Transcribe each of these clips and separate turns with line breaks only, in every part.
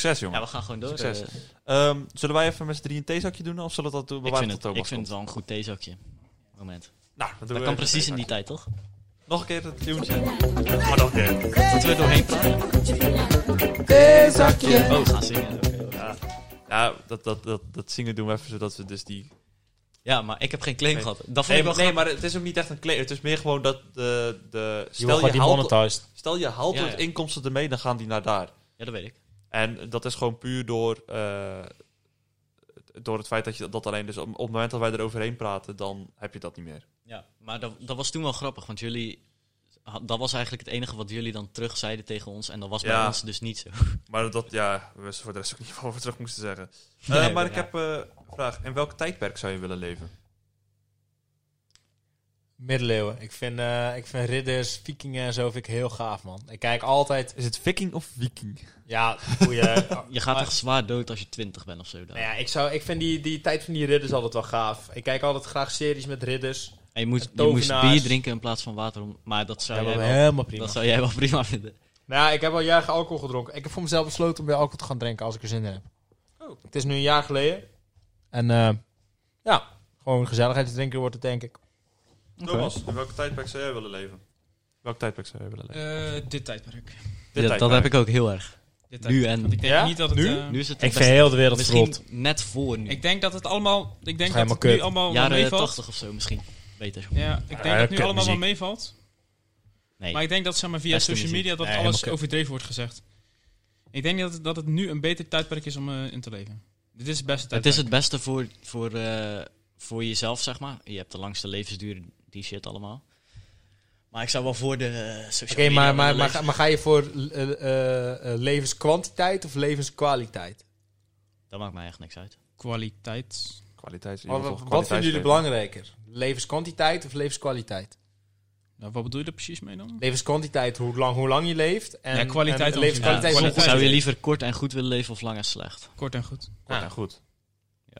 Succes, jongen.
Ja, we gaan gewoon door.
Succes.
eh.
Ehm, zullen wij even met z'n drieën een theezakje doen? Of zullen we dat doen?
ik vind,
bewaren
het,
tot
ik
Thomas
vind het wel een goed theezakje. Moment.
komt? Nou, dan doen
Dat
we
kan
even
precies
een
in die
theezakje.
tijd, toch?
Nog een keer het tuentje. Maar nog een keer.
Moeten we er doorheen praten?
Theezakje.
Oh, gaan zingen. Oké.
Ja, ja dat, dat, dat, dat zingen doen we even zodat we dus die...
Ja, maar ik heb geen claim
Nee.
gehad. Dat vond
Nee,
ik wel
maar, nee, maar het is ook niet echt een claim. Het is meer gewoon dat de... de
Je wordt
stel,
gewoon
je haalt,
demonetized.
stel je haalt
Ja,
wat
ja.
inkomsten ermee, dan gaan die naar daar.
grappig. Ja, dat weet ik.
En dat is gewoon puur door, eh, door het feit dat je dat alleen... Dus op, op het moment dat wij eroverheen praten, dan heb je dat niet meer.
Ja, maar dat, dat was toen wel grappig, want jullie... ha- Dat was eigenlijk het enige wat jullie dan terug zeiden tegen ons. En dat was bij
Ja.
ons dus niet zo.
Maar dat, ja, we wisten voor de rest ook niet wat we terug moesten zeggen. Eh,
Nee,
maar
ja.
ik heb eh, een vraag. In welk tijdperk zou je willen leven?
Middeleeuwen. Ik vind, eh, ik vind ridders, vikingen en zo vind ik heel gaaf, man. Ik kijk altijd...
Is het viking of viking?
Ja, goeie...
Je gaat echt zwaar dood als je twintig bent of zo. daar.
Nou ja, ik, zou, ik vind die, die tijd van die ridders altijd wel gaaf. Ik kijk altijd graag series met ridders.
En je, moet, je
Tovenaars.
moest bier drinken in plaats van water. om- Maar dat zou, jij wel,
helemaal prima.
dat zou jij wel prima vinden.
Nou, ja, ik heb al jaren alcohol gedronken. Ik heb voor mezelf besloten om weer alcohol te gaan drinken als ik er zin in heb.
Oh.
Het is nu een jaar geleden. En eh, ja, gewoon gezelligheid te drinken wordt het, denk ik.
Thomas, in welk tijdperk zou jij willen leven? Welk tijdperk zou jij willen leven?
Eh, dit tijdperk.
Dit
Ja, dat
tijdperk.
heb ik ook heel erg.
Dit
Nu
tijdperk.
en-
Want ik denk
Ja?
niet dat het...
Nu?
eh,
Nu is het
Ik
best-
vind heel de wereld
misschien
verrot.
net voor nu.
ik denk dat het allemaal... Ik denk dat
helemaal
het nu
kut.
allemaal wel
Jaren
meevalt.
80 of zo misschien. Beter.
Ja, ik denk
Ja,
dat het nu allemaal wel
kutmuziek.
meevalt.
Nee.
Maar ik denk dat zeg maar, via
Beste
social
muziek.
media dat
Nee,
alles
helemaal kut.
overdreven wordt gezegd. Ik denk dat, het- dat het nu een beter tijdperk is om eh, in te leven. Dit is het beste
het
tijdperk.
is het beste voor, voor, eh, voor jezelf, zeg maar. Je hebt de langste levensduur, die shit allemaal. Maar ik zou wel voor de eh,
Oké,
sociale media
maar, maar,
willen
maar,
leven.
ga- maar ga je voor eh, eh, eh, levenskwantiteit of levenskwaliteit?
Dat maakt mij echt niks uit.
kwaliteit.
Kwaliteits. in
Wat,
ieder
wat
geval
vinden
kwaliteitsleven.
jullie belangrijker? Levenskwantiteit of levenskwaliteit?
Nou, wat bedoel je er precies mee dan?
Levenskwantiteit, hoe lang, hoe lang je leeft. En,
Ja, kwaliteit
en
dan
levenskwaliteit.
Ja,
is
kwaliteit.
hoe
Zou
goed
je liever kort en goed willen leven of lang en slecht?
Kort en goed.
Kort
Ja.
en goed.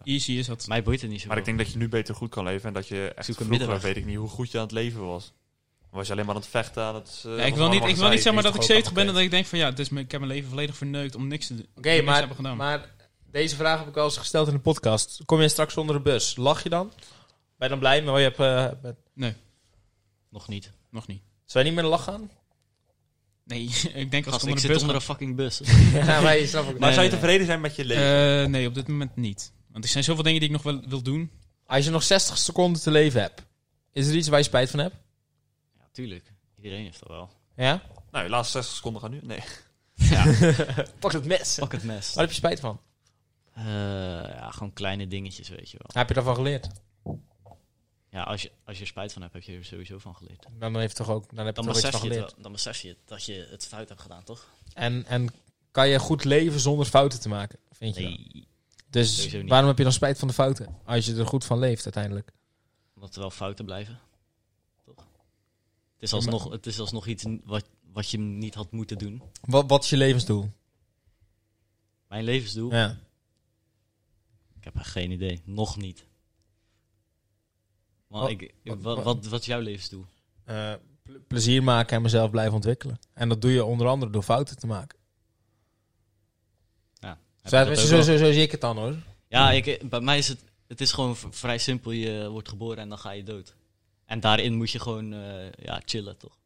Easy is dat.
Mij boeit het niet zo.
Maar ik denk dat je nu beter goed kan leven en dat je echt
Zoek een
vroeger,
middenweg.
weet ik niet, hoe goed je aan het leven was. Was je alleen maar aan het vechten, aan het... eh,
Ja,
wat
ik wil niet,
allemaal
ik wil niet
gezegd
zeggen maar
is.
dat ik
gewoon
70 ben en
oké.
dat ik denk van ja, dit is mijn, ik heb mijn leven volledig verneukt om niks te doen.
Oké,
niks hebben
maar,
gedaan.
maar deze vraag heb ik al eens gesteld in de podcast. Kom je straks onder de bus? Lach je dan? Ben je dan blij? Maar je hebt, eh, ben-
Nog niet.
Nog niet.
zou je niet meer lachen gaan?
Nee, ik denk als
Gast,
ik
ik
onder de
zit
bus
onder een
ga-
fucking bus.
ja, maar je snapt ook
Maar
Nee,
zou je
nee,
tevreden zijn met je leven?
Eh, nee, op dit moment niet. Want er zijn zoveel dingen die ik nog wel wil doen.
Als je nog 60 seconden te leven hebt, is er iets waar je spijt van hebt?
Ja, tuurlijk. Iedereen heeft dat wel.
Ja?
Nou, de laatste 60 seconden gaan nu. Nee.
Pak het mes.
Pak het mes.
Waar heb je spijt van?
Eh, ja, gewoon kleine dingetjes, weet je wel.
Heb je daarvan geleerd?
Ja, als je, als je er spijt van hebt, heb je er sowieso van geleerd.
Nou, Dan heeft toch ook, dan heb je
Dan
toch iets
besef,
van
je het
geleerd.
wel- dan besef je het, dat je het fout hebt gedaan, toch?
En, en kan je goed leven zonder fouten te maken, vind je? dan?
Nee.
Dus
sowieso niet.
waarom heb je dan spijt van de fouten? Als je er goed van leeft uiteindelijk.
Omdat er wel fouten blijven. Toch? Het is alsnog, het is alsnog iets n- wat, wat je niet had moeten doen.
Wat, wat is je levensdoel?
Mijn levensdoel?
Ja.
Ik heb echt geen idee. Nog niet. Maar
Wat-
ik, ik-
wat-
wat, wat, wat is jouw levensdoel?
eh, ple- plezier maken en mezelf blijven ontwikkelen. En dat doe je onder andere door fouten te maken.
Heb
Zo,
je dat
zo,
ook
zo,
wel?
zo, zo zie ik het dan hoor.
Ja, ik, bij mij is het, het is gewoon v- vrij simpel. Je wordt geboren en dan ga je dood. En daarin moet je gewoon eh, ja, chillen, toch?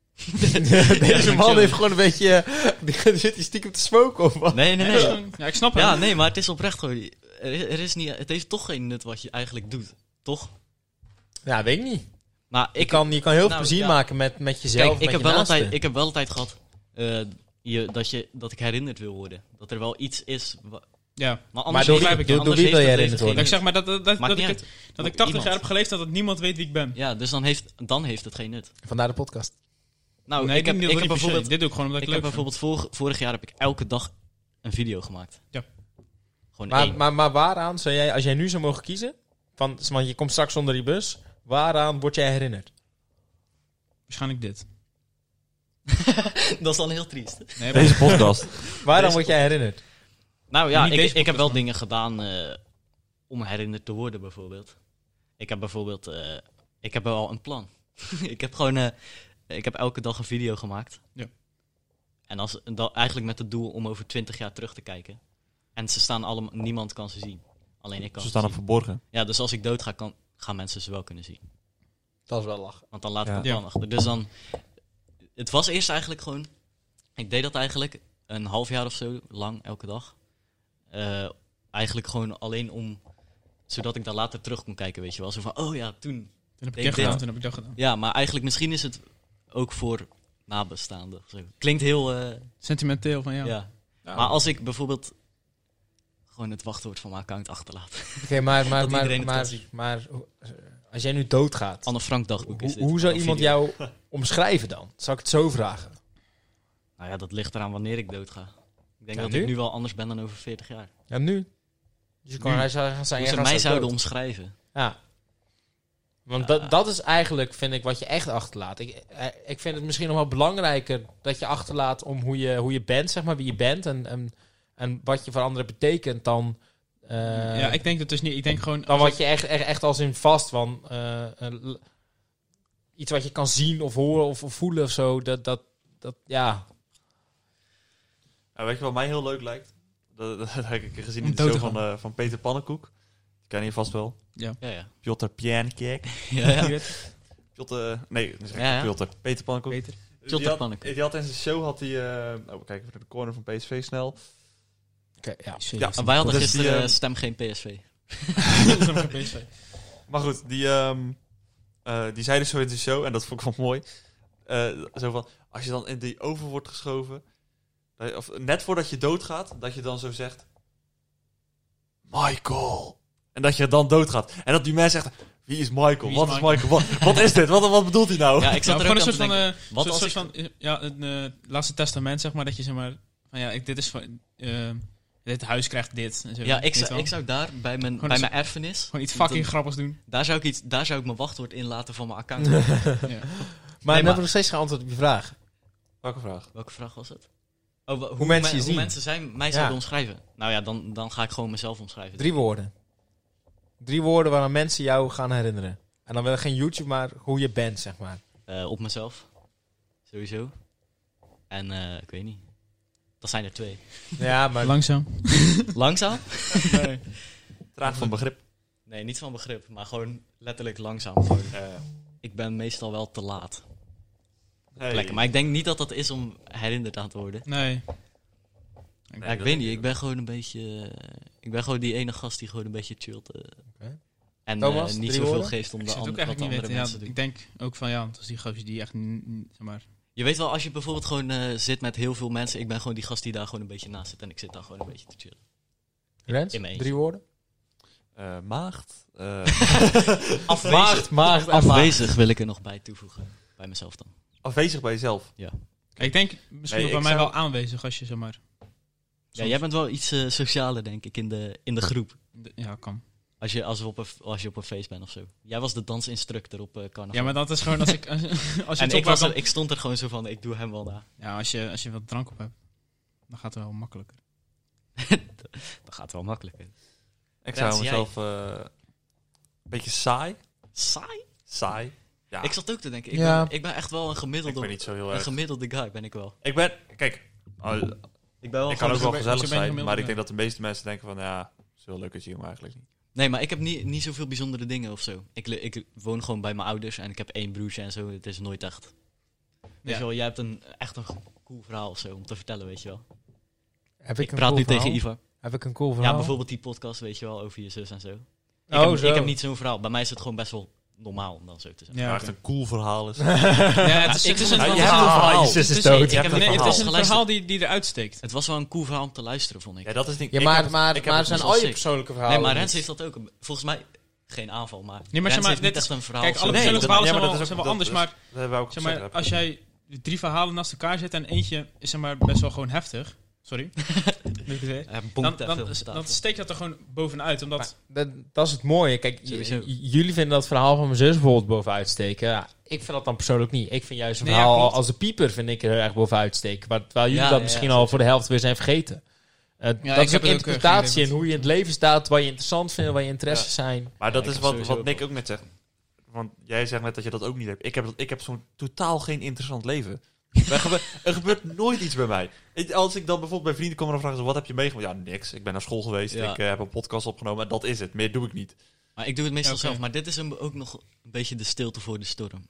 Deze
Ja,
man
chill.
heeft gewoon een beetje... eh, Die zit hier stiekem te smoken of wat?
Nee, nee, nee.
Dus, eh, Ja, ik snap het.
Ja, nee, maar het is oprecht gewoon. Er, is- er is niet, het heeft toch geen nut wat je eigenlijk doet, toch?
Ja, weet ik niet.
Maar
Ik
ik,
kan, je kan heel veel
nou,
plezier
ja.
maken met, met jezelf,
kijk, ik
met
heb,
je
wel
naasten.
altijd, ik heb wel altijd gehad eh, je, dat, je, dat ik herinnerd wil worden. Dat er wel iets is. wa-
Ja.
Maar anders
door
heeft-
wie- door- door
anders
wie wil
heeft
jij
het
herinnerd
leven
Dat ik
worden?
geen
zeg maar dat, dat, dat,
nut. Maakt
dat
niet
ik,
uit.
het- dat ik 80 jaar
Iemand.
heb geleefd dat het niemand weet wie ik ben.
Ja, dus dan heeft, dan heeft het geen nut.
Vandaar de podcast.
Nou,
nee,
ik heb,
dit,
ik heb bijvoorbeeld,
dit doe ik gewoon omdat ik,
ik heb
leuk vind.
bijvoorbeeld vor- vorig jaar heb ik elke dag een video gemaakt.
Ja.
Gewoon
Maar,
één.
maar, maar waaraan zou jij, als jij nu zou mogen kiezen... Van, want je komt straks onder die bus. Waaraan word jij herinnerd?
Waarschijnlijk dit.
dat is dan heel triest.
Nee, maar
Deze podcast.
Waaraan
Deze
word jij herinnerd?
Nou ja,
Niet
ik,
deze
ik heb wel
podcast,
dingen gedaan eh, om herinnerd te worden, bijvoorbeeld. Ik heb bijvoorbeeld, eh, ik heb wel een plan. ik heb gewoon, eh, ik heb elke dag een video gemaakt.
Ja.
En als, dan eigenlijk met het doel om over twintig jaar terug te kijken. En ze staan allemaal, niemand kan ze zien. Alleen ik kan
Ze staan op
zien.
verborgen.
Ja, dus als ik doodga, kan, gaan mensen ze wel kunnen zien.
Dat is wel lachen.
Want dan laat ik
Ja.
het plan achter. Dus dan... Het was eerst eigenlijk gewoon... Ik deed dat eigenlijk een half jaar of zo lang, elke dag. Eh, eigenlijk gewoon alleen om... Zodat ik daar later terug kon kijken, weet je wel. Zo van, oh ja, toen...
Toen heb ik,
Ik
dit
denk-
gedaan, toen heb ik dat gedaan.
Ja, maar eigenlijk misschien is het ook voor nabestaanden. of zo. Klinkt heel... eh,
Sentimenteel van jou.
ja. Maar als ik bijvoorbeeld gewoon het wachtwoord van mijn account achterlaat.
Oké, maar, maar,
Dat
maar, maar,
iedereen het
maar, hoe- als jij nu doodgaat,
Anne Frank dagboek is
hoe,
dit.
hoe zou
Of
iemand
video.
jou omschrijven dan? Zal ik het zo vragen?
Nou ja, dat ligt eraan wanneer ik doodga. Ik denk
Ja,
dat
nu?
ik nu wel anders ben dan over 40 jaar.
Ja, nu. Dus je kan
Nu.
hij zou gaan zijn.
Hoe
jij
ze
gaat
mij
zo dood.
zouden omschrijven.
Ja. Want
Ja.
dat, dat is eigenlijk, vind ik, wat je echt achterlaat. Ik, eh, ik vind het misschien nog wel belangrijker dat je achterlaat om hoe je, hoe je bent, zeg maar, wie je bent en, en, en wat je voor anderen betekent dan, eh,
ja, ik denk dat dus niet. Ik denk gewoon.
dan
als
wat je echt, echt, echt als in vast van eh, eh, l- iets wat je kan zien of horen of, of voelen of zo. Dat, dat, dat, ja.
Ja, weet je wat mij heel leuk lijkt? Dat, dat, heb ik gezien
Om
in de
dood
show
te
van, eh, van Peter Pannenkoek. Die ken je vast wel.
Ja, ja.
Piotr Piankek.
ja, ja.
Piotr... Nee, dan zeg ik
Ja, ja.
Piotr. Peter Pannenkoek.
Peter.
Die
Piotr
had-
Pannenkoek.
Die had in zijn show had hij... eh, oh, we kijken even naar de corner van PSV snel.
Oké, ja.
Ja.
En wij hadden
Dus die,
gisteren eh,
eh,
stem geen PSV.
Maar goed, die, ehm, eh, die zei dus zo in zijn show, en dat vond ik wel mooi. eh, zo van, als je dan in die oven wordt geschoven, dat je- of net voordat je doodgaat, dat je dan zo zegt, Michael. En dat je dan doodgaat. En dat die mens zegt, wie is Michael?
Wie is
wat
Michael?"
is Michael? Wat, wat is dit? Wat, wat bedoelt hij nou?
Ja, ik zat
Ja,
er
gewoon
ook
een
aan
soort
te
van,
denken.
eh,
Wat
soort,
als
soort
ik-
van eh, ja, een eh, laatste testament, zeg maar, dat je zeg maar van ja, ik, dit is van eh, dit huis krijgt dit. En zo,
Ja, ik
Weet je
zou,
wel?
ik zou daar bij mijn, bij
eens-
mijn erfenis...
gewoon iets
want
fucking
dan-
grappigs doen.
Daar zou, ik iets, daar zou ik mijn wachtwoord in laten van mijn account.
Ja.
Maar
Nee,
we
maar-
hebben nog steeds geen antwoord op je vraag.
Welke vraag?
Welke vraag was het? Oh, wa- hoe,
mensen
men-
je zien.
Hoe mensen zijn, mij zouden omschrijven. Nou ja, dan, dan ga ik gewoon mezelf omschrijven.
Drie woorden. Drie woorden waaraan mensen jou gaan herinneren. En dan wel geen YouTube, maar hoe je bent, zeg maar.
Eh, op mezelf. Sowieso. En eh, ik weet niet. Dat zijn er twee.
Ja, maar
Langzaam.
Langzaam?
Traag van begrip.
Nee, niet van begrip, maar gewoon letterlijk langzaam. Gewoon,
Eh,
ik ben meestal wel te laat.
hey.
Lekker. Maar ik denk niet dat dat is om herinnerd aan te worden. Ja,
Nee.
dat
ik weet
denk
niet.
ik
Ik ben gewoon een beetje. eh, ik ben gewoon die ene gast die gewoon een beetje chillt. eh.
Oké.
En
Thomas,
eh,
drie
niet zoveel
woorden?
geeft om
Ik
de
zou het ook
ander, wat de
eigenlijk niet
andere
weten. Ja,
mensen doen.
ik denk ook van ja, want als die gozer die echt n- n- zeg maar.
Je weet wel, als je bijvoorbeeld gewoon eh, zit met heel veel mensen. Ik ben gewoon die gast die daar gewoon een beetje naast zit. En ik zit daar gewoon een beetje te chillen.
Rens,
in mijn
drie woorden.
Eh, maagd. eh,
Maagd, maagd, en maagd.
Afwezig wil ik er nog bij toevoegen. Bij mezelf dan.
afwezig bij jezelf.
Ik denk misschien
Nee,
ook
ik
bij mij
zou-
wel aanwezig als je zeg maar.
Ja, jij bent wel iets eh, socialer, denk ik, in de, in de groep.
Ja, kan.
Als je, als, we op een, als je op een feest bent of zo. Jij was de dansinstructor op eh carnaval.
Ja, maar dat is gewoon als ik als, als je
en
het
ik,
op
was
kan-
er, ik stond er gewoon zo van, ik doe hem wel na.
Ja, als je als je wat drank op hebt, dan gaat het wel makkelijker.
Dat gaat wel makkelijker.
Ik
Ja,
zou
zie jij.
mezelf eh, een beetje saai.
Saai?
Saai. Ja,
Ik zat ook te denken, ik,
Ja.
ben, ik ben echt wel een
ik ben
gemiddelde,
niet zo heel
een
erg.
gemiddelde guy, ben ik wel.
Ik ben, kijk, oh,
Ik ben wel
ik kan ook wel gezellig
gewoon een- zo'n beetje
zijn,
gemiddelde
maar ik
man.
denk dat de meeste mensen denken van, ja, het is wel leuk dat je maar eigenlijk niet.
Nee, maar ik heb niet, niet zoveel bijzondere dingen of zo. Ik, le- ik woon gewoon bij mijn ouders en ik heb één broertje en zo. Het is nooit echt. Weet
Ja.
je wel, jij hebt een, echt een cool verhaal of zo om te vertellen, weet je wel.
Heb
Ik, praat nu tegen Ivar.
Heb ik een cool verhaal?
Ja, bijvoorbeeld die podcast, weet je wel, over je zus en zo. Ik,
Oh,
heb,
zo.
ik heb niet zo'n verhaal. Bij mij is het gewoon best wel normaal om dan zo te zijn.
Maar
Ja,
echt een cool verhaal is.
oké. ja het is,
Ik-
het is
Ja,
een
hebt
je
verhaal.
een verhaal. Je zus
is
Het
dood.
Ik
Je
heb
hebt
een-
een
het is een
verhaal.
verhaal die, die eruit steekt.
Het was wel een cool verhaal om te luisteren, vond ik.
Ja, dat is niet.
Ja,
ik
maar,
heb het-
maar,
ik heb
maar
het
zijn
best
al
wel
je
sick.
persoonlijke verhalen.
dus Nee, maar Rens heeft dat ook. Volgens mij geen aanval, maar,
Nee, maar
Rens
zeg maar,
heeft niet
dit-
echt een verhaal.
Kijk,
of
alle
zo.
Nee,
verschillende
dat-
verhalen
ja,
zijn
maar
wel,
dat is
zijn
ook-
wel anders,
dat is-
maar,
dat hebben we ook
zeg
gezegd,
maar
heb ik
als
gezegd.
jij drie verhalen naast elkaar zet en eentje is zeg maar, best wel gewoon heftig. Sorry. Nu ik het zeg.
Hij bonkt
dan,
daar veel
dan,
op de
dan
tafel.
steekt dat er gewoon bovenuit. Omdat,
dat, dat is het mooie. Kijk, j-
Sowieso.
j- jullie vinden dat verhaal van mijn zus bijvoorbeeld bovenuit steken. Ja, ik vind dat dan persoonlijk niet. Ik vind juist een
Nee, ja,
verhaal
klopt.
als de pieper vind ik er heel erg bovenuit steken. Maar terwijl jullie
Ja,
dat
ja,
misschien
ja,
al voor de helft weer zijn vergeten. Eh,
ik
dat is ook
heb het ook, eh, geen
interpretatie
idee
in hoe je in het leven staat, wat je interessant vindt, wat je interesses zijn.
Maar dat
Ja, ik
is
heb
wat,
sowieso
wat Nick ook net zegt. Want jij zegt net dat je dat ook niet hebt. Ik heb, dat- ik heb zo'n totaal geen interessant leven. Bij gebe- er gebeurt nooit iets bij mij. Ik- als ik dan bijvoorbeeld bij vrienden kom en dan vragen ze, wat heb je meegemaakt? Ja, niks. Ik ben naar school geweest,
Ja.
ik eh, heb een podcast opgenomen en dat is het. Meer doe ik niet.
Maar ik doe het meestal
Oké.
zelf. Maar dit is een, ook nog een beetje de stilte voor de storm.
Nou,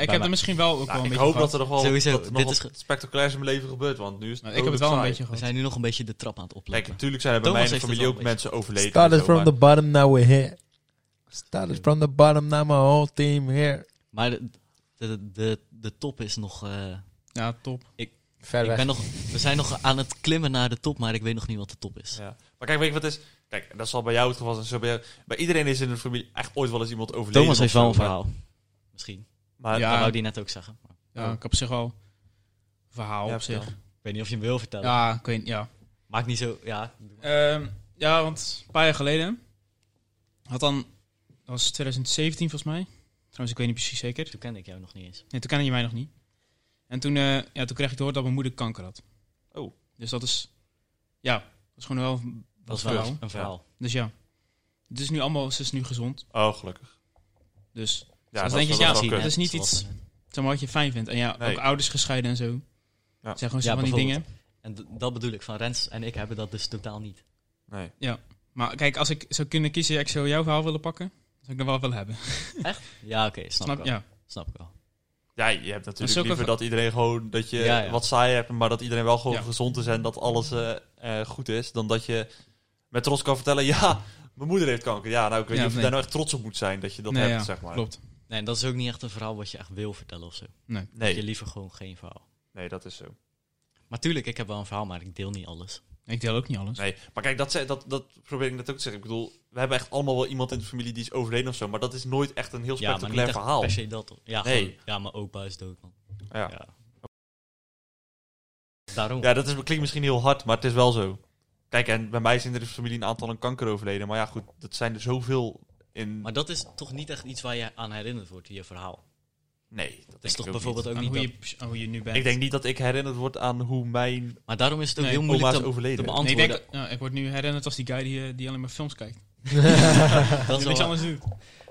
ik
mij-
heb er misschien wel ook
Nou,
wel een
ik
beetje
hoop
gehad.
dat er nog wel
Sowieso,
dat er nog
dit
wat
is ge-
spectaculairs in mijn leven gebeurt, want nu is het
Nou, ik heb het wel een
dodelijk
beetje
We
gehad.
zijn nu nog een beetje de trap aan het
saai. Kijk,
oplopen.
natuurlijk zijn er bij
Thomas
mij in de
heeft
familie
het
ook
wel
mensen
een
overleden.
Started
en zo,
from the
maar-
bottom, now eh, we're here. Started from the bottom, now my whole team here.
Maar de, de, de, de top is nog... eh,
Ja, top.
Ver
ik
weg.
ben nog, we zijn nog aan het klimmen naar de top, maar ik weet nog niet wat de top is.
Ja. Maar kijk, weet je wat het is? Kijk, dat zal bij jou het geval zijn. Zo bij, jou- bij iedereen is in de familie echt ooit wel eens iemand overleden.
Thomas
of
heeft wel
zo,
een
maar-
verhaal. Misschien.
Maar,
Ja.
Dat wou die net ook zeggen. Maar
Ja, ik heb op zich wel een verhaal
Ja,
op zich.
vertel.
Ik weet niet of je hem wil vertellen.
Ja, ik weet niet, ja.
Maakt niet zo... Ja,
Ehm, ja, want een paar jaar geleden had dan, dat was 2017 volgens mij. Trouwens, ik weet niet precies zeker.
toen kende ik jou nog niet eens.
Nee, toen kende je mij nog niet. En toen, eh, ja, toen kreeg ik te horen dat mijn moeder kanker had.
Oh.
Dus dat is, ja, dat is gewoon wel een
Dat is wel
verhaal.
een verhaal.
Dus ja, het is nu allemaal, ze is nu gezond.
Oh, gelukkig.
Dus
Ja,
Dus
dat
denk je,
is wel-
ja,
dat is wel
zie
kut.
je, is niet
Zoals-
iets- het is allemaal wat je fijn vindt. En ja,
Nee.
ook ouders gescheiden en zo.
Ja.
Het zijn gewoon zo
Ja,
van die dingen.
bijvoorbeeld. En d- dat bedoel ik, van Rens en ik hebben dat dus totaal niet.
Nee.
Maar kijk, als ik zou kunnen kiezen, ja, ik zou jouw verhaal willen pakken. Zou ik dat wel willen hebben.
Ja, oké, snap,
Snap
ik
je?
wel.
Ja.
Snap ik wel.
Ja, je hebt
is
natuurlijk
ook
liever
even-
dat iedereen gewoon dat je
Ja, ja.
wat saai hebt, maar dat iedereen wel gewoon
Ja.
gezond is en dat alles eh, eh, goed is. Dan dat je met trots kan vertellen, ja, mijn moeder heeft kanker. Ja, nou, ik weet
Ja,
niet of je
nee.
daar nou echt trots op moet zijn dat je dat
Nee,
hebt,
ja,
zeg maar.
Klopt.
Nee, en dat is ook niet echt een verhaal wat je echt wil vertellen of zo. Je
Nee,
liever gewoon geen verhaal.
nee, dat is zo.
Maar tuurlijk, ik heb wel een verhaal, maar ik deel niet alles.
Ik deel ook niet alles.
Nee, maar kijk, dat, ze- dat, dat probeer ik net ook te zeggen. Ik bedoel, we hebben echt allemaal wel iemand in de familie die is overleden of zo, maar dat is nooit echt een heel
ja, maar niet
spectaculair
echt
verhaal.
per se dat. Ja,
Nee.
gewoon, ja, mijn opa is dood, man.
Ja.
Ja. Daarom.
Ja, dat is, klinkt misschien heel hard, maar het is wel zo. Kijk, en bij mij zijn er in de familie een aantal aan kanker overleden. Maar ja, goed, dat zijn er zoveel in...
Maar dat is toch niet echt iets waar je aan herinnerd wordt, je verhaal.
Nee, dat
Dat is
denk ik
toch
ook
bijvoorbeeld
niet.
ook
Aan
niet
hoe,
dat...
je, aan hoe je nu bent.
Ik denk niet dat ik herinnerd word aan hoe mijn
Maar daarom is het ook
Nee,
heel
oma
moeilijk
is
te, te
overleden.
Nee, ik,
beantwoorden.
denk, ja, ik word nu herinnerd als die guy die, eh, die alleen maar films kijkt.
dat
Die
is
niks
wel-
anders doet.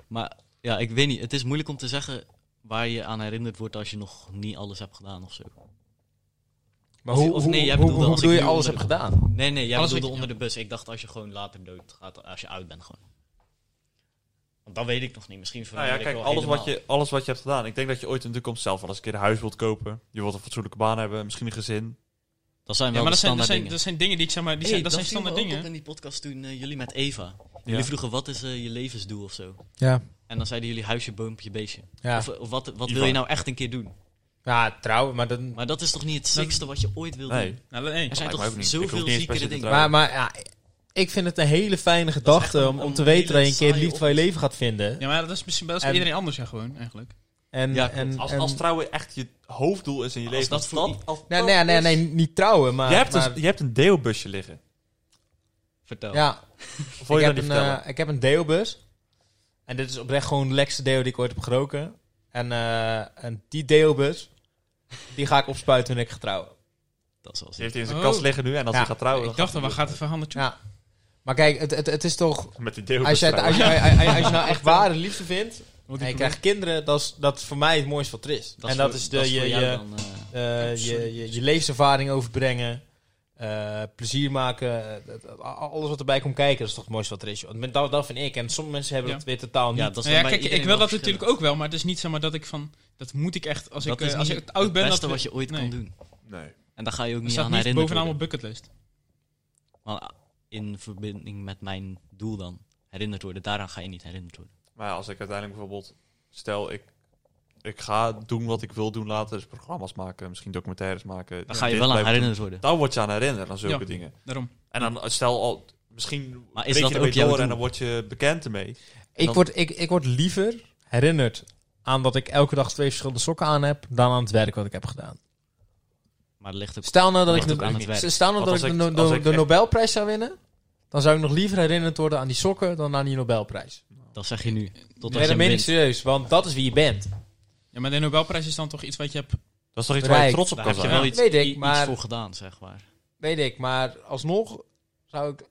Maar ja, ik weet niet. Het is moeilijk om te zeggen waar je aan herinnerd wordt als je nog niet alles hebt gedaan of zo.
Maar
Of-
hoe,
of
hoe,
nee, jij
hoe,
bedoelde
hoe
als
bedoel
ik
je
nu
alles hebt
onder
gedaan?
Nee, nee, jij
Alles
bedoelde
wat je-
onder de bus. Ik dacht als je gewoon later dood gaat, als je uit bent gewoon. Want dat weet ik nog niet. Misschien
Nou ja,
verander ik
kijk,
wel
alles wat,
helemaal.
je, alles wat je hebt gedaan. Ik denk dat je ooit in de toekomst zelf wel eens een keer een huis wilt kopen. Je wilt een fatsoenlijke baan hebben, misschien een gezin.
Dat zijn
Ja,
wel de
maar dat zijn, dat,
standaard
zijn,
dingen.
dat zijn dingen die ik zeg maar... Die
Hey,
zijn, dat,
dat
zijn
viel me
standaard
ook op
dingen.
in die podcast toen eh, jullie met Eva. Jullie vroegen wat is eh, je levensdoel of zo.
Ja.
En dan zeiden jullie huisje, boompje, beestje.
Ja,
Of, eh, of wat, wat wil
Ivan.
je nou echt een keer doen?
ja trouwen, maar dan...
Maar dat is toch niet het sixte wat je ooit wil doen?
Nee.
Nou, nee.
Er zijn
lijkt me ook
toch
niet. Ik hoef
zoveel
niet eens per se
ziekere
te
dingen.
trouwen.
Maar, maar ja, ik vind het een hele fijne
is echt
gedachte
een-
om, om
een
te weten
hele
dat je een keer de
saaie
liefde van je leven gaat vinden.
Ja, maar dat is misschien dat is bij
En-
iedereen anders ja, gewoon, eigenlijk.
En,
Ja, klopt.
en,
Als,
en-
als trouwen echt je hoofddoel is in je
Als
leven.
dat
als
voor i-
als
nee,
dat
nee, nee,
is-
nee, niet trouwen, maar...
je, hebt dus
maar,
een, je hebt een deelbusje liggen.
Vertel.
ja,
Of wil
ik
je dat
heb,
niet
een,
vertellen?
eh, ik heb een deelbus. En dit is oprecht gewoon de lekkerste deel die ik ooit heb geroken. En, eh, en die deelbus, die ga ik opspuiten wanneer ik ga trouwen.
Dat is wel
Die
ziek.
heeft hij in zijn
Oh.
kast liggen nu en als
Ja.
hij gaat trouwen...
Ik
dan
dacht
gaat
al, waar gaat het verhaal naartoe?
Ja. Maar kijk, het, het, het is toch...
hij Met die deelbus
Als je, als,
trouwen.
je, als, je, als je nou echt ware liefde vindt
Wordt
en je
die
krijgt kinderen, dat is, dat is voor mij het mooiste wat er is. en dat
voor-
is de,
voor
je,
jou
je,
Nou
dan, eh,
eh, je, je, je levenservaring overbrengen, eh, plezier maken, eh, dat- dat- a- alles wat erbij komt kijken, dat is toch het mooiste wat er is. joh. Dat, dat vind ik. En sommige mensen hebben
Ja.
dat weer totaal niet.
Ja, dat is
Nou ja,
dan bij
kijk, ik
iedereen
wil
wel
dat natuurlijk ook wel, maar het is niet zomaar dat ik van... Dat moet ik echt, als
Dat
ik,
is
eh, als
niet
ik oud ben...
Het beste
dat,
wat je ooit
nee.
kan doen.
Nee.
En daar ga je ook
Dat
niet aan
staat niet
herinneren.
bovenaan mijn
worden.
bucketlist.
Maar eh, in verbinding met mijn doel dan herinnerd worden. Daaraan ga je niet herinnerd worden.
Maar ja, als ik uiteindelijk bijvoorbeeld... Stel, ik, ik ga doen wat ik wil doen later. Dus programma's maken, misschien documentaires maken.
Daar ga je
dit
wel
blijven
aan
doen.
herinnerd worden.
Dan word je aan herinnerd aan zulke
Ja.
dingen.
Daarom.
En dan eh, stel al, misschien
Maar is
breek
dat
je ermee
ook jouw
door en
doel?
dan word je bekend ermee.
ik,
dat-
word, ik, ik word liever herinnerd aan dat ik elke dag twee verschillende sokken aan heb, dan aan het werk wat ik heb gedaan.
Maar dat ligt ook...
Stel nou dat
Dat
ik,
doe ik
de,
aan het werk.
stel nou dat
Want als
ik, de,
ik-
no-
als
de-
ik
de
echt-
Nobelprijs zou winnen, dan zou ik nog liever herinnerd worden aan die sokken dan aan die Nobelprijs.
Dat zeg je nu. Totdat
Nee,
je
dat meen ik
bent.
serieus, want dat is wie je bent.
Ja, maar de Nobelprijs is dan toch iets wat je hebt...
Dat is toch iets waar je
Bereikt.
trots op
Daar
kan
heb je
zijn.
wel iets,
Weet ik,
i- iets
maar-
voor gedaan, zeg maar.
Weet ik, maar alsnog zou ik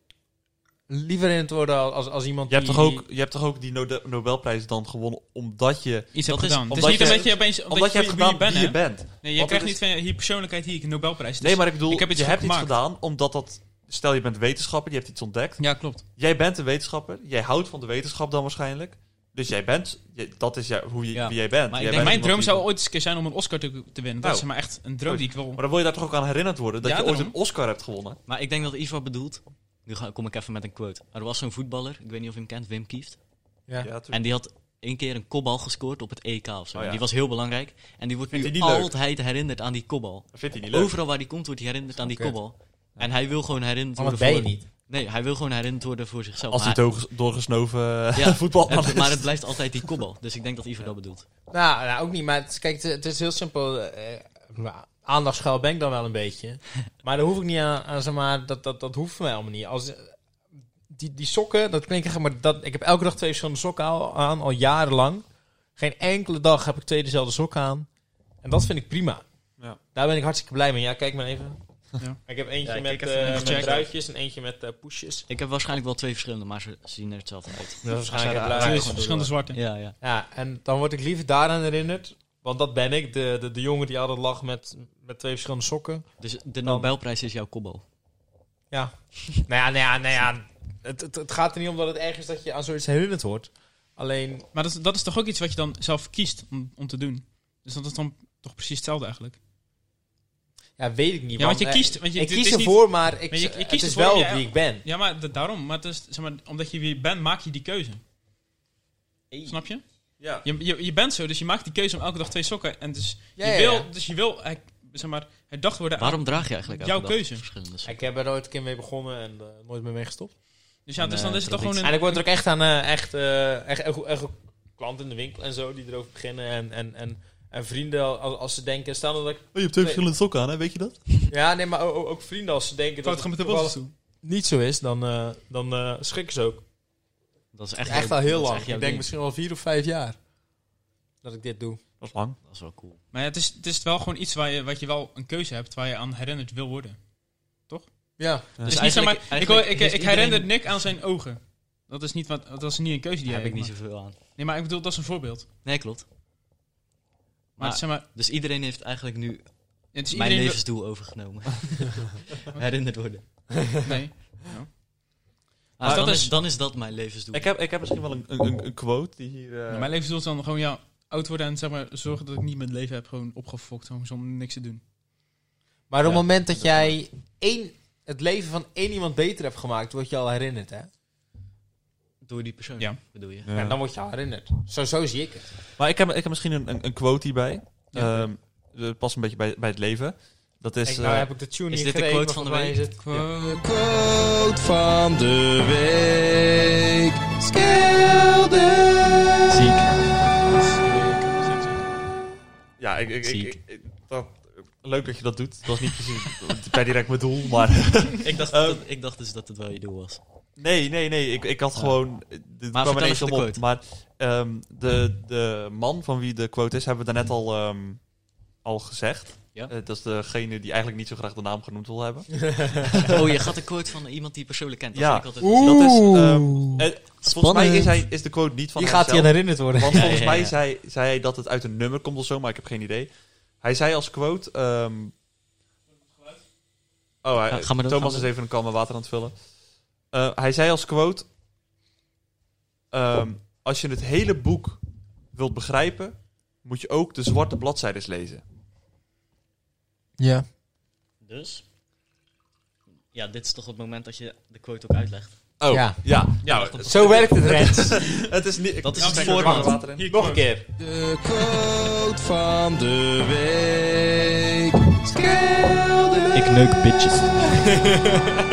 liever in het worden als, als iemand
Je hebt,
die...
toch ook, je hebt toch ook die Node- Nobelprijs dan gewonnen omdat je,
Dat
Iets hebt
is-
gedaan. Het is
omdat
niet
je-
omdat je opeens omdat
omdat je hebt
wie je
gedaan
bent.
wie je
hè?
bent.
Nee, je
Want
krijgt
het
niet van hier persoonlijkheid, hier een Nobelprijs. Het
Nee,
is-
maar ik bedoel,
ik heb iets
je hebt iets
gemaakt.
gedaan omdat dat... Stel, je bent wetenschapper, je hebt iets ontdekt.
Ja, klopt.
Jij bent een wetenschapper. Jij houdt van de wetenschap dan waarschijnlijk. Dus jij bent... je- dat is ja, hoe je,
Ja.
wie jij bent.
Maar ik
Jij
denk
bent
mijn
iemand
droom
die- Oh,
zou ooit eens een keer zijn om een Oscar te, te winnen. Dat
Nou.
is maar echt een droom die ik wil.
Maar dan wil je daar toch ook aan herinnerd worden... dat
Ja,
je ooit
daarom.
een Oscar hebt gewonnen.
Maar ik denk dat Ivar bedoelt... Nu ga, kom ik even met een quote. Er was zo'n voetballer, ik weet niet of je hem kent, Wim Kieft.
Ja.
Ja, tuurlijk.
En die had één keer een kopbal gescoord op het EK of zo.
Oh ja.
Die was heel belangrijk. En die wordt
Vindt
nu
hij niet leuk?
altijd herinnerd aan die kopbal.
dat vindt hij niet leuk.
Overal waar hij komt wordt hij herinnerd aan die
Oké.
kopbal. En hij wil gewoon herinnerd
Want
worden
dat ben je
voor...
niet.
Nee, hij wil gewoon herinnerd worden voor zichzelf.
Als
Maar
hij doorges- doorgesnoven
Ja,
voetbalman
Het-
is.
maar het blijft altijd die kopbal. Dus ik denk dat Ivo dat bedoelt.
Nou, nou, ook niet. Maar het is, kijk, het, het is heel simpel. eh, nou, aandachtsgeil ben ik dan wel een beetje. maar daar hoef ik niet aan, aan zeg maar, dat, dat, dat hoeft voor mij allemaal niet. Als, eh, die, die sokken, dat klinkt echt, maar dat, ik heb elke dag twee verschillende sokken al, aan, al jarenlang. Geen enkele dag heb ik twee dezelfde sokken aan. En dat vind ik prima.
Ja.
Daar ben ik hartstikke blij mee. Ja, kijk maar even.
Ja.
Ik heb eentje
Ja, ik
met,
kijk even
eh,
even
met
checken.
druitjes en eentje met eh poesjes. Dus
Ik heb waarschijnlijk wel twee verschillende, maar ze zien er hetzelfde uit.
Dat is
waarschijnlijk
blij.
Twee verschillende zwarte.
Ja, ja.
Ja, en dan word ik liever daaraan herinnerd. Want dat ben ik, de, de, de jongen die altijd lag met, met twee verschillende sokken.
Dus de Nobelprijs is jouw kopbal.
Ja. nou ja, nou ja, nou ja. Het, het, het gaat er niet om dat het erg is dat je aan zoiets herinnerd wordt. Alleen,
Maar dat, is- dat is toch ook iets wat je dan zelf kiest om, om te doen. Dus dat is dan toch precies hetzelfde eigenlijk.
ja, weet ik niet.
Ja, want je
eh,
kiest. Want je,
ik
dit
kies
is niet-
ervoor, maar ik,
Maar je- je
het
kiest
is
ervoor,
wel
ja, ja.
wie ik ben.
Ja, maar da- daarom. Maar, het is, zeg maar omdat je wie bent, maak je die keuze. Snap je?
Ja.
Je, je? je bent zo, dus je maakt die keuze om elke dag twee sokken. En dus,
Ja,
je,
ja,
wil,
ja.
dus je wil, eh, zeg maar, herdacht worden. aan-
Waarom draag je eigenlijk elke
Jouw
dag
keuze.
Verschillende soorten?
Ik heb er nooit een keer mee begonnen en eh, nooit meer mee gestopt.
Dus ja, dus
Nee,
dan is het toch
dat
gewoon
En
een...
ik word er ook echt aan eh, echt, eh, echt, echt, echt ook klanten in de winkel en zo die erover beginnen. En, en, en, en vrienden, als, als ze denken, staan dat ik...
Oh, je hebt twee
Nee.
verschillende sokken aan, hè? weet je dat?
Ja, nee, maar ook, ook vrienden als ze denken dat
Fout
het
gaan met de
toevallig-
bossen toe.
niet zo is, dan, eh, dan eh, schrikken ze ook.
Dat is echt,
Echt
jouw-
al heel
dat is
lang.
echt
Ik
jouw
denk
ding.
misschien al vier of vijf jaar dat ik dit doe.
Dat is lang.
Dat is wel cool.
Maar ja, het, is, het is wel gewoon iets waar je, wat je wel een keuze hebt, waar je aan herinnerd wil worden.
Ja,
Dus,
Dus
niet zeg maar,
eigenlijk-
ik, hoor- ik,
eigenlijk
ik
heeft
herinner
iedereen-
Nick aan zijn ogen. Dat is niet, wat, dat is niet een keuze die
Daar
hij
heb ik niet
maakt.
zoveel aan.
Nee, maar ik bedoel, dat is een voorbeeld. Maar,
Nee, klopt. Maar-
zeg maar,
Dus iedereen heeft eigenlijk nu
het is
mijn
Dus iedereen...
levensdoel overgenomen. Herinnerd worden.
nee.
Ah,
dat
dan,
is-
is, dan is dat mijn levensdoel.
Ik heb, ik heb misschien wel een, een, een- een quote die hier... eh,
Mijn levensdoel is dan gewoon, ja, oud worden en zeg maar, zorgen dat ik niet mijn leven heb gewoon opgefokt. Gewoon zonder niks te doen.
Maar op het
Ja,
moment dat
dat
jij één, het leven van één iemand beter hebt gemaakt, word je al herinnerd, hè?
Door die persoon,
Ja.
bedoel je?
ja.
En dan word je al herinnerd. Zo, zo zie ik het.
Maar ik heb, ik heb misschien een, een, een quote hierbij.
Ja.
Ehm, dat past een beetje bij, bij het leven. Dat is...
Ik, nou
eh,
heb ik de tune
is
niet
dit de
gekregen,
quote van de
maar volgens mij is
Quote.
quote van de week. Skelder.
Ja, ik, ik, ik,
Ziek.
ik- ik- dat, leuk dat je dat doet. Dat was niet precies bij direct mijn doel, maar...
ik, dacht dat, het- ik dacht dus dat het wel je doel was.
Nee, nee, nee. Ik, ik had
Ja.
gewoon... Dit
Maar
kwam
vertel
ineens
even
om
de
op.
quote.
Maar ehm, de, de man van wie de quote is, hebben we daarnet al, ehm, al gezegd.
Ja.
Eh, dat is degene die eigenlijk niet zo graag de naam genoemd wil hebben.
Oh, je gaat een quote van iemand die je persoonlijk kent. Dat
Ja.
vind ik altijd
Dat is, ehm, eh, volgens mij is,
Spannend.
hij, is de quote niet van
Die gaat hier
hemzelf.
herinnerd worden.
Want
Ja,
volgens
ja,
mij
ja.
Zei, zei hij dat het uit een nummer komt of zo, maar ik heb geen idee. Hij zei als quote... ehm, oh, hij-
Ga- ga maar door,
Thomas
ga
is
maar
even een kan met water aan het vullen. Eh, hij zei als quote... ehm, als je het hele boek wilt begrijpen, moet je ook de zwarte bladzijdes lezen.
Ja.
Dus? Ja, dit is toch het moment dat je de quote ook uitlegt.
Oh,
Ja.
ja. ja,
Zo werkt het, Rens.
het is niet...
Dat is
ik-
het
ik drink er
format.
warm water in.
Nog een keer.
De quote van de week. Skelder.
Ik neuk bitches. Oké,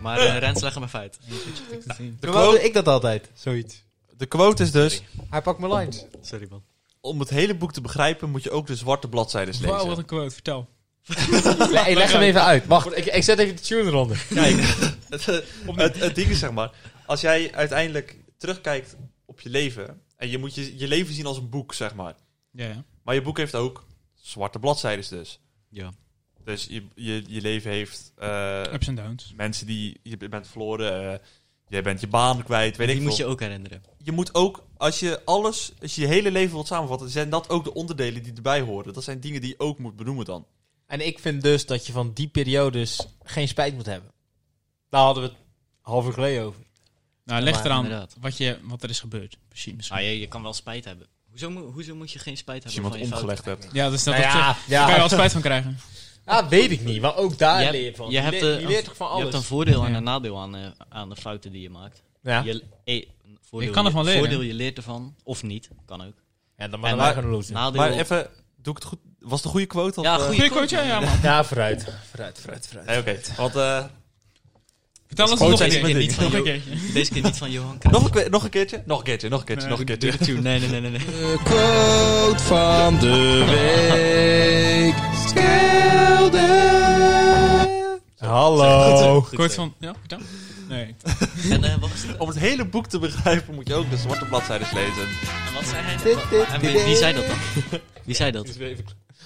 maar eh, Rens, leg hem even uit.
De
Normaal doe
quote,
ik dat altijd, zoiets.
de quote is dus...
Hij pakt mijn lines.
Sorry man.
Om het hele boek te begrijpen, moet je ook de zwarte bladzijdes lezen.
Wauw, wat een quote. Vertel.
Nee, hey, leg hem even uit. Wacht, ik, ik zet even de tune eronder.
het, eh, het, het ding is, zeg maar, als jij uiteindelijk terugkijkt op je leven, en je moet je, je leven zien als een boek, zeg maar.
Ja, ja.
Maar je boek heeft ook zwarte bladzijdes dus.
Ja.
Dus je, je, je leven heeft eh,
Ups en downs.
mensen die je bent verloren, eh, jij bent je baan kwijt, weet
Die
ik
moet
veel.
je ook herinneren.
Je moet ook, als je alles, als je je hele leven wilt samenvatten, zijn dat ook de onderdelen die erbij horen. Dat zijn dingen die je ook moet benoemen dan.
En ik vind dus dat je van die periodes geen spijt moet hebben. Daar hadden we het half uur geleden over.
Nou, leg
maar
eraan
inderdaad.
wat, je, wat er is gebeurd. Precies, misschien.
Ah, je, je kan wel spijt hebben. Hoezo, moet- hoezo moet je geen spijt
Als
hebben
je iemand
van je fouten?
omgelegd hebt.
Ja, dat is dat
Nou
op zich.
ja,
Daar kan je
ja,
wel spijt van krijgen.
ja, weet ik niet. Maar ook daar
Je hebt-
leer je van.
je hebt,
leert-
eh,
je leert toch van
Je
alles.
hebt een voordeel en
Ja.
een nadeel aan, eh, aan de fouten die je maakt.
ja.
Je, eh, een voordeel,
Je kan ervan leren.
Voordeel, je leert ervan. Of niet. Kan ook.
ja, dan maar
en- nou-
dan gaan we lozen.
Nadeel.
Maar even, doe ik het goed? Was het een goede quote? Of,
ja,
eh,
goede
Goeie coach, ja, ja, man.
Ja, vooruit. Vooruit, vooruit, vooruit.
nee, oké. Want, eh,
Vertel ons
Coach
nog een
zijn
Deze
niet
keer,
mijn
keer.
ding.
niet van
Nog
Jo-
een keertje.
Deze keer niet van Johan
nog, een, keer- nog een keertje? Nog een keertje, nog een keertje,
Nee,
nog een keertje.
Kruijff. Nee, nee, nee, nee. nee.
De quote van de week. Schelden.
Hallo.
Kort van... Ja, vertel. Nee.
En eh, wat, was het?
Om het hele boek te begrijpen moet je ook de zwarte bladzijdes lezen.
En wat zei hij? Wa- En wie, wie zei dat dan? Wie zei dat?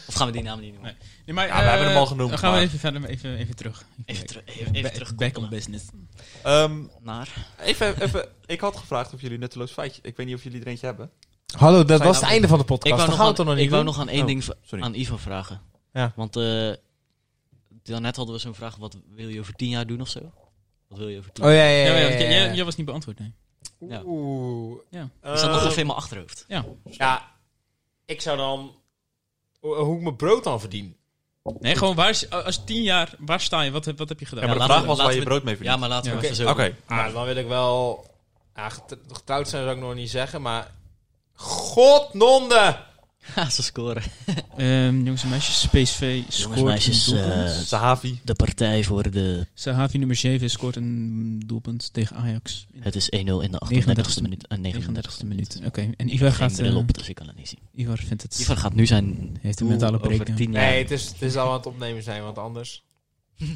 Of gaan we die naam niet noemen?
Nee. Nee, maar,
Ja, we hebben hem
eh,
al genoemd,
Dan gaan we
maar-
even verder, even, even terug.
Even, teru- even, even
Ba- Back on
terugkoppelen
business.
Ehm,
naar...
even, even, ik had gevraagd of jullie nutteloos feitje. Ik weet niet of jullie er eentje hebben.
Hallo, dat
Fijn
was het
avond.
einde van de podcast.
Ik wou,
Dan
nog
gaan we het
aan,
er
ik
nog niet
wou
doen.
nog aan één
Oh,
ding v-
sorry.
aan Ivan vragen.
Ja.
Want eh daarnet hadden we zo'n vraag, wat wil je over tien jaar doen of zo? Wat wil je over tien
Oh
jaar?
ja, ja,
Ja, maar
ja.
ja,
ja,
jij-
ja,
jij- jij was niet beantwoord, nee.
ja.
Oeh.
Ja.
Is dat nog
Eh,
even in mijn achterhoofd?
Ja.
Ja, ik zou dan... Hoe, hoe ik mijn brood dan verdien.
Nee, gewoon waar, is- als tien jaar, waar sta je? Wat, heb- wat heb je gedaan?
Ja, maar de
laten
vraag
we-
was waar
laten
je
we-
brood mee verdient.
Ja, maar laten we
Ja.
even zo...
Oké,
Maar Nou, dan wil ik wel... Ja, get- getrouwd zijn zou ik nog niet zeggen, maar... Godnonde!
Ja, ze scoren.
Ehm, jongens en meisjes, PSV scoort een
meisjes,
doelpunt.
eh,
Sahavi.
De partij voor de...
Sahavi nummer 7 scoort een doelpunt tegen Ajax. In
Het is 1-0 in de
39e
38e minuut. en 39e
39e
minuut.
minuut. Oké, en Ivar
Geen
gaat...
bril
eh,
op, dus ik kan het niet zien.
Ivar vindt het...
Ivar gaat nu zijn
Heeft een
doel
mentale
over
breken.
tien jaar.
Nee, het is, het is al aan het opnemen zijn, want anders...
Oh,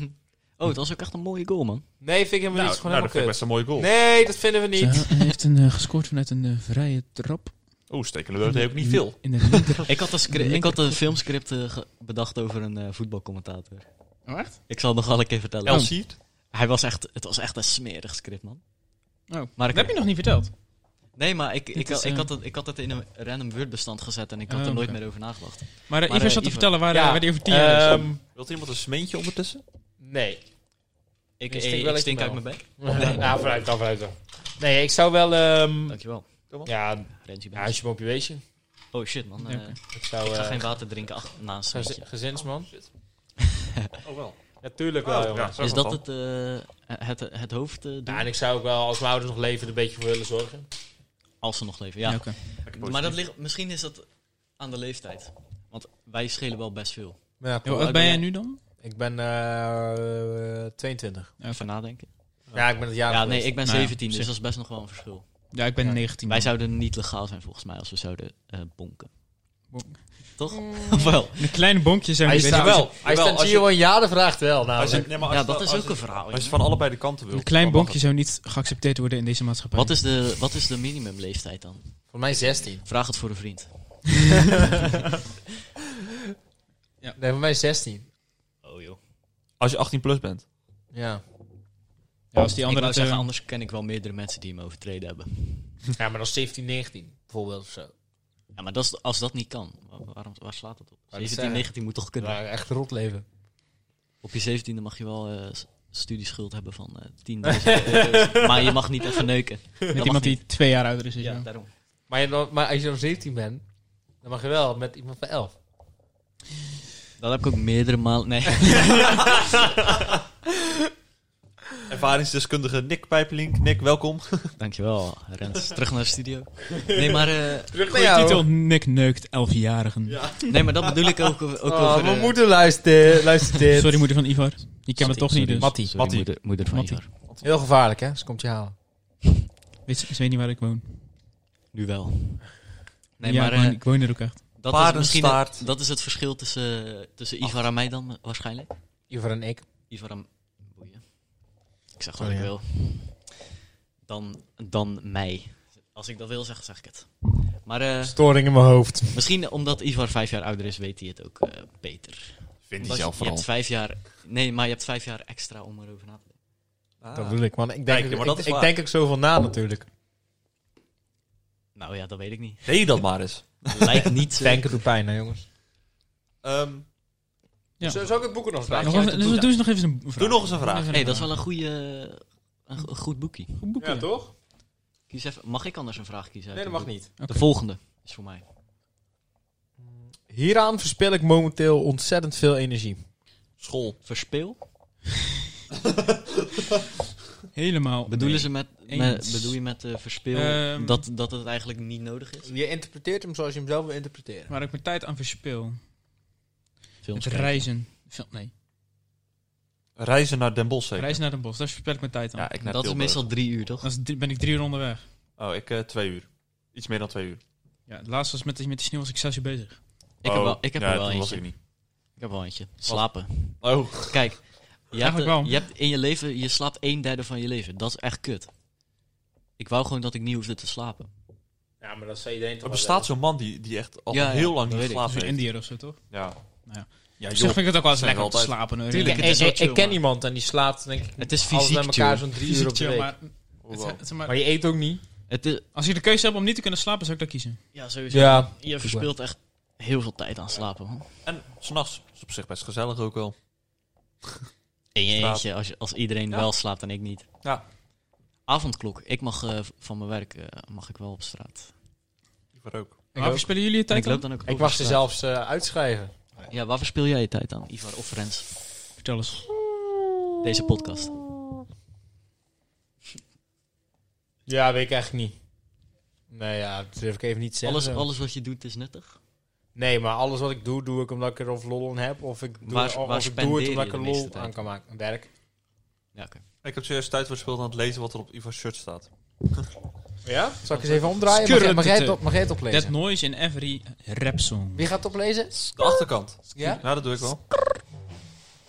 dat was ook echt een mooie goal, man.
Nee, vind ik helemaal
Nou,
niet. Het is
nou, dat
gewoon
vind ik
helemaal
best een mooie goal.
kut. Nee, dat vinden we niet.
Hij heeft een, eh, gescoord vanuit een eh, vrije trap.
Oeh, steken dat deed ook niet veel.
In de linker.
Ik had een, scri- ik had een filmscript eh, ge- bedacht over een eh, voetbalcommentator.
Oh, echt?
Ik zal het nog wel een keer vertellen.
El Cid?
Hij was echt, het was echt een smerig script, man.
Oh,
Maar ik-
dat heb je nog niet verteld.
Nee, maar ik, ik,
is,
had- ik,
eh,
had het, ik had het in een random Word-bestand gezet en ik had
Oh,
er nooit
oké.
meer over nagedacht.
Maar eh,
Maar,
Ivar
eh,
zat te
Ivar-
vertellen waar, eh,
Ja,
waar die over tien jaar is.
ehm,
Wilt iemand een smeentje ondertussen?
Nee.
Ik,
Je
ik,
stinkt
ik
wel uit
stink
je
uit
mouw.
mijn bek.
Oh,
Nou, vooruit dan, vooruit dan. Nee, ik zou wel... ehm,
Dankjewel.
ja,
Rensie
ja, als je me op je weesje.
Oh shit, man.
Ja,
eh,
oké.
Ik zou...
ik ga
eh,
geen water drinken ach, na een
gezi-
smeetje.
gezinsman.
Oh wel. Oh,
Natuurlijk wel, jongen.
ja,
Is dat het, eh, het, het hoofddoel?
Ja, en ik zou ook wel, als mijn ouders nog leven, er een beetje voor willen zorgen.
Als ze nog leven, ja.
oké.
maar dat ligt, misschien is dat aan de leeftijd. Want wij schelen wel best veel.
Ja,
Hoe
oud
oud ben jij
ben
nu dan?
Ik ben eh, 22.
Even nadenken.
Ja, ik ben het jaar
Ja, nee,
geweest.
ik ben
Nou ja,
17,
op
dus
zich.
dat is best nog wel een verschil.
Ja, ik ben 19.
Wij zouden niet legaal zijn volgens mij als we zouden eh, bonken.
Bonk.
Toch? Of wel?
Een kleine bonkje zijn
Hij
we
is
niet.
er wel. Hij
Jawel,
staat
als
hier gewoon ja, de vraagt wel. Nou,
Als je,
namelijk.
nee, maar als
Ja,
je-
dat is
als
ook
je-
een verhaal.
Als je
jongen.
van allebei de kanten wilt.
Een klein
dan mag
bonkje zou niet geaccepteerd worden in deze maatschappij.
Oh, Wat is, de, wat is de minimumleeftijd dan?
Voor mij 16.
Vraag het voor een vriend.
Nee, voor mij 16.
Oh joh. Ik
het. Als je 18 plus bent.
Ja.
Ja, als die andere
wou
het,
zeggen,
eh,
anders ken ik wel meerdere mensen die hem overtreden hebben.
ja, maar dan 17, 19 bijvoorbeeld of zo.
Ja, maar dat is, als dat niet kan, wa- waarom, waar slaat dat op?
dat
17,
zeggen.
19 moet toch kunnen?
Ja, echt rot leven.
Op je 17e mag je wel eh, s- studieschuld hebben van eh 10.000 euro's. maar je mag niet even neuken. Dat
met
mag
iemand
niet.
die twee jaar ouder is. is
Ja,
ja.
daarom.
Maar, je dan- maar als je dan 17 bent, dan mag je wel met iemand van 11.
Dat heb ik ook meerdere malen... Nee.
Ervaringsdeskundige Nick Pijpelink. Nick, welkom.
Dankjewel, Rens. Terug naar de studio. Nee, maar, eh,
Terug Oh,
Goeie titel, Nick neukt 11-jarigen.
nee, maar dat bedoel ik ook, over- ook
Oh,
over...
mijn
eh,
moeder luistert, luistert dit.
Sorry moeder van Ivar. Ik ken
Sorry,
het toch
sorry,
niet dus.
Mattie. Sorry,
Mattie.
Moeder, moeder van
Mattie.
Ivar.
Heel gevaarlijk, hè? Ze komt je halen.
Weet, ze weet niet waar ik woon.
Nu wel. Nee,
ja,
maar
ik, woon,
eh,
ik woon er ook echt.
dat, is misschien
Paardenstaart.
het, dat is het verschil tussen, tussen Ivar en mij dan eh, waarschijnlijk.
Ivar en ik.
Ivar en... Boeien. Ik zeg
Oh,
wat ik
ja.
wil. Dan, dan mij. Als ik dat wil zeggen, zeg ik het. Maar eh,
Storing in mijn hoofd.
misschien omdat Ivar vijf jaar ouder is, weet hij het ook eh, beter.
Vind die
Omdat je-
zelf
je
vooral.
hebt vijf jaar. Nee, maar je hebt vijf jaar extra om erover na te denken.
Ah.
Dat bedoel ik, man. Ik denk,
Kijk, maar
ik-
dat is
ik,
waar.
denk ook zoveel na natuurlijk.
Nou ja, dat weet ik niet.
Deed je dat maar eens.
Lijkt niet. eh,
Denken doet pijn, hè, jongens.
Ehm,
Ja.
Zo, zou ik het boeken nog
Nog even- dus we doen eens nog even een vraag.
Doe nog eens een vraag.
Even
hey, dat is wel een goede. Een go- goed boekje.
Goed boeken,
Ja,
ja.
toch?
Kies even. Mag ik anders een vraag kiezen? uit
Nee, dat
een
mag
boek?
niet.
De volgende is voor mij.
Hieraan verspil ik momenteel ontzettend veel energie.
school.
Verspeel.
Helemaal.
Bedoelen ze met, met
Eens.
bedoel je met eh, verspeel
Ehm.
dat, dat het eigenlijk niet nodig is?
Je interpreteert hem zoals je hem zelf wil interpreteren.
Waar ik mijn tijd aan verspil.
Films
Het
kijken.
reizen. Film, nee,
Reizen naar Den Bosch zeker?
reizen naar Den Bosch. Daar verspil ik mijn tijd aan.
Ja, ik naar
Dat is
Tilburg.
meestal drie uur, toch?
Dan is drie- ben ik drie uur onderweg.
Oh, ik eh, twee uur. Iets meer dan twee uur.
Ja, het laatste was met, de- met de sneeuw was ik zes uur bezig.
Ik heb
Oh,
wel, ik heb
ja,
er wel
toen was
eentje.
ik
Ik
niet.
heb wel eentje. Slapen.
Oh,
Kijk, je hebt,
Eigenlijk
eh,
wel.
je hebt in je leven, je slaapt een derde van je leven. Dat is echt kut. Ik wou gewoon dat ik niet hoefde te slapen.
Ja, maar dat zei iedereen
er bestaat zo'n man die, die echt al
Ja,
heel
ja,
lang
dat
niet
weet ik.
Dat is
geslapen
een
heeft.
Indiër of zo, toch?
Ja.
Ja.
Ja,
Op
joh.
zich vind ik het ook wel eens
Zijn
lekker om te
altijd-
slapen. hoor.
Tuurlijk,
Ik,
Ja,
het is wel
ik,
chill,
ik ken
maar-
iemand en die slaapt denk ik
Het is
alles bij
fysiek chill.
elkaar zo'n drie uur
fysiek
op de
chill,
week.
maar,
Oh,
het-
wow.
het- maar
Maar je eet ook niet.
Het is,
als je de keuze hebt om niet te kunnen slapen, zou ik dat kiezen.
ja, sowieso.
Ja.
Je verspeelt echt heel veel tijd aan slapen, man.
En s'nachts is op zich best gezellig ook wel.
In je
Slaap.
eentje, als, je- als iedereen wel slaapt en ik niet.
Ja.
Avondklok. Ik mag eh, v- van mijn werk eh, mag ik wel op straat.
Liever ook.
Ik,
Waar
ook.
verspillen jullie je
En ik
tijd
loop
aan?
dan ook
ik
over
mag ze
straat.
zelfs eh, uitschrijven.
Ja, waar verspil jij je tijd aan, Ivar of Rens?
Vertel eens.
Deze podcast.
Ja, weet ik eigenlijk niet. Nee, ja, dat durf ik even niet te zeggen.
Alles, alles wat je doet is nuttig.
Nee, maar alles wat ik doe, doe ik omdat ik er of lol aan heb. Of ik doe,
Waar-
of
waar
ik doe
spendeer
het
je
omdat ik
de
er
meeste
lol
tijd?
aan kan maken. Werk.
Ja, oké.
Ik heb serieus tijd verspild aan het lezen wat er op Ivar's shirt staat.
Ja? Zal ik eens even omdraaien? Mag, jij- mag, jij het op, mag jij het
That
oplezen?
noise in every rap song.
Wie gaat het oplezen?
De achterkant.
Ja?
Ja, dat doe ik wel.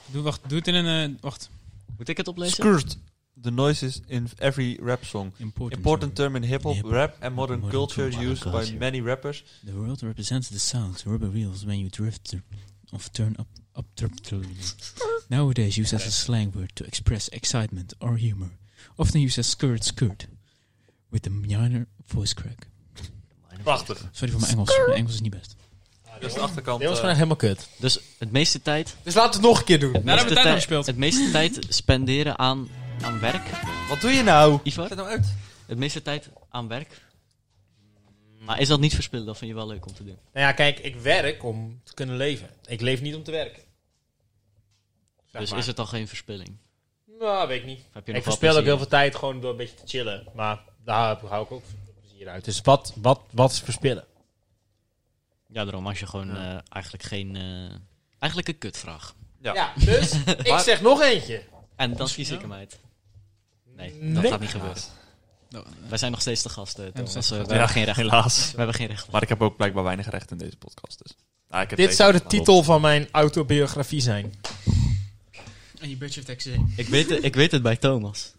Doe, wacht, doe het in een... eh, wacht.
Moet ik het oplezen?
Skirt. The noises in every rap song.
Important.
Important term in hip-hop,
Hip-hop.
rap and modern,
Modern
culture
culture.
used by many rappers.
The world represents the sounds rubber wheels when you drift thr- of turn up up thr- thr- Nowadays used as a slang word to express excitement or humor. Often used as skirt skirt. With a minor voice crack.
Prachtig.
Sorry voor mijn Engels. Mijn Engels is niet best.
Dat is de achterkant.
Dit was
eh,
gewoon helemaal kut.
Dus het meeste tijd...
Dus laten we het nog een keer doen.
Het
daar
meeste,
hebben we tijd aan gespeeld.
het meeste tijd spenderen aan, aan werk,
Wat doe je nou?
Ivar?
Zet nou uit.
Het meeste tijd aan werk. Maar is dat niet verspillen? Dat vind je wel leuk om te doen.
Nou ja, kijk, ik werk om te kunnen leven. Ik leef niet om te werken. Zeg
Dus
maar.
is het dan geen verspilling?
Nou, weet ik niet.
Of Heb je
Ik
nog wel
verspil ook
plezier?
heel veel tijd gewoon door een beetje te chillen. Maar daar hou ik ook plezier uit. Dus wat, wat, wat is verspillen?
Ja, daarom als je gewoon eh, eigenlijk geen... eh, eigenlijk een kutvraag.
Ja.
dus ik zeg nog eentje.
En dan kies ik hem uit. Nee, dat gaat niet gebeuren. Wij zijn nog steeds de gasten, Thomas.
steeds de
Eh, we
gasten.
hebben geen recht.
Helaas.
We hebben geen recht.
Maar ik heb ook blijkbaar weinig recht in deze podcast. Dus. Ah, ik heb
Dit
deze
zou de
gedaan.
titel van mijn autobiografie zijn.
En je bitch of taxi.
Ik weet, het, ik weet het bij Thomas.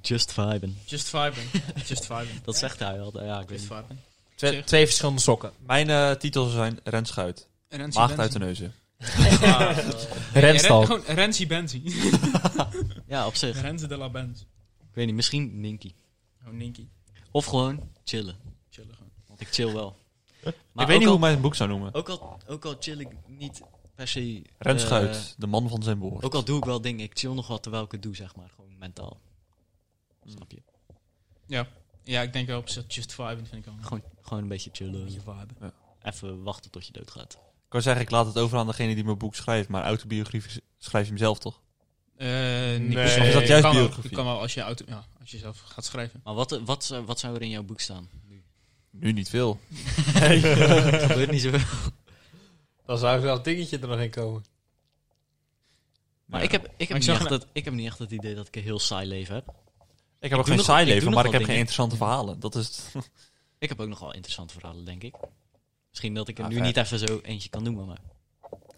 Just viben.
Just vibing. Just vibing.
Dat zegt hij altijd. Ja, ik weet
Just
niet.
vibing.
Twee, twee verschillende sokken.
Mijn eh, titels zijn Rens Schuit. Maagd uit de neuzen.
Renstal.
Gewoon Renzi Benzi.
Ja, op zich.
Renzi de la Benz.
Ik weet niet, misschien Ninky.
Oh, Ninky.
Of gewoon chillen.
Chillen gewoon.
Want ik chill wel.
ik
Maar
weet
ook
niet hoe
al,
ik mijn boek zou noemen.
ook, al, ook al chill ik niet per se...
Rens
eh,
Schuit, de man van zijn woord.
ook al doe ik wel dingen. Ik chill nog wat terwijl ik het doe, zeg maar. Gewoon mentaal. Snap je?
Ja, ik denk wel op zich Just vibing vind ik wel.
Gewoon, gewoon een beetje chillen.
viben.
Even wachten tot je doodgaat.
Ik kan zeggen, ik laat het over aan degene die mijn boek schrijft. Maar autobiografie schrijf je hem zelf, toch?
Eh, niet
Nee.
persoonlijk.
Is dat
Je
juist
kan wel-
biografie?
Je kan wel als je, auto, ja, als je zelf gaat schrijven.
Maar wat, wat, zou- wat zou er in jouw boek staan?
Nu niet veel.
Dat gebeurt niet zoveel.
Dan zou er wel een dingetje er nog in komen.
Maar
Ja.
ik, heb, ik, heb
Maar ik
niet
zag
echt
een-
dat, ik heb niet echt het idee dat ik een heel saai leven heb.
Ik heb ook
doe
geen
nog-
saai
ik doe
leven,
nog
maar ik
wel
heb geen
dingen.
interessante verhalen. Dat is het.
Ik heb ook nog wel interessante verhalen, denk ik. Misschien dat ik er
Ah,
nu
vet.
niet even zo eentje kan noemen, maar...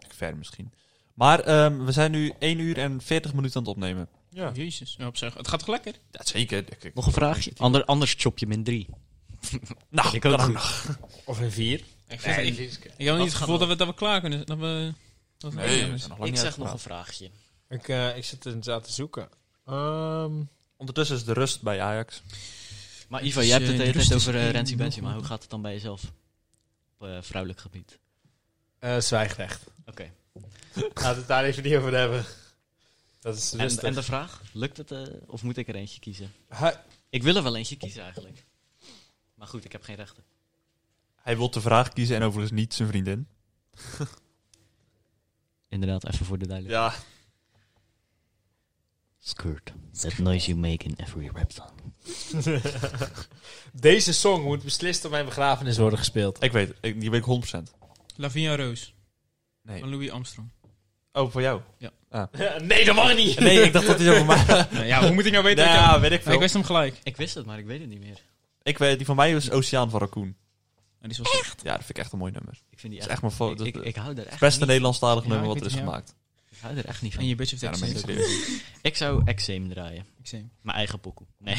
ver misschien. Maar ehm, we zijn nu 1 uur en 40 minuten aan het opnemen.
Ja.
Jezus, ja, op zich. Het gaat toch lekker?
Dat zeker. denk ik.
Nog een vraagje? Ander, anders chop je min drie.
Nou,
ik ook
kan
goed.
nog.
Of een vier.
Ik, vind- ik, ik heb niet het gevoel dat we, dat we klaar kunnen. Dat we
Dat is
Nee,
wel
we
anders.
zijn nog lang
Ik
niet
zeg nog
uitgepraat.
een vraagje.
Ik, eh, ik zit inderdaad te zoeken. Ehm,
Ondertussen is de rust bij Ajax.
Maar
Het
Ivo,
is,
jij hebt het
eh,
de hele
rust
tijd
is
over eh,
geen
Renzi Benzema.
mogelijk.
Hoe gaat het dan bij jezelf? Op eh, vrouwelijk gebied.
eh, zwijgrecht.
Oké.
Laten we het daar even niet over hebben. Dat is
En,
rustig.
en de vraag? Lukt het eh, of moet ik er eentje kiezen?
Hij,
Ik wil er wel eentje kiezen eigenlijk. Maar goed, ik heb geen rechten.
Hij wil de vraag kiezen en overigens niet zijn vriendin.
Inderdaad, even voor de duidelijkheid.
Ja.
Skirt. That noise you make in every rap song.
Deze song moet beslist op mijn begrafenis worden gespeeld.
Ik weet het. Ik- Die weet ik 100%.
Lavinia Roos
Nee.
van Louis Armstrong.
Oh, voor jou?
nee, dat mag niet.
Nee, ik dacht dat hij over mij...
ja, hoe moet ik nou weten? dat
Ja, weet ik
je... ik
veel.
wist hem gelijk.
Ik wist het, maar ik weet het niet meer.
Ik weet, die van mij was Oceaan van Raccoon.
En die was echt.
Ja, dat vind ik echt een mooi nummer.
Ik vind die
Dat is
echt...
echt mijn fo-
ik,
dat-
ik, ik hou daar echt
Het beste
niet
Nederlandstalig
Ja,
nummer
ik
wat er is
weet het, ja.
gemaakt.
Ik hou daar echt niet
En
van.
je bitch heeft
Ja,
echt
dan ben ik
zin.
serieus.
Ik zou Exame draaien.
Ik zei hem.
Mijn eigen pokoe. Nee.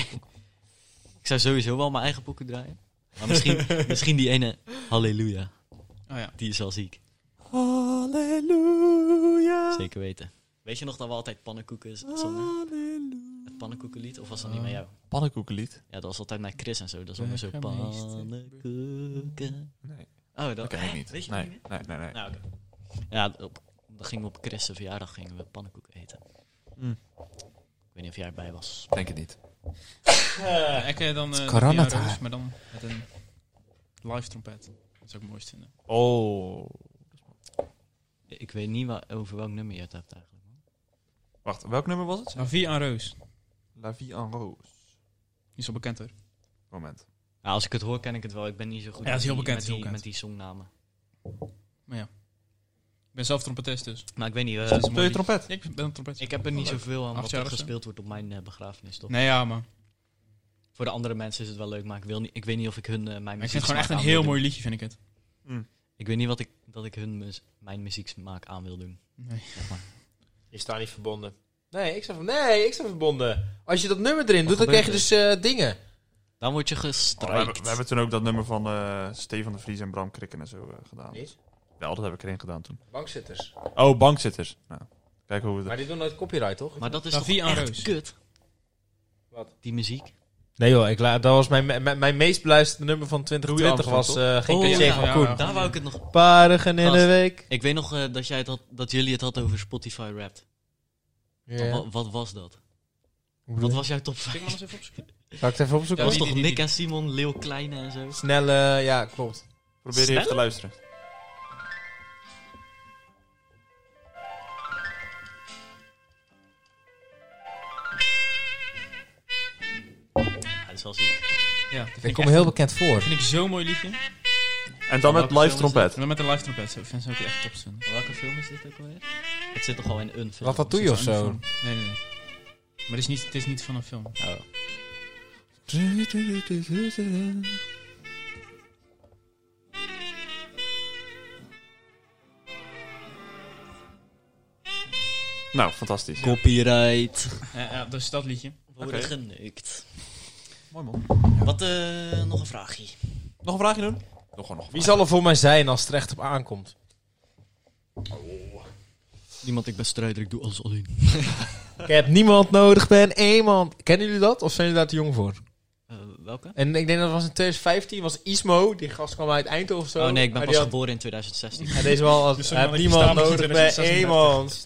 Ik zou sowieso wel mijn eigen pokoe draaien. Maar misschien, misschien die ene Halleluja.
Oh ja.
Die is wel ziek.
Halleluja.
Zeker weten. Weet je nog dat we altijd pannenkoeken z- zongen?
Halleluja.
Het pannenkoekenlied? Of was dat niet met jou?
Pannenkoekenlied.
Ja, dat was altijd naar Chris en zo. Dat zongen zo
Burgemeester.
pannenkoeken.
Nee.
Oh, dat
Dat ken ik niet.
Weet je
nee,
dat niet
nee, nee, nee.
meer? Nou, oké. Ja, op, dan gingen we op Chris' verjaardag gingen we pannenkoeken eten.
Mm.
Ik weet niet of jij erbij was.
Denk het niet.
Ja, ik eh, dan eh
corona
Lavinia
time.
Roos, maar dan met een live trompet. Dat zou ik het mooist vinden.
Oh.
Ik weet niet wa- over welk nummer je het hebt eigenlijk.
Wacht, welk nummer was het?
Lavinia Roos.
La Vie en Rose.
Die is wel bekend hoor.
Moment.
Ja, Nou, als ik het hoor, ken ik het wel. Ik ben niet zo goed
Ja, dat is heel
met die-
bekend,
met,
heel
die,
bekend.
met die songnamen.
Ik ben zelf trompetist dus.
Maar ik weet niet, eh,
Dus-
Speel je trompet?
Ik ben een trompetist.
ik heb er niet zoveel aan wat er
Achtjarig zo?
gespeeld wordt op mijn eh, begrafenis, toch?
Nee, ja, man.
Voor de andere mensen is het wel leuk, maar ik, wil niet, ik weet niet of ik hun eh, mijn
Maar ik
muziek
vind het gewoon echt een heel mooi liedje, vind ik het.
Ik weet niet wat ik, dat ik hun muz- mijn muzieksmaak aan wil doen.
Nee.
Zeg maar.
Je staat niet verbonden. Nee, ik sta, nee, ik sta verbonden. Als je dat nummer erin doet, dan
gebeurt
krijg je dus eh, dingen.
Dan word je
Oh, we, hebben,
gestrijkt.
we hebben toen ook dat nummer van eh Stefan de Vries en Bram Krikken en zo eh, gedaan.
Niet?
Wel, dat heb ik erin gedaan toen.
Bankzitters.
Oh, bankzitters. Nou, kijk hoe we
Maar
dat...
die doen nooit copyright, toch?
Maar dat is toch
Davy aan
echt
Roos.
kut?
Wat?
Die muziek?
Nee joh, ik la- dat was mijn, mijn, mijn meest beluisterde nummer van 2020
Doe je
was eh Geen
Oh,
Caché
ja,
van
ja,
Koen.
ja.
Daar wou ik het nog...
Parigen in de
Gast.
week.
Ik weet nog eh, dat, jij het had, dat jullie het hadden over Spotify Wrapped.
Ja.
Wa- Wat was dat? Wat was jouw top 5? Dat
Zal ik het even opzoeken?
Ja,
was
die-
toch
die- die-
Nick en Simon, Leeuw Kleine en zo?
Snelle, ja klopt.
Probeer je
Sneller?
even te luisteren.
Ja, dat is wel ziek.
Ja, dat vind
Ik
ik
kom
echt-
heel bekend voor.
vind ik zo'n mooi liedje. En
En dan met
welke
live
film is
trompet.
dan met een live trompet. Zo, vind ik het echt top vinden.
Welke film is dit ook alweer? Het zit toch al in een film?
Wat dat doe je of
Is dat een
zo?
film? Nee, nee, nee. Maar het is niet, het is niet van een film.
Oh.
Nou, fantastisch.
Copyright.
Ja, ja, dus dat liedje.
Worden
Oké.
geneukt.
Mooi man.
Wat, eh, nog een vraagje.
Nog een vraagje doen? Nog gewoon nog
Wie zal er voor mij zijn als het er echt op aankomt?
Niemand, ik ben strijder, ik doe alles alleen.
Ik heb niemand nodig, ben iemand. Kennen jullie dat? Of zijn jullie daar te jong voor?
Eh, welke?
En ik denk dat was in 2015 was Ismo, die gast kwam uit Eindhoven of zo.
Oh nee, ik ben
Maar
pas
die had-
geboren in 2016.
En deze man als
Dus zo'n
heb
mannetje
niemand
staan nog in
nodig bij
2036.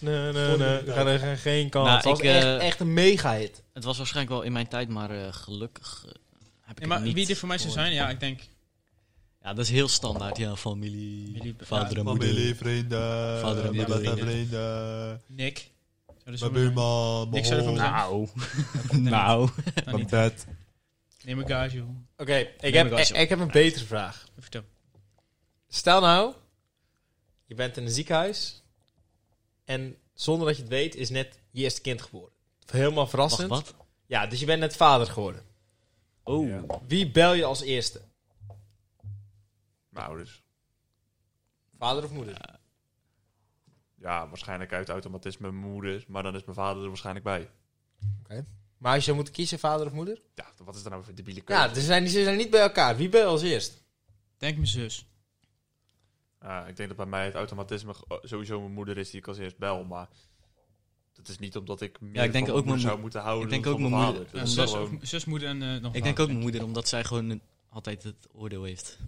iemand. Nee, nee, nee. We gaan er geen- geen kans.
Nou,
Het was
ik,
echt,
eh,
echt een mega hit.
Het was waarschijnlijk wel in mijn tijd, maar eh, gelukkig eh, heb ik
Ja, maar
het niet
wie dit voor mij zou
gehoord.
zijn? Ja, ik denk...
Ja, dat is heel standaard. Ja, familie,
Familie,
vader
ja,
en moeder.
vrienden.
Vader en moeder.
wat een vrienden.
Nick. Zou er zo-
Mijn buurman.
Niks zou er van me zijn.
Nou,
komt er
nou.
niet. Dan
Mijn
niet.
bed.
Neem een gage, joh.
Oké, ik,
heb-
heb, e-
maar ik-
ik,
ik
heb een betere vraag.
Vertel.
Stel nou, je bent in een ziekenhuis. En zonder dat je het weet, is net je eerste kind geboren. Helemaal
Wacht,
verrassend.
wat?
Ja, dus je bent net vader geworden.
Oh,
Wie bel je als eerste?
Mijn ouders.
Vader of moeder?
Ja, waarschijnlijk uit automatisme mijn moeder. Maar dan is mijn vader er waarschijnlijk bij.
Maar als je moet kiezen, vader of moeder? dus
Ja, wat is dat nou voor debiele keuze?
Ja, ze zijn, ze zijn niet bij elkaar. Wie bel je als eerst?
Denk mijn zus.
Ah, ik denk dat bij mij het automatisme ge- oh, sowieso mijn moeder is die ik als eerst bel, maar dat is niet omdat ik meer
ik denk
van moeder
ook mijn
zou
moe-
moeten houden.
ik denk
dan
ook
van
mijn
vader.
moeder-
Dat
Ja,
is
zus-
gewoon-
Zus, moeder en eh nog
Ik denk ook mijn moeder, omdat zij gewoon een- altijd het oordeel heeft.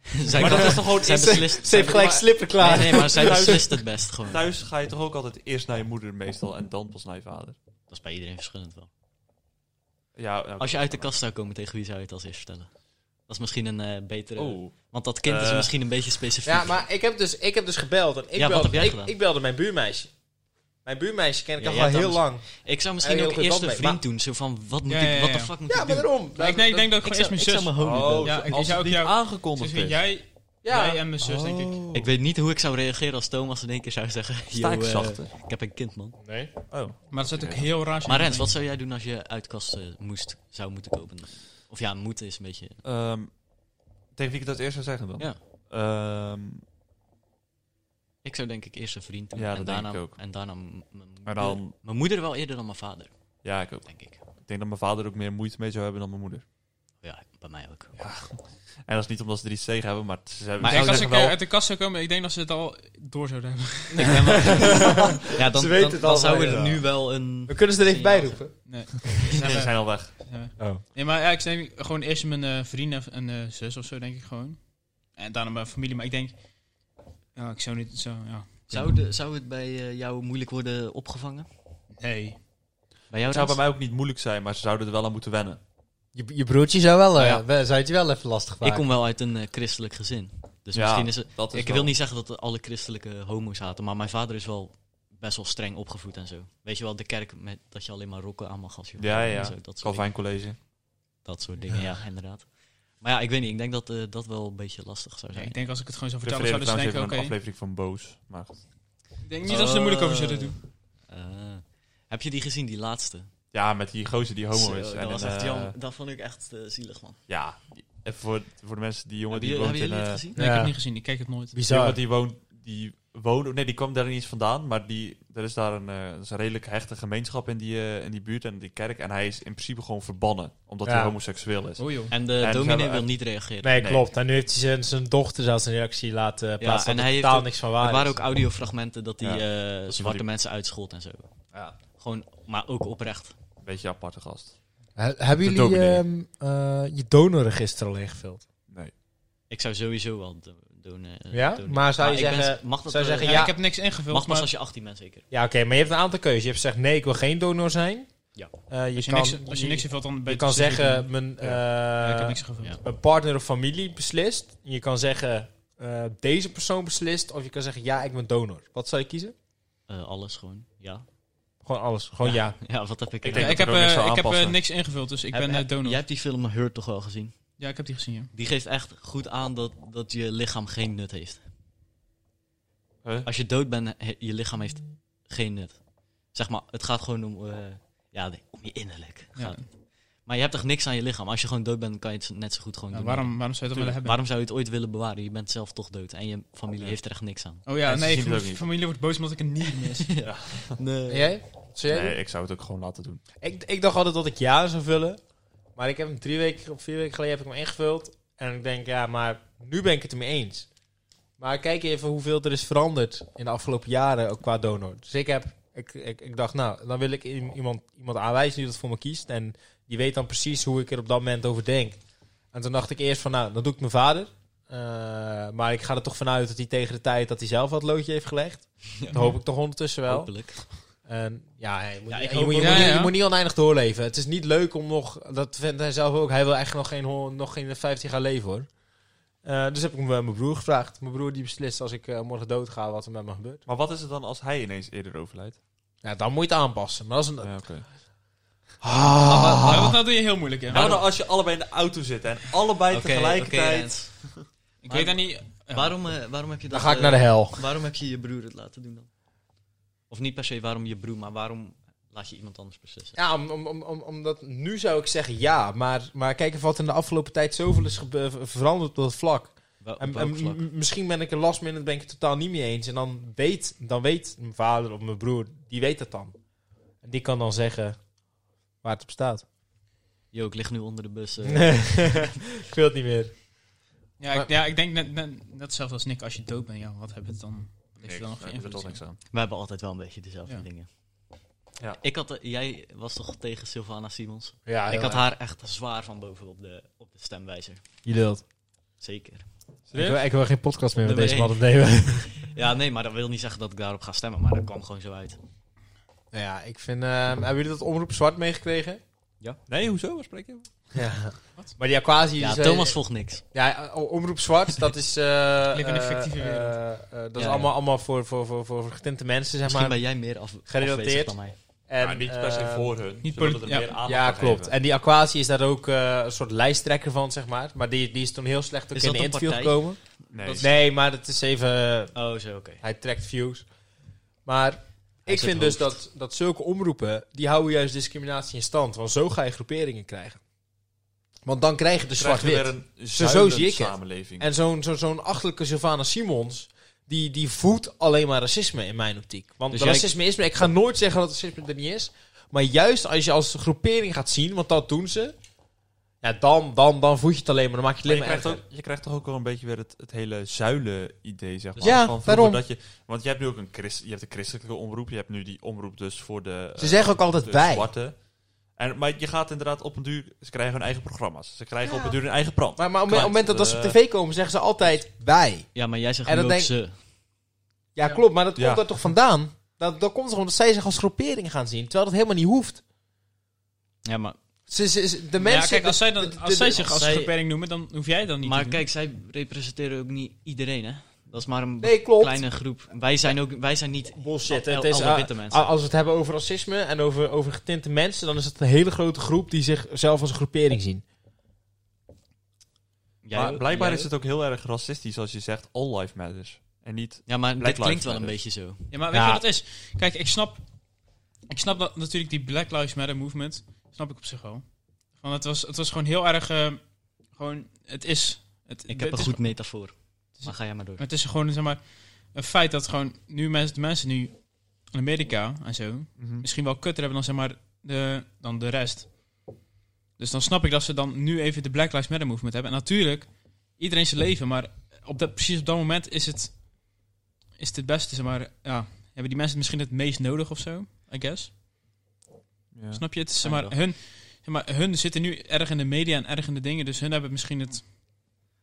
zij
Maar dat is toch gewoon
zij
eerst-
beslist,
Ze heeft
zij-
gelijk slippen klaar.
Nee, nee, maar zij
Thuis-
beslist het best gewoon. Dat
Thuis ga je toch ook altijd eerst naar je moeder meestal en dan pas naar je vader.
is bij iedereen verschillend wel.
Ja, nou,
Als je uit de kast zou komen, tegen wie zou je het als eerst vertellen? Dat is misschien een eh, betere...
Oh,
Want dat kind is
Eh.
misschien een beetje specifiek.
Ja, maar ik heb dus, ik heb dus gebeld. En ik
Ja, wat
belde,
heb jij
ik,
gedaan?
ik belde mijn buurmeisje. Mijn buurmeisje ken ik
Ja,
al
jij
wel
hebt
heel
dan
lang.
ik zou
Ja,
misschien
je
ook
ook
eerst
dat
een
mee,
vriend
maar-
doen. Zo van, wat moet
Ja, ja,
ik, wat de
ja.
fuck moet
Ja,
ik doen?
maar daarom.
ik, nee, ik denk dat ik
Ik
gewoon
zou,
eerst
ik
mijn
zou
zus...
mijn homie
Oh,
doen.
Ja, ik
als het
zou ook
niet
jou-
aangekondigd
Dus
is.
jij,
Ja,
jij en mijn zus, denk ik.
Ik weet niet hoe ik zou reageren als Thomas in één keer zou zeggen...
Sta ik
"Yo, eh,
zachter.
ik heb een kind, man.
Nee.
Oh.
Maar dat zou natuurlijk heel raar zijn.
Maar Rens, wat zou jij doen als je uit kast eh, moest, zou moeten kopen? Of ja, moeten is een beetje...
Ehm, tegen wie ik dat eerst zou zeggen dan?
Ja.
Ehm,
Ik zou denk ik eerst een vriend doen.
Ja,
en
dat denk
daarna,
ik ook.
En daarna m- mijn
maar
moeder.
dan,
Mijn moeder wel eerder dan mijn vader,
ja, ik ook.
denk ik.
Ik denk dat mijn vader ook meer moeite mee zou hebben dan mijn moeder.
Ja, bij mij ook.
En dat is niet omdat ze er iets tegen hebben, maar ze hebben
Maar
ik denk
ze
als
zou
ik
zeggen
eh,
wel-
uit de kast zou komen, ik denk dat ze het al door zouden hebben.
Ja, dan,
Ze weten
dan,
het
dan
al
zou
van
er
je.
nu wel een...
We kunnen ze er even bij roepen.
Nee.
ze zijn al weg. Oh.
Nee, maar ja, ik denk gewoon eerst mijn eh, vrienden en eh, zus of zo, denk ik gewoon. En daarna mijn familie, maar ik denk... Ja, ik zou niet zo, ja.
Zou, de, zou het bij eh, jou moeilijk worden opgevangen?
Nee.
Bij jou
Het zou bij
Rens?
mij ook niet moeilijk zijn, maar ze zouden er wel aan moeten wennen.
Je, je broertje zou wel, eh,
Ja.
wel- zou het je wel even lastig maken.
Ik kom wel uit een eh, christelijk gezin. Dus
Ja,
misschien is het...
Dat is
Ik
wel-
wil niet zeggen dat er alle christelijke homo's haten, maar mijn vader is wel best wel streng opgevoed en zo. Weet je wel, de kerk met dat je alleen maar rokken aan mag als je
Ja, ja.
en zo, dat, soort dingen,
Calvijn College.
dat soort dingen, ja, inderdaad. Maar ja, ik weet niet, ik denk dat eh, dat wel een beetje lastig zou
Nee,
zijn.
ik denk als ik het gewoon zou
Ik refereer
vertellen, zouden ze
trouwens even
denken,
aan
oké.
een aflevering van Boos. Maar goed.
Ik denk niet dat ze er moeilijk over zullen doen.
Eh, heb je die gezien, die laatste?
Ja, met die gozer die homo
Zo,
is.
dat, was
een,
echt
eh,
jam- dat vond ik echt eh, zielig, man.
Ja, even voor, voor de mensen, die jongen
Hebben
die woont
jullie- hebben
in...
jullie het
eh,
gezien?
Nee, ik heb
Ja.
het niet gezien. Ik kijk het nooit.
Die
Bizar.
jongen die woont, die woonde, nee, die kwam daar niet eens vandaan, maar die, er is daar een, eh, dat is een redelijk hechte gemeenschap in die, eh, in die buurt en die kerk. En hij is in principe gewoon verbannen, omdat
Ja.
hij homoseksueel is.
Oh joh.
En de
ze
dominee
hebben-
wil niet reageren.
Nee,
Nee.
klopt. En nu heeft hij zijn, zijn dochter zelfs een reactie laten plaatsen.
en
en
hij
hij
heeft
totaal
ook-
niks van
er
waar.
waren
is.
ook audiofragmenten dat hij
Ja,
eh,
is van
zwarte
die-
mensen uitschold en zo.
Ja.
Gewoon, maar ook oprecht.
Een beetje een aparte gast.
He- Hebben
De
jullie
dominee.
ehm, eh, je donorregister al ingevuld?
Nee.
Ik zou sowieso wel do- doen. eh,
Ja?
doen.
Maar zou je
ik ben-
zeggen-
mag dat
zou je
eh,
zeggen,
Ja,
Ja.
ik heb niks ingevuld,
Mag pas
maar
als je 18 bent zeker.
Ja, oké. maar je hebt een aantal keuzes. Je hebt gezegd, nee, ik wil geen donor zijn.
Ja.
Eh, je,
als je,
kan,
niks, als je niks invult, dan
je
beter
kan
zeker
zeggen,
doen.
mijn,
Ja, ik heb
eh,
niks ingevuld.
ja.
mijn partner of familie beslist. Je kan zeggen, eh, deze persoon beslist. Of je kan zeggen, ja, ik ben donor. Wat zou je kiezen?
Eh, alles gewoon, ja.
Gewoon alles. Gewoon ja.
Ja, wat heb
Ik
ik...
Ja,
denk
ik
dat
heb,
er ook niks
eh,
zal
ik heb eh,
aanpassen.
niks ingevuld, dus ik
Heb-
ben
heb-
eh donor.
Jij hebt die film Hurt toch wel gezien?
Ja, ik heb die gezien, ja.
Die geeft echt goed aan dat, dat je lichaam geen nut heeft.
Huh?
Als je dood bent, he- je lichaam heeft geen nut. Zeg maar, het gaat gewoon om, eh, ja, de- om je innerlijk.
Ja.
Gaat het. Maar je hebt echt niks aan je lichaam. Als je gewoon dood bent, kan je het net zo goed gewoon
Nou,
doen.
waarom, waarom zou je dat willen hebben?
Waarom zou je het ooit willen bewaren? Je bent zelf toch dood en je familie
Ja.
heeft er echt niks aan.
Oh ja,
En ze
nee,
zien het ook
familie,
niet.
familie wordt boos omdat ik een niet mis.
En jij? Wat zou jij
Nee, ik zou het ook gewoon laten doen.
Ik, ik dacht altijd dat ik ja zou vullen. Maar ik heb hem drie weken of vier weken geleden heb ik hem ingevuld. En ik denk, ja, maar nu ben ik het ermee eens. Maar kijk even hoeveel er is veranderd in de afgelopen jaren ook qua donor. Dus ik heb, ik, ik, ik dacht, nou, dan wil ik i- iemand, iemand aanwijzen die dat voor me kiest. En die weet dan precies hoe ik er op dat moment over denk. En toen dacht ik eerst van, nou, dan doe ik mijn vader. Eh, maar ik ga er toch vanuit dat hij tegen de tijd dat hij zelf wat loodje heeft gelegd. Dat hoop ik toch ondertussen wel.
Hopelijk.
En ja, je moet,
Ja, ik
je,
hoop
moet, je
ook-
moet
Ja,
niet-
ja.
je moet niet oneindig doorleven. Het is niet leuk om nog... Dat vindt hij zelf ook. Hij wil echt nog geen, hon- nog geen 15 jaar leven, hoor. Eh, dus heb ik hem, eh, mijn broer gevraagd. Mijn broer die beslist als ik eh, morgen doodga wat er met me gebeurt.
Maar wat is het dan als hij ineens eerder overlijdt?
Ja, dan moet je het aanpassen. Maar dat is een... Ah,
Ja, oké.
Nou, dat, dat doe je heel moeilijk, hè.
Nou, nou, als je allebei in de auto zit en allebei
Oké, oké,
tegelijkertijd...
Rens.
ik weet dat niet. Ja.
Waarom, eh, waarom heb je dat...
dan ga ik
eh,
naar de hel.
Waarom heb je je broer het laten doen dan? Of niet per se waarom je broer, maar waarom laat je iemand anders beslissen?
Ja, om, om, om, om- omdat nu zou ik zeggen ja. Maar, maar kijk even wat er in de afgelopen tijd zoveel is gebe- ver- veranderd op dat vlak.
Wel- op
En,
welk
en
vlak?
m- misschien ben ik er last minute ben ik het totaal niet mee eens. En dan weet, dan weet mijn vader of mijn broer, die weet dat dan. En die kan dan zeggen waar het op staat.
Jo, ik lig nu onder de bus. eh.
Nee, ik wil het niet meer.
Ja, ik, ja, ik denk net, net, net zelfs als Nick, als je dood bent, ja, wat heb je dan? Heeft er dan nog geen invloed
toch
op?
niks aan.
We hebben altijd wel een beetje dezelfde
Ja.
dingen.
Ja.
Ik had, eh, jij was toch tegen Sylvana Simons?
Ja,
ik had haar echt zwaar van boven op de, op de stemwijzer.
Je lult.
Zeker.
Ik wil, ik wil geen podcast meer met
Nummer
deze
één.
man opnemen.
Ja, nee, maar dat wil niet zeggen dat ik daarop ga stemmen, maar dat kwam gewoon zo uit.
Nou ja, ik vind... eh, hebben jullie dat Omroep Zwart meegekregen?
Nee, hoezo? Waar spreek je over?
Ja. Maar die Aquasi...
Ja,
zei-
Thomas volgt niks.
Ja, eh, Omroep Zwart, dat is... eh,
Leven in een
eh,
fictieve
eh,
wereld.
eh, dat is
Ja,
allemaal, allemaal voor, voor, voor, voor getinte mensen, zeg
Misschien
maar.
ben jij meer af
gerelateerd.
afwezig dan mij.
En,
Maar niet per se
eh,
voor hun.
niet
Ze willen er
poli- ja.
meer aandacht
Ja,
aan
klopt.
geven.
En die Aquasi is daar ook eh, een soort lijsttrekker van, zeg maar. Maar die, die is toen heel slecht ook
Is
in
dat
de
een
interview
partij?
gekomen.
Nee.
Dat is-
Nee, maar het is even... eh,
Oh, zo, oké.
Hij trekt views. Maar ik
is het
vind dus
hoofd.
dat, dat zulke omroepen, die houden juist discriminatie in stand. Want zo ga je groeperingen krijgen. Want dan krijg je de
Krijg je
zwart-wit.
weer een
Zo- zo
zuilende
zie ik het.
samenleving.
En zo'n zo'n zo'n achterlijke Sylvana Simons, die, die voedt alleen maar racisme in mijn optiek. Want
Dus jij-
racisme is, ik ga nooit zeggen dat racisme er niet is. Maar juist als je als groepering gaat zien, want dat doen ze. Ja, dan, dan, dan voed je het alleen maar. Dan maak je het
Maar
alleen
je,
maar
krijgt
erger.
ook, je krijgt toch ook wel een beetje weer het, het hele zuilen-idee, zeg maar.
Ja,
van vroeger
daarom.
Dat je, want je hebt nu ook een, christ, je hebt een christelijke omroep. Je hebt nu die omroep dus voor de,
Ze zeggen ook altijd
de
wij.
zwarte. En, maar je gaat inderdaad op een duur... Ze krijgen hun eigen programma's. Ze krijgen op een duur hun eigen brand.
Maar, maar op
Kwijt.
het moment dat, dat ze op
Eh,
tv komen, zeggen ze altijd wij.
Ja, maar jij zegt
En
nu ook
dan denk-
ze.
Ja, klopt, maar dat
Ja.
komt daar toch vandaan? Dat, dat komt gewoon dat zij zich als groepering gaan zien, terwijl dat helemaal niet hoeft.
Ja, maar,
Ze, ze- ze- de
Ja,
mensen...
kijk, als zij, dan,
de-
als
de-
zij
de-
zich
als
als
zij-
beperking noemen, dan hoef jij dan niet
maar
te doen.
kijk, zij representeren ook niet iedereen, hè? Dat is maar een
Nee, klopt.
kleine groep. Wij zijn, ook, wij zijn niet
Bullshit.
al-
Het is,
alle
ah,
witte mensen.
ah, als we het hebben over racisme en over, over getinte mensen, dan is het een hele grote groep die zichzelf als een groepering zien.
Jij
maar
ook?
blijkbaar
Jij
is
ook?
het ook heel erg racistisch als je zegt... All life matters. En niet...
Ja, maar
Black
dit
Lives
klinkt wel een
Matter.
beetje zo.
Ja, maar weet
Ja.
je wat het is? Kijk, ik snap, ik snap dat, natuurlijk die Black Lives Matter movement, snap ik op zich wel. Van, het, was, het was gewoon heel erg, eh, gewoon, het is... Het,
Ik
het
heb een
is-
goed metafoor.
Dus-
Maar ga jij maar door.
Het is gewoon, zeg maar, een feit dat gewoon nu mensen, de mensen nu in Amerika en zo,
Mm-hmm.
misschien wel kutter hebben dan, zeg maar, de, dan de rest. Dus dan snap ik dat ze dan nu even de Black Lives Matter movement hebben. En natuurlijk, iedereen zijn leven, maar op dat, precies op dat moment is het, is het het beste, zeg maar, ja, hebben die mensen het misschien het meest nodig of zo, I guess.
Ja.
Snap je? Het is, zeg
Ja,
maar,
wel.
hun, zeg maar, hun zitten nu erg in de media en erg in de dingen, dus hun hebben misschien het,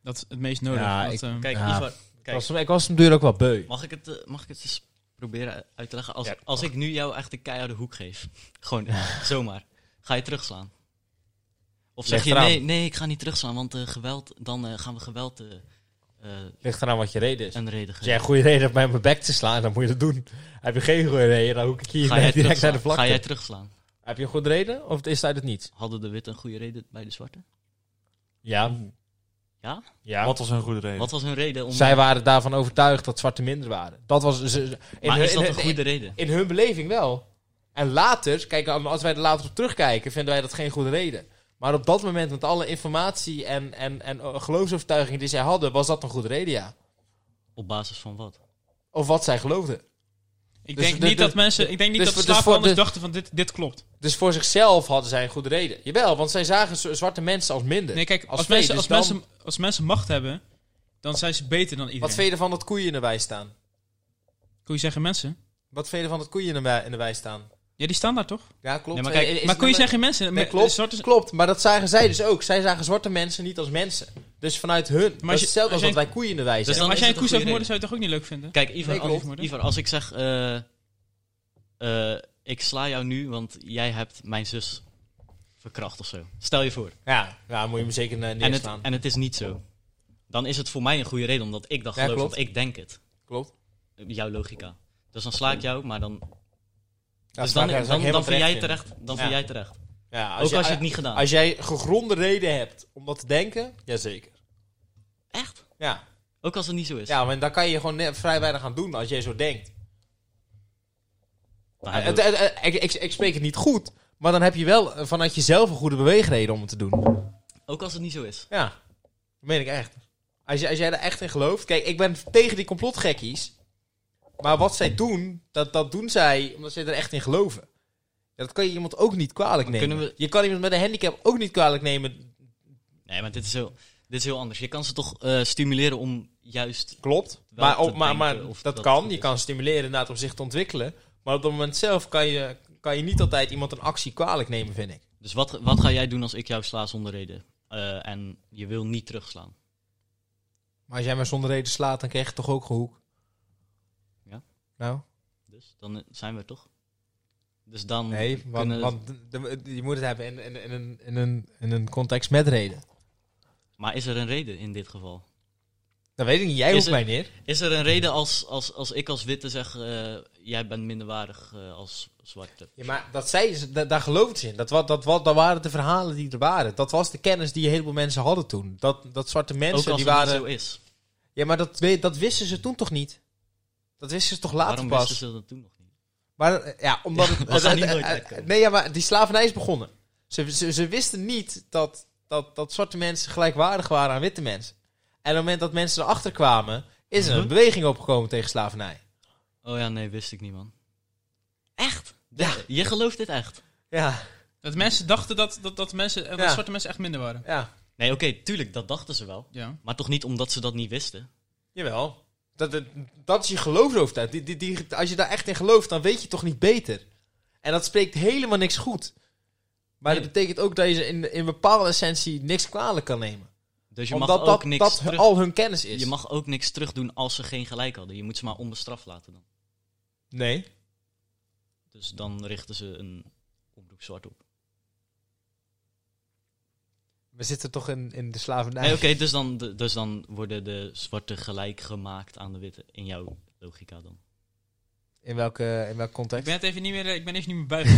dat het meest nodig.
Ja,
dat,
ik-
eh,
Kijk,
Ja.
Ivar,
Ik
kijk
was, ik was natuurlijk ook wel beu.
mag, ik het, eh, mag ik het eens proberen uit te leggen? Als,
Ja,
als ik nu jou echt de keiharde hoek geef, gewoon zomaar, ga je terugslaan? Of zeg
Ligt
je,
eraan.
nee, nee, ik ga niet terugslaan, want eh, geweld, dan eh, gaan we geweld eh eh,
Ligt eraan wat je reden is.
een reden
Als
geven.
jij een goede reden hebt mij op mijn bek te slaan, dan moet je dat doen. Heb je geen goede reden, dan hoek ik hier
Ga jij,
direct naar de
terugslaan?
vlakte.
ga jij terugslaan?
Heb je een goede reden of is het het niet?
Hadden de witten een goede reden bij de zwarte?
Ja.
Hmm. Ja?
Ja.
Wat was een goede reden?
Wat was hun reden om...
Zij waren daarvan overtuigd dat zwarte minder waren. Dat was... Ze, in
maar
hun-
is
in
dat
hun-
een goede reden?
In hun beleving wel. En later, kijk, als wij er later op terugkijken, vinden wij dat geen goede reden. Maar op dat moment, met alle informatie en, en, en eh, geloofsovertuiging die zij hadden, was dat een goede reden, ja.
Op basis van wat?
Of wat zij geloofden.
Ik
Dus
denk
de-
niet
de-
dat mensen, ik denk niet
dus
dat
voor- dus
slaven
voor
anders
de-
dachten van dit, dit klopt.
Dus voor zichzelf hadden zij een goede reden. Jawel, want zij zagen z- zwarte mensen als minder.
Nee, kijk, als,
vee,
mensen,
dus
als,
dan-
mensen, als mensen macht hebben, dan zijn ze beter dan
Wat
iedereen.
vind je ervan dat koeien in de wei staan?
Kun je zeggen mensen?
Wat vind je ervan dat koeien in de wei, in de wei staan?
Ja, die staan daar toch?
Ja, klopt.
Nee, maar kijk,
Eh, is
maar
het
kun je
nummer-
zeggen mensen?
Nee,
Me-
klopt,
zwarte-
klopt, maar dat zagen zij dus ook. Zij zagen zwarte mensen niet als mensen. Dus vanuit hun. Maar
als je-
hetzelfde
als
als dat
jij-
wij koeien in de wei
Dus
zijn.
dan
maar als
is
jij een
het een
koe zou
goede
vermoorden, zou je het toch ook niet leuk vinden?
Kijk, Ivar,
Nee,
als,
klopt.
Ivar, als ik zeg... eh, eh, ik sla jou nu, want jij hebt mijn zus verkracht of zo. Stel je voor.
Ja, ja moet je hem zeker
En
eh,
het,
neerslaan.
en het is niet zo. Dan is het voor mij een goede reden, omdat ik dat
Ja,
geloof,
klopt.
want ik denk het.
Klopt.
Jouw logica. Dus dan sla ik jou, maar dan...
Ja,
dus
daar
dan,
zou
dan,
ik- zou ik
dan,
helemaal
vind jij
in.
terecht. Dan
Ja.
vind jij terecht.
Ja,
Ook als je het niet gedaan
Als jij gegronde reden hebt om dat te denken, jazeker.
Echt?
Ja,
Ook als het niet zo is.
ja maar dan kan je gewoon net vrij weinig aan doen als jij zo denkt.
Dan hebben
Het-
we-
het- het- ik, ik, ik spreek het niet goed, maar dan heb je wel eh, vanuit jezelf een goede beweegreden om het te doen.
ook als het niet zo is.
Ja, dat meen ik echt. Als, je, als jij er echt in gelooft... Kijk, ik ben tegen die complotgekkies. Maar wat zij doen, dat, dat doen zij omdat zij er echt in geloven. Ja, dat kan je iemand ook niet kwalijk nemen.
kunnen we-
Je kan iemand met een handicap ook niet kwalijk nemen
Nee, maar dit is zo... Dit is heel anders. Je kan ze toch eh, stimuleren om juist...
Klopt.
Wel
Maar,
te
op, maar, maar
denken of
dat
dat
kan.
goed
Je
is.
kan stimuleren inderdaad om zich te ontwikkelen. Maar op dat moment zelf kan je, kan je niet altijd iemand een actie kwalijk nemen, vind ik.
Dus wat, wat ga jij doen als ik jou sla zonder reden? Eh, en je wil niet terugslaan.
Maar als jij mij zonder reden slaat, dan krijg je toch ook gehoek.
Ja.
Nou,
Dus dan eh, zijn we er toch? Dus dan
nee, want,
kunnen...
want de- de- je moet het hebben in, in, in, een- in, een, in een context met reden.
Maar is er een reden in dit geval?
Dat weet ik niet, jij
Is
hoeft
het-
mij neer.
Is er een reden als, als, als ik als witte zeg, eh, jij bent minderwaardig eh, als zwarte?
Ja, maar dat zei ze, da- daar geloofden ze in. Dat, wa- dat, wa- dat waren de verhalen die er waren. Dat was de kennis die een heleboel mensen hadden toen. Dat, dat zwarte
Ook
mensen,
als
die
het niet
waren...
zo is.
Ja, maar dat, we- dat wisten ze toen toch niet? Dat wisten ze toch later
Waarom
pas?
wisten ze dat toen nog niet?
Maar eh, ja, omdat het,
we gaan
eh,
hier nooit
eh,
uitkomen.
Nee, ja, maar die slavernij is begonnen. Ze, ze, ze wisten niet dat, dat, dat zwarte mensen gelijkwaardig waren aan witte mensen. En op het moment dat mensen erachter kwamen, is er een
Mhm.
beweging opgekomen tegen slavernij.
Oh ja, nee, wist ik niet, man.
Echt? Ja,
Je gelooft dit echt?
ja,
Dat mensen dachten dat, dat, dat, mensen, eh, dat
Ja.
zwarte mensen echt minder waren.
ja.
Nee, oké, tuurlijk, dat dachten ze wel.
Ja.
Maar toch niet omdat ze dat niet wisten.
Jawel. Dat, dat, dat is je geloofsovertuiging. Die, die, die, als je daar echt in gelooft, dan weet je toch niet beter. En dat spreekt helemaal niks goed. Maar
Nee.
dat betekent ook dat je ze in, in bepaalde essentie niks kwalijk kan nemen.
Dus je
Omdat
mag ook
dat,
niks
dat
terug...
al hun kennis is.
Je mag ook niks terug doen als ze geen gelijk hadden. Je moet ze maar onbestraft laten dan.
Nee.
Dus dan richten ze een omroep zwart op.
We zitten toch in, in de slavernij.
Nee, oké, dus, dan, dus dan worden de zwarte gelijk gemaakt aan de witte. In jouw logica dan.
In, welke, in welk
Ik
context?
ben het even niet meer, ik ben even niet meer buiten.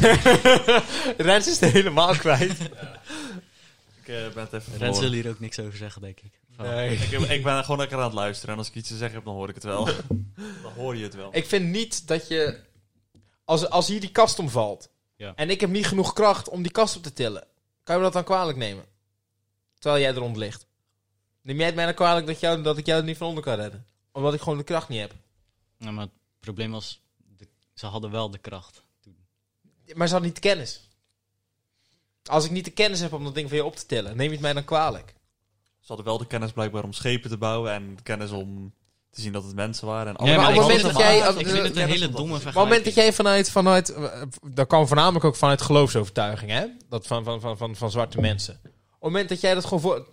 Rens is er helemaal kwijt.
Ik eh, ben het even
Rens
verloren.
wil hier ook niks over zeggen, denk ik. Van-
Ik, heb- ik ben gewoon lekker aan het luisteren. En als ik iets te zeggen heb, dan hoor ik het wel. dan hoor je het wel.
Ik vind niet dat je... Als, als hier die kast omvalt...
Ja.
en ik heb niet genoeg kracht om die kast op te tillen... kan je me dat dan kwalijk nemen? Terwijl jij eronder ligt. Neem jij het mij dan kwalijk dat, jou, dat ik jou er niet van onder kan redden? Omdat ik gewoon de kracht niet heb.
Nou, maar het probleem was, de- ze hadden wel de kracht.
Oh, Maar ze had niet de kennis. Als ik niet de kennis heb om dat ding van je op te tillen... neem je het mij dan kwalijk?
Ze hadden wel de kennis blijkbaar om schepen te bouwen. En de kennis om te zien dat het mensen waren. En
maar
alle-
op het
ik
moment
vind
dat
het
jij-
een-
op-
Ik vind het
ja,
een
dat
hele
is
domme
wel-
Op het moment dat
vergelijking.
jij vanuit, vanuit eh, dat kwam voornamelijk ook vanuit geloofsovertuiging, hè? Dat van, van, van, van, van zwarte mensen. Op het moment dat jij dat gewoon voor...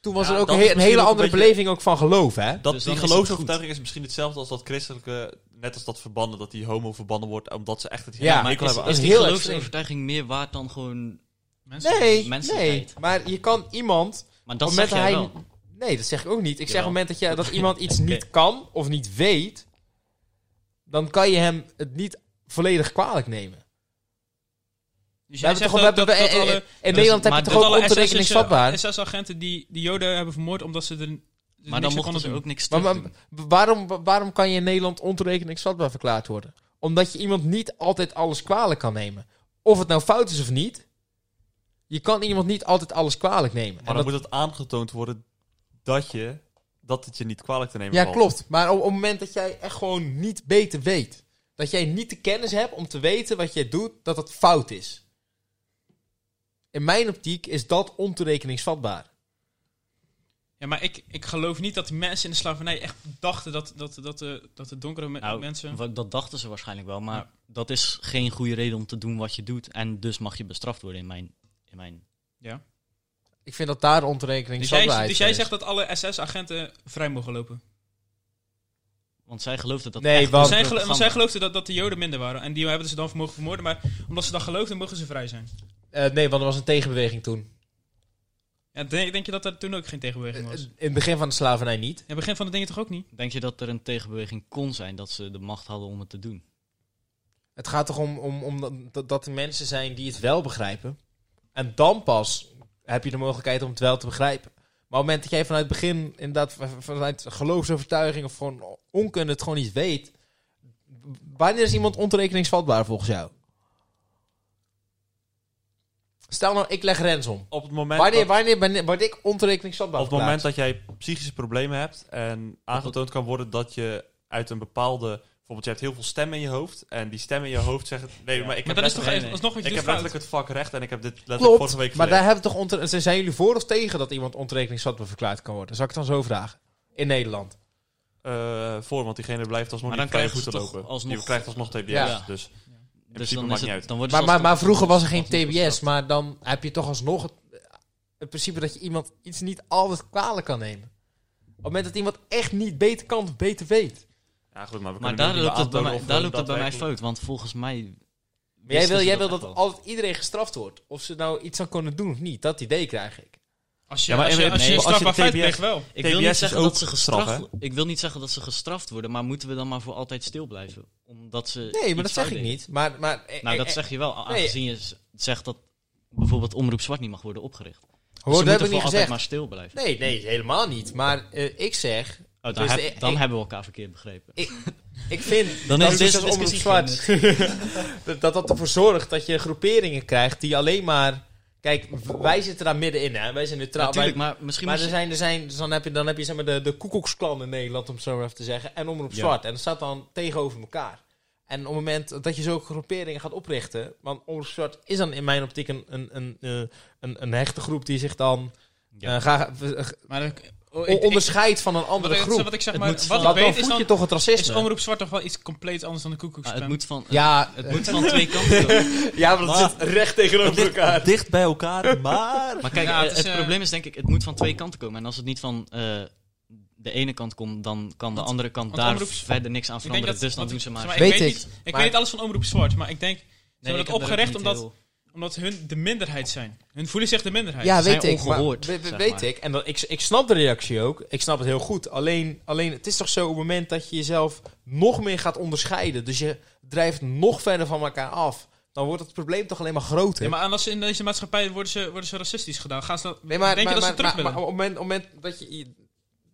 Toen was
Ja,
er ook
dat
een,
is
he- een
misschien
hele
ook een
andere
beetje-
beleving ook van geloof, hè?
Dat,
Dus
die
dan is
geloofsovertuiging is, misschien hetzelfde als dat christelijke, net als dat verbannen, dat die homo verbannen wordt, omdat ze echt het
Ja,
Maar
hekel
is,
hebben
is
is
aan-
die
heel
geloofsovertuiging meer waard dan gewoon...
Mensen.
Nee, nee.
menselijkheid.
Maar je kan iemand...
Maar dat
Op
zeg
het
jij
moment
wel.
dat Nee, dat zeg ik ook niet. Ik zeg op
Jawel.
het moment dat, jij, dat iemand iets niet kan of niet weet... dan kan je hem het niet volledig kwalijk nemen.
Dus
We
jij
hebben
zegt
toch, we
dat,
hebben,
dat, dat
we-
alle,
in Nederland
Dus- maar
heb je
dat
toch ook
alle
ontoerekeningsvatbaar?
SS SS-agenten die de Joden hebben vermoord omdat ze er n-
Maar
niks aan
dan mochten
konden
ze
doen.
ook niks
Maar,
terug
maar
doen.
wa- waarom, wa- waarom kan je in Nederland ontoerekeningsvatbaar verklaard worden? Omdat je iemand niet altijd alles kwalijk kan nemen. Of het nou fout is of niet. Je kan iemand niet altijd alles kwalijk nemen.
Maar
En
dan moet het aangetoond worden dat je, dat het je niet kwalijk te nemen
ja,
valt.
klopt. Maar op, op het moment dat jij echt gewoon niet beter weet. Dat jij niet de kennis hebt om te weten wat jij doet, dat dat fout is. In mijn optiek is dat ontoerekeningsvatbaar.
Ja, maar ik, ik geloof niet dat die mensen in de slavernij echt dachten dat, dat, dat, eh, dat de donkere me-
Nou,
mensen...
wa- dat dachten ze waarschijnlijk wel, maar dat is geen goede reden om te doen wat je doet. En dus mag je bestraft worden in mijn... In mijn
Ja.
Ik vind dat daar
Dus, jij,
ontoerekeningsvatbaarheid
dus jij
is.
zegt dat alle SS-agenten vrij mogen lopen?
want zij geloofden dat
Nee,
echt
want-
door
Zij,
het
gelo- want zij
programma.
geloofden dat, dat de Joden minder waren. En die hebben ze dan vermogen vermoorden. Maar omdat ze dat geloofden, mogen ze vrij zijn.
Eh, nee, want er was een tegenbeweging toen.
Ja, denk, denk je dat er toen ook geen tegenbeweging was?
In het begin van de slavernij niet.
Ja, begin van de dingen toch ook niet?
Denk je dat er een tegenbeweging kon zijn dat ze de macht hadden om het te doen?
Het gaat toch om, om, om dat- dat, dat er mensen zijn die het wel begrijpen. En dan pas heb je de mogelijkheid om het wel te begrijpen. Maar op het moment dat jij vanuit het begin, inderdaad, v- vanuit geloofsovertuiging of gewoon onkunde het gewoon niet weet. Wanneer is iemand ontoerekeningsvatbaar volgens jou? Stel nou, ik leg Rens om.
Op het moment,
Wanneer,
dat,
wanneer ben, word ik ontoerekeningsvatbaar?
op het moment dat jij psychische problemen hebt en aangetoond kan worden dat je uit een bepaalde Bijvoorbeeld, je hebt heel veel stemmen in je hoofd. En die stemmen in je hoofd zeggen... Nee, maar ik
Maar
heb
dat is toch
letterlijk-
nee,
even
nee.
alsnog wat je
ik
doet
heb
fout.
letterlijk het vak recht en ik heb dit letterlijk
Klopt,
vorige week
maar daar
geleerd.
hebben we toch ontre- zijn- zijn jullie voor of tegen dat iemand ontrekeningsvatbaar verklaard kan worden? Zal ik het dan zo vragen? In Nederland.
Eh, voor, want diegene blijft alsnog
Maar
niet
dan
vrij goed
krijgen
te
ze toch
lopen.
alsnog-
Die krijgt alsnog TBS,
Ja.
dus...
Dus
principe
dan
maakt
is
niet
het,
uit.
dan worden
Maar,
ze
maar, maar
alsnog-
vroeger was er geen
alsnog
TBS,
gestraft.
maar dan heb je toch alsnog het, het principe dat je iemand iets niet altijd kwalijk kan nemen. Op het moment dat iemand echt niet beter kan of beter weet.
Ja, goed, maar we
Maar
kunnen
daar
nu niet
loopt het bij
aantonen
mij,
of
daar
we
loopt het bij mij
daadwerkelijk-
fout, want volgens mij...
Maar jij
wisten
wil,
ze
jij wil dat
echt wel.
altijd iedereen gestraft wordt. Of ze nou iets aan kunnen doen of niet. Dat idee krijg ik.
Als je,
Ja, maar
als je,
in-
als je
nee,
een
als je
strafbaar feit
TBS
pleegt wel.
Ik wil,
TBS
niet
is
zeggen dat
ook
ze
straf,
gestraft, ik wil niet zeggen dat ze gestraft worden, maar moeten we dan maar voor altijd stil blijven? Omdat ze
Nee, maar
iets
dat
fout
zeg ik
deden.
niet. Maar, maar, eh,
Nou,
eh,
dat
eh,
zeg je wel, a-
nee.
aangezien je z- zegt dat bijvoorbeeld Omroep Zwart niet mag worden opgericht. Dus
hoor,
ze
dat heb
moeten
ik niet
voor altijd
gezegd.
maar stil blijven.
Nee, nee, helemaal niet. Maar eh, ik zeg,
Oh, dan
Dus
heb-
de-
dan
ik-
hebben we elkaar verkeerd begrepen.
ik vind
Dan
dat
is
dus
deze
als omroep
discussie
zwart. dat dat ervoor zorgt dat je groeperingen krijgt die alleen maar... Kijk, w- wij zitten daar middenin, hè. Wij zijn neutraal. Wij-
Natuurlijk, maar misschien
maar
moet
er
je...
zijn, er zijn, dus dan heb je, dan heb je zeg maar de, de koekoeksklan in Nederland, om het zo maar even te zeggen. En omroep
Ja.
zwart. En dat staat dan tegenover elkaar. En op het moment dat je zulke groeperingen gaat oprichten... Want omroep zwart is dan in mijn optiek een, een, een, eh, een, een hechte groep die zich dan...
Ja.
eh, graag, eh,
Maar ik, oh,
o-
ik- ik-
onderscheidt van een
wat
andere
ik-
groep.
Wat ik zeg
Het
maar,
moet
wat
van-
ik
Dat dan
weet is
voed je
dan...
toch het
Is
racisme?
omroep zwart toch wel iets compleet anders dan de
Ah,
koekoeksplan?
het moet van,
Ja, eh,
het moet van twee kanten.
ja, maar dat
Maar-
zit recht tegenover elkaar.
Dicht bij elkaar, maar...
Maar kijk,
Ja,
eh,
het
het,
is, eh,
probleem is denk ik, het moet van twee kanten komen. En als het niet van eh, de ene kant komt, dan kan de
Want-
andere kant
want
daar
omroeps-
verder niks aan
Ik denk
veranderen. Dus dan
want-
doen ze maar...
zeg
Weet
ik weet,
ik,
Niet, ik
maar-
weet niet alles van omroep zwart, maar ik denk... Ze
Nee,
hebben
ik
dat
heb er ook
opgericht
niet
omdat,
heel-
omdat hun de minderheid zijn. Hun voelen zich de minderheid.
Ja,
zijn
weet ik. maar-
ongehoord,
we- we-
zeg
weet
maar.
ik. En dat, ik, ik snap de reactie ook. Ik snap het heel goed. Alleen, alleen het is toch zo op het moment dat je jezelf nog meer gaat onderscheiden. Dus je drijft nog verder van elkaar af. Dan wordt het probleem toch alleen maar groter.
Ja, maar anders in deze maatschappij worden ze, worden ze racistisch gedaan. Gaan ze dat,
nee, maar,
denk je
maar,
dat ze
maar,
terug
maar-
willen?
maar op het moment, op het moment dat, je, je-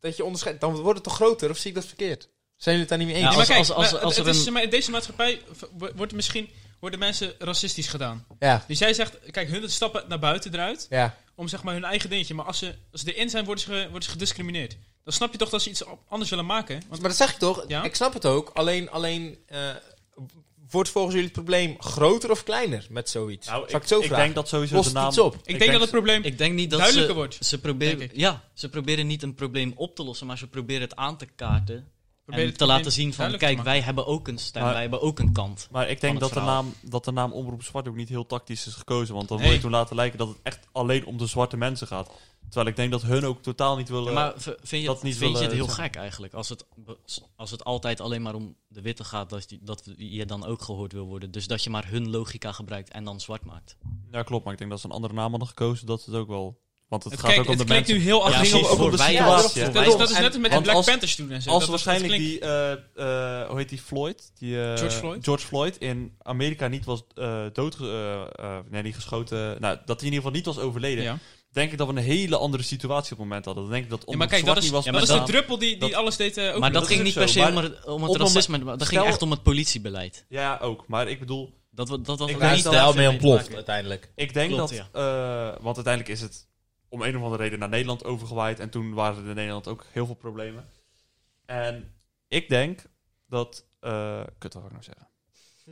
dat je onderscheidt, dan wordt het toch groter? Of zie ik dat verkeerd? Zijn jullie het daar niet mee eens?
Ja,
Nee, maar
als-
kijk,
als- als-
maar
als
het-
er
het is,
een-
zeg maar, in deze maatschappij v- wo- wordt misschien, worden mensen racistisch gedaan.
Ja.
Dus jij zegt, kijk, hun stappen naar buiten eruit
ja.
om zeg maar hun eigen dingetje. Maar als ze, als ze erin zijn, worden ze, ge- worden ze gediscrimineerd. Dan snap je toch dat ze iets op- anders willen maken. Want
Maar dat zeg ik toch?
Ja?
Ik snap het ook. Alleen, alleen eh, wordt volgens jullie het probleem groter of kleiner met zoiets?
Nou,
Zal ik, het zo
ik
vragen?
denk dat sowieso
Lost
de naam...
iets op? Ik
ik, denk dat het probleem
Ik denk niet dat
duidelijker
ze,
wordt.
ze proberen...
denk ik.
Ja, ze proberen niet een probleem op te lossen, maar ze proberen het aan te kaarten.
Probeer
en
het
te
probleem
laten zien van,
duidelijk te
kijk,
maken.
wij hebben ook een stem,
Maar-
wij hebben ook een kant.
Maar ik
Van
denk
het
dat de,
verhaal.
naam, dat de naam Omroep Zwart ook niet heel tactisch is gekozen. Want dan
Nee.
word je toen laten lijken dat het echt alleen om de zwarte mensen gaat. Terwijl ik denk dat hun ook totaal niet willen...
Ja, maar v- vind je,
dat
het,
niet
vind je het
willen
heel
zeggen.
gek eigenlijk? Als het, be- als het altijd alleen maar om de witte gaat, dat, die, dat je dan ook gehoord wil worden. Dus dat je maar hun logica gebruikt en dan zwart maakt.
Ja, klopt. Maar ik denk dat ze een andere naam hadden gekozen. Dat is het ook wel... Want het,
Het,
gaat
klinkt-
ook om
het
de
klinkt
mensen.
nu heel
het
agressief.
ging
precies,
ook om de
voor wij-
situatie.
ja,
dat,
hè.
voor wij-
is, dat is net als met de
Want
Black
als-
Panthers toen. En zo.
Als
dat, dat
waarschijnlijk
klinkt-
die, eh, eh, hoe heet die Floyd? Die, eh,
George Floyd?
Floyd in Amerika niet was eh dood, eh, eh, nee, niet geschoten. Nou, dat hij in ieder geval niet was overleden.
Ja.
Denk ik dat we een hele andere situatie op het moment hadden. Dan denk ik dat
Ja,
om
maar kijk, dat is,
was
ja, maar
maar
dat is
bestaan.
de druppel die, die
dat-
alles deed eh ook.
maar dat,
dat
ging
is
niet
ook
per
zo,
se om,
maar
het- om
op
het
het
racisme, maar dat ging
stel-
echt om het politiebeleid.
Ja, ook. Maar ik bedoel,
Dat, wa- dat was
Ik
ook
ben
niet
daar
te
wel
veel te maken.
uiteindelijk.
ik denk
Klopt,
dat... eh, want uiteindelijk is het om een of andere reden naar Nederland overgewaaid. En toen waren er in Nederland ook heel veel problemen. En ik denk dat... eh kut, wat wil ik nou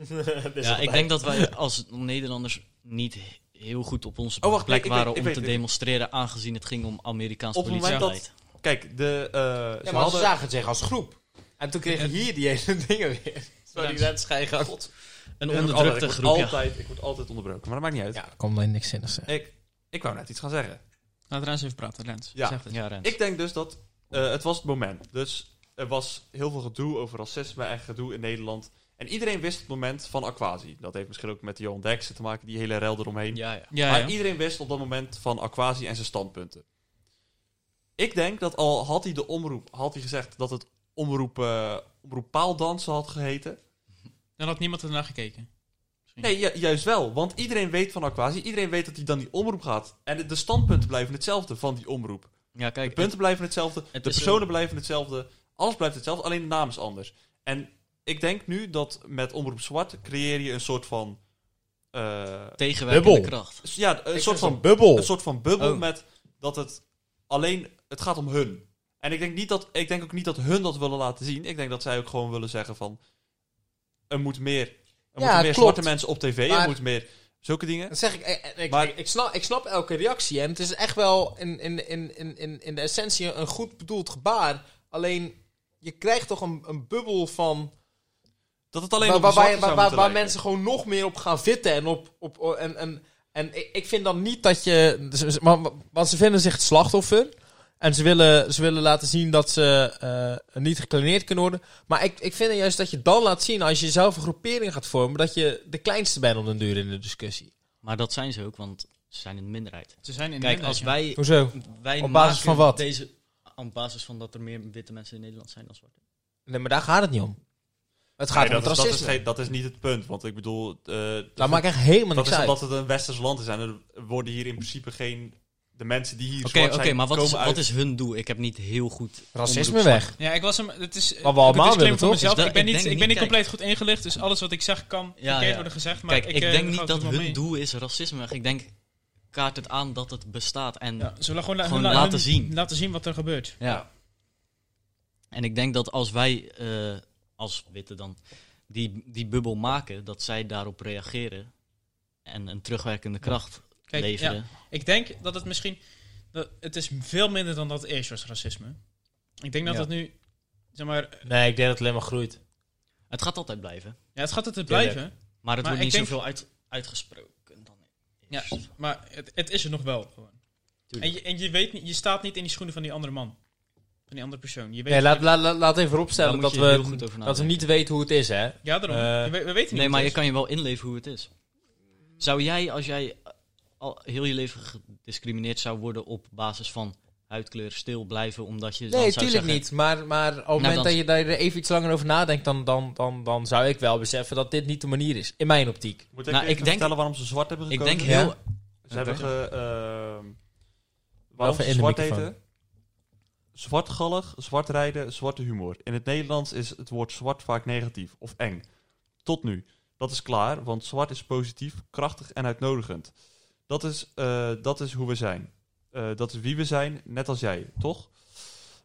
zeggen?
Ja, ik denk dat wij als Nederlanders niet he- heel goed op onze
Oh, wacht, nee,
plek
ik weet-
waren
ik
om
weet-
te
ik-
demonstreren, aangezien het ging om Amerikaans
Op het moment
politiebeleid.
Kijk, de... eh, ze
Ja, maar ze
hadden-
zagen het zich als groep. En toen kregen hier die hele dingen weer. Sorry,
Ja.
dat schijgen.
Een
Ik word
onderdrukte
altijd- ik word
groep, ja.
Altijd, ik word altijd onderbroken, maar dat maakt niet uit.
Ja, dat komt alleen niks zinnigs.
Ik, ik wou net iets gaan zeggen.
Laat Rens even praten, Rens.
Ja.
Zeg het.
Ja, Rens.
Ik denk dus dat eh, het was het moment. Dus er was heel veel gedoe over racisme en gedoe in Nederland. En iedereen wist het moment van Aquasi. Dat heeft misschien ook met de Johan Derksen te maken, die hele rel eromheen.
Ja, ja.
Ja,
maar
ja.
iedereen wist op dat moment van Aquasi en zijn standpunten. Ik denk dat al had hij de omroep, had hij gezegd dat het omroep, eh, omroep paaldansen had geheten.
Dan had niemand ernaar gekeken.
Nee, ju- juist wel. Want iedereen weet van Aquasi. Iedereen weet dat hij dan die omroep gaat. En de- de standpunten blijven hetzelfde van die omroep.
ja kijk,
De punten blijven hetzelfde.
het
de
is
personen
een-
blijven hetzelfde. Alles blijft hetzelfde. Alleen de naam is anders. En ik denk nu dat met Omroep Zwart creëer je een soort van... eh,
het- tegenwerkende
Dubbel.
kracht.
s- ja, een soort van,
bubbel.
een soort van bubbel
Oh.
met dat het alleen... Het gaat om hun. En ik denk, niet dat, ik denk ook niet dat hun dat willen laten zien. Ik denk dat zij ook gewoon willen zeggen van... er moet meer. Er
Ja,
moeten meer
klopt.
zwarte mensen op tv.
Maar-
Er moet meer zulke dingen.
Dat zeg ik. eh, eh, Ik,
Maar-
ik, ik snap, ik snap elke reactie. En het is echt wel in, in, in, in- in, in de essentie een goed bedoeld gebaar. Alleen, je krijgt toch een, een bubbel van...
Dat het alleen
Waar,
op de
waar, waar,
zwarte zou
waar-
moeten
waar
lijken.
mensen gewoon nog meer op gaan vitten. En, op, op, o- en, en, en ik- ik vind dan niet dat je... ze- ze- want- Want ze vinden zich het slachtoffer. En ze willen, ze willen laten zien dat ze eh, niet gekleineerd kunnen worden. Maar ik, ik vind juist dat je dan laat zien, als je zelf een groepering gaat vormen... dat je de kleinste bent om den duur in de discussie.
Maar dat zijn ze ook, want ze zijn in de minderheid.
Ze zijn in
Kijk, als wij...
Hoezo?
wij
Op basis
maken
van wat?
Deze, op basis van dat er meer witte mensen in Nederland zijn dan zwarte.
Nee, maar daar gaat het niet om. Het gaat
Nee, dat,
om het
is, dat, is
racisme.
geen- dat is niet het punt. Want ik bedoel... eh,
Daar maakt echt helemaal
dat
niks
is
uit.
omdat het een westers land is. En er worden hier in principe geen... De mensen die hier
Oké,
zwart
oké,
zijn,
maar wat is,
komen uit...
wat is hun doel? Ik heb niet heel goed...
Racisme
onderzoek
weg.
Ja, ik was hem. Het is.
Wat we allemaal
disclaimer
willen,
voor
toch?
mezelf.
Is dat-
ik ben
Dus ik
niet, ik
denk
ben
niet,
niet
kijk-
compleet goed ingelicht, dus alles wat ik zeg kan
Ja,
verkeerd
ja.
worden gezegd. Maar
Kijk, ik,
eh,
denk
daar
niet
gaat het
dat
wel
hun
mee.
doel is racisme weg. Ik denk, kaart het aan dat het bestaat. En,
Ja, zullen we gewoon, la-
Gewoon
la-
laten
hun-
zien.
Laten zien wat er gebeurt.
ja. en ik denk dat als wij, eh, als witte dan, die, die bubbel maken, dat zij daarop reageren. En een terugwerkende kracht
Kijk,
leveren.
ja, ik denk dat het misschien. Dat, het is veel minder dan dat het eerst was racisme. Ik denk dat
Ja.
het nu. Zeg maar.
Nee, ik denk dat het alleen maar groeit.
Het gaat altijd blijven.
Ja, het gaat het te
Tuurlijk.
blijven.
Maar het
Maar
wordt niet
ik denk-
zoveel uit, uitgesproken dan Dus,
Ja,
eerst.
maar het, het is er nog wel gewoon.
Tuurlijk.
En, je, en je weet niet, je staat niet in die schoenen van die andere man. Van die andere persoon. Je weet
Nee, laat, laat, laat- laat even
Daar
vooropstellen
moet
dat
je heel goed
we,
over
dat we
nadenken.
niet weten hoe het is, hè?
Ja, daarom.
Eh,
Je we, we weten niet.
Nee, maar
wat
je
het
kan je wel inleven hoe het is. Zou jij, als jij al heel je leven gediscrimineerd zou worden op basis van huidkleur, stil blijven, omdat je Dus dan
Nee,
zou
tuurlijk
zeggen- Nou,
niet. Maar, maar op het moment
dan-
dat je daar even iets langer over nadenkt, dan, dan, dan, dan zou ik wel beseffen dat dit niet de manier is. In mijn optiek.
Moet ik
Nou,
even
ik denk-
vertellen waarom ze zwart hebben
Ik
gekozen?
denk
Ja.
heel...
Ze hebben ge, ehm,
Wel
waarom
even
ze
in de
zwart
microfoon.
heten? Zwartgallig, zwart rijden, zwarte humor. In het Nederlands is het woord zwart vaak negatief of eng. Tot nu. Dat is klaar, want zwart is positief, krachtig en uitnodigend. Dat is, eh, dat is hoe we zijn. Eh, dat is wie we zijn, net als jij, toch?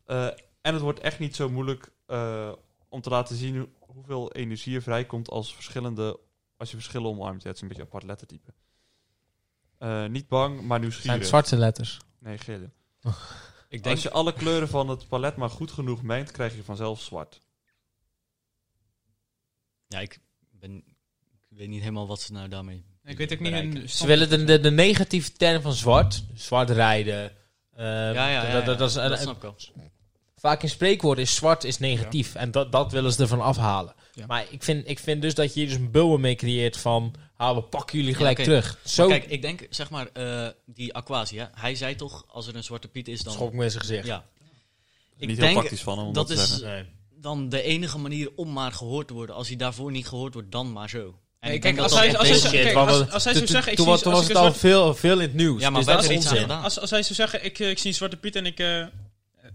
Eh, en het wordt echt niet zo moeilijk eh, om te laten zien hoe- hoeveel energie er vrijkomt als, verschillende, als je verschillen omarmt. Ja, het is een beetje een apart lettertype. Eh, niet bang, maar nieuwsgierig.
zwarte letters.
Nee, gele.
Ik denk,
Als je alle kleuren van het palet maar goed genoeg mengt, krijg je vanzelf zwart.
ja, ik, ben, ik weet niet helemaal wat ze nou daarmee...
is. Ik weet ook niet.
bereiken.
hun
Dus Ze
stand-
willen de, de, de negatieve term van zwart, zwart rijden. eh,
Ja, ja, ja,
dat- dat- dat is-
ja,
en-
dat
en
snap ik wel.
vaak in spreekwoorden is zwart is negatief. En dat, dat willen ze ervan afhalen.
Ja.
Maar ik vind, ik vind dus dat je hier dus een bubbel mee creëert van... Ah, we pakken jullie gelijk
oké.
terug. Zo
Kijk, ik denk, zeg maar, eh, die Aquasia, hij zei toch, als er een zwarte piet is, dan...
schok ik me in zijn gezicht.
Ja. Ik
Niet
denk,
heel praktisch van hem om dat,
dat
te
is-
zeggen.
Nee.
dan de enige manier om maar gehoord te worden. Als hij daarvoor niet gehoord wordt, dan maar zo. En
Nee,
ik
kijk,
denk dat
als hij-
dat
als
op
hij-
deze-
kijk,
Shit, wat
als-
we-
als hij zo
toen-
zegt, ik
toen
zie-
was- toen
als
was
ik
het
een
al
zwart-
veel, veel in het nieuws.
Ja, maar
dus
wij
dat is
hebben iets aan
onzin.
gedaan.
Als, als hij zou zeggen, ik, eh, ik zie een zwarte piet en ik, eh, en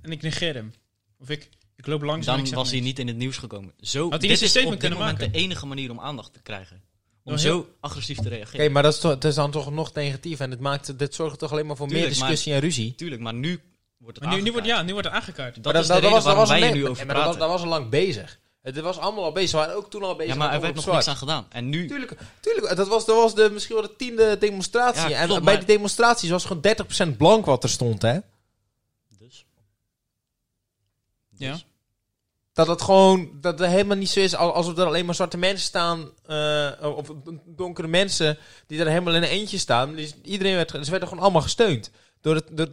ik negeer hem. Of ik, ik loop langs en ik
dan
zeg
was hij
niks.
niet in het nieuws gekomen. Zo,
hij een
dit is
statement
op dit
kunnen
moment
maken?
de enige manier om aandacht te krijgen. Om
Door
zo agressief te
Oké,
reageren.
maar dat is, toch, dat is dan toch nog negatief. En dit, maakt, dit zorgt toch alleen maar voor meer
Tuurlijk,
discussie en ruzie.
Tuurlijk, maar nu wordt het
Maar nu, nu, wordt,
aangekaart.
ja, nu wordt het aangekaart.
Dat
Maar
is de reden
dat
waarom wij
al
er
ne-
nu over
ja, maar dat,
praten.
dat was al lang bezig. Het was allemaal al bezig. We waren ook toen al bezig.
ja, maar
met
er werd nog
Omroep
niks aan
Zwart.
gedaan. En nu...
Tuurlijk, tuurlijk dat was, dat was de, misschien wel de tiende demonstratie.
Ja,
en
klopt,
bij
maar-
die demonstraties was gewoon 30% blank wat er stond, hè?
Dus.
Ja.
Dus.
Dat het gewoon dat het helemaal niet zo is al- alsof er alleen maar zwarte mensen staan. eh, of don- donkere mensen die er helemaal in een eentje staan. Dus iedereen werd, ze werden gewoon allemaal gesteund. Door, het, door,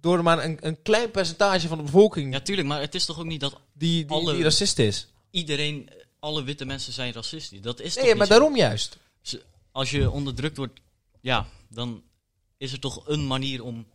door maar een, een klein percentage van de bevolking
ja, tuurlijk, maar het is toch ook niet dat
die, die,
alle-
die racist is.
iedereen, alle witte mensen zijn racistisch. Dat is toch
Nee,
niet
maar
zo?
daarom juist.
Als je onderdrukt wordt, ja, dan is er toch een manier om...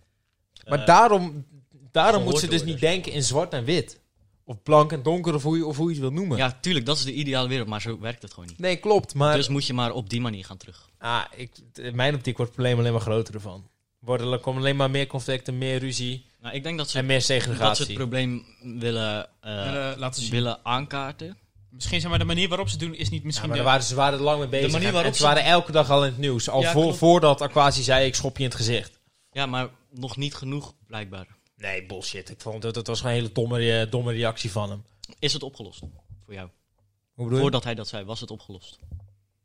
Maar
eh,
daarom, daarom
gehoord
moet ze
te
dus
worden.
niet denken in zwart en wit. Of blank en donker, of hoe je, of hoe je het wil noemen.
Ja, tuurlijk, dat is de ideale wereld, maar zo werkt het gewoon niet.
Nee, klopt. Maar
Dus moet je maar op die manier gaan terug.
ah, ik, in mijn optiek wordt het probleem alleen maar groter ervan. Worden, er komen alleen maar meer conflicten, meer ruzie
Nou, ik denk dat ze,
en meer
dat ze
segregatie.
het probleem willen, eh,
Willen laten zien.
willen aankaarten.
Misschien zeg maar de manier waarop ze het doen is niet
Ja,
misschien
maar daar
de...
waren, ze waren er lang mee bezig.
manier
en-
waarop
en ze
ze-
waren elke dag al in het nieuws. Al
Ja,
voor-
klopt.
voordat Aquasi zei, ik schop je in het gezicht.
Ja, maar nog niet genoeg, blijkbaar.
Nee, bullshit. Ik vond dat, dat was gewoon een hele domme, eh, domme reactie van hem.
Is het opgelost voor jou?
Hoe bedoel je?
Voordat hij dat zei, was het opgelost.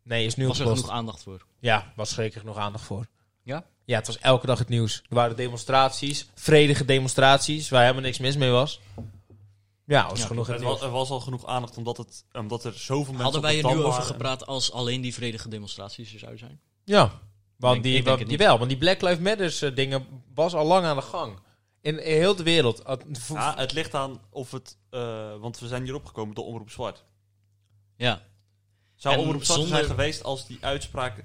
Nee, is nu
was er
opgelost.
genoeg aandacht voor.
Ja, was zeker nog aandacht voor.
Ja?
Ja, het was elke dag het nieuws. Er waren demonstraties, vredige demonstraties, waar helemaal niks mis mee was. Ja, was
Ja.
genoeg het
Het
nieuws.
was, er was al genoeg aandacht omdat, het, omdat er zoveel mensen
eh, Hadden
op
wij
de
er nu
tand
over
waren.
gepraat als alleen die vredige demonstraties er zouden zijn?
Ja, want
Ik-
die,
ik denk
want
het
die
niet.
wel, want die Black Lives Matters eh, dingen was al lang aan de gang. In, in heel de wereld. Ad- v-
Ah.
Ja, het ligt aan of het... eh, want we zijn hierop gekomen door Omroep Zwart.
Ja.
Zou
En
Omroep Zwart er
zonder-
zijn geweest als die uitspraak...
Ja.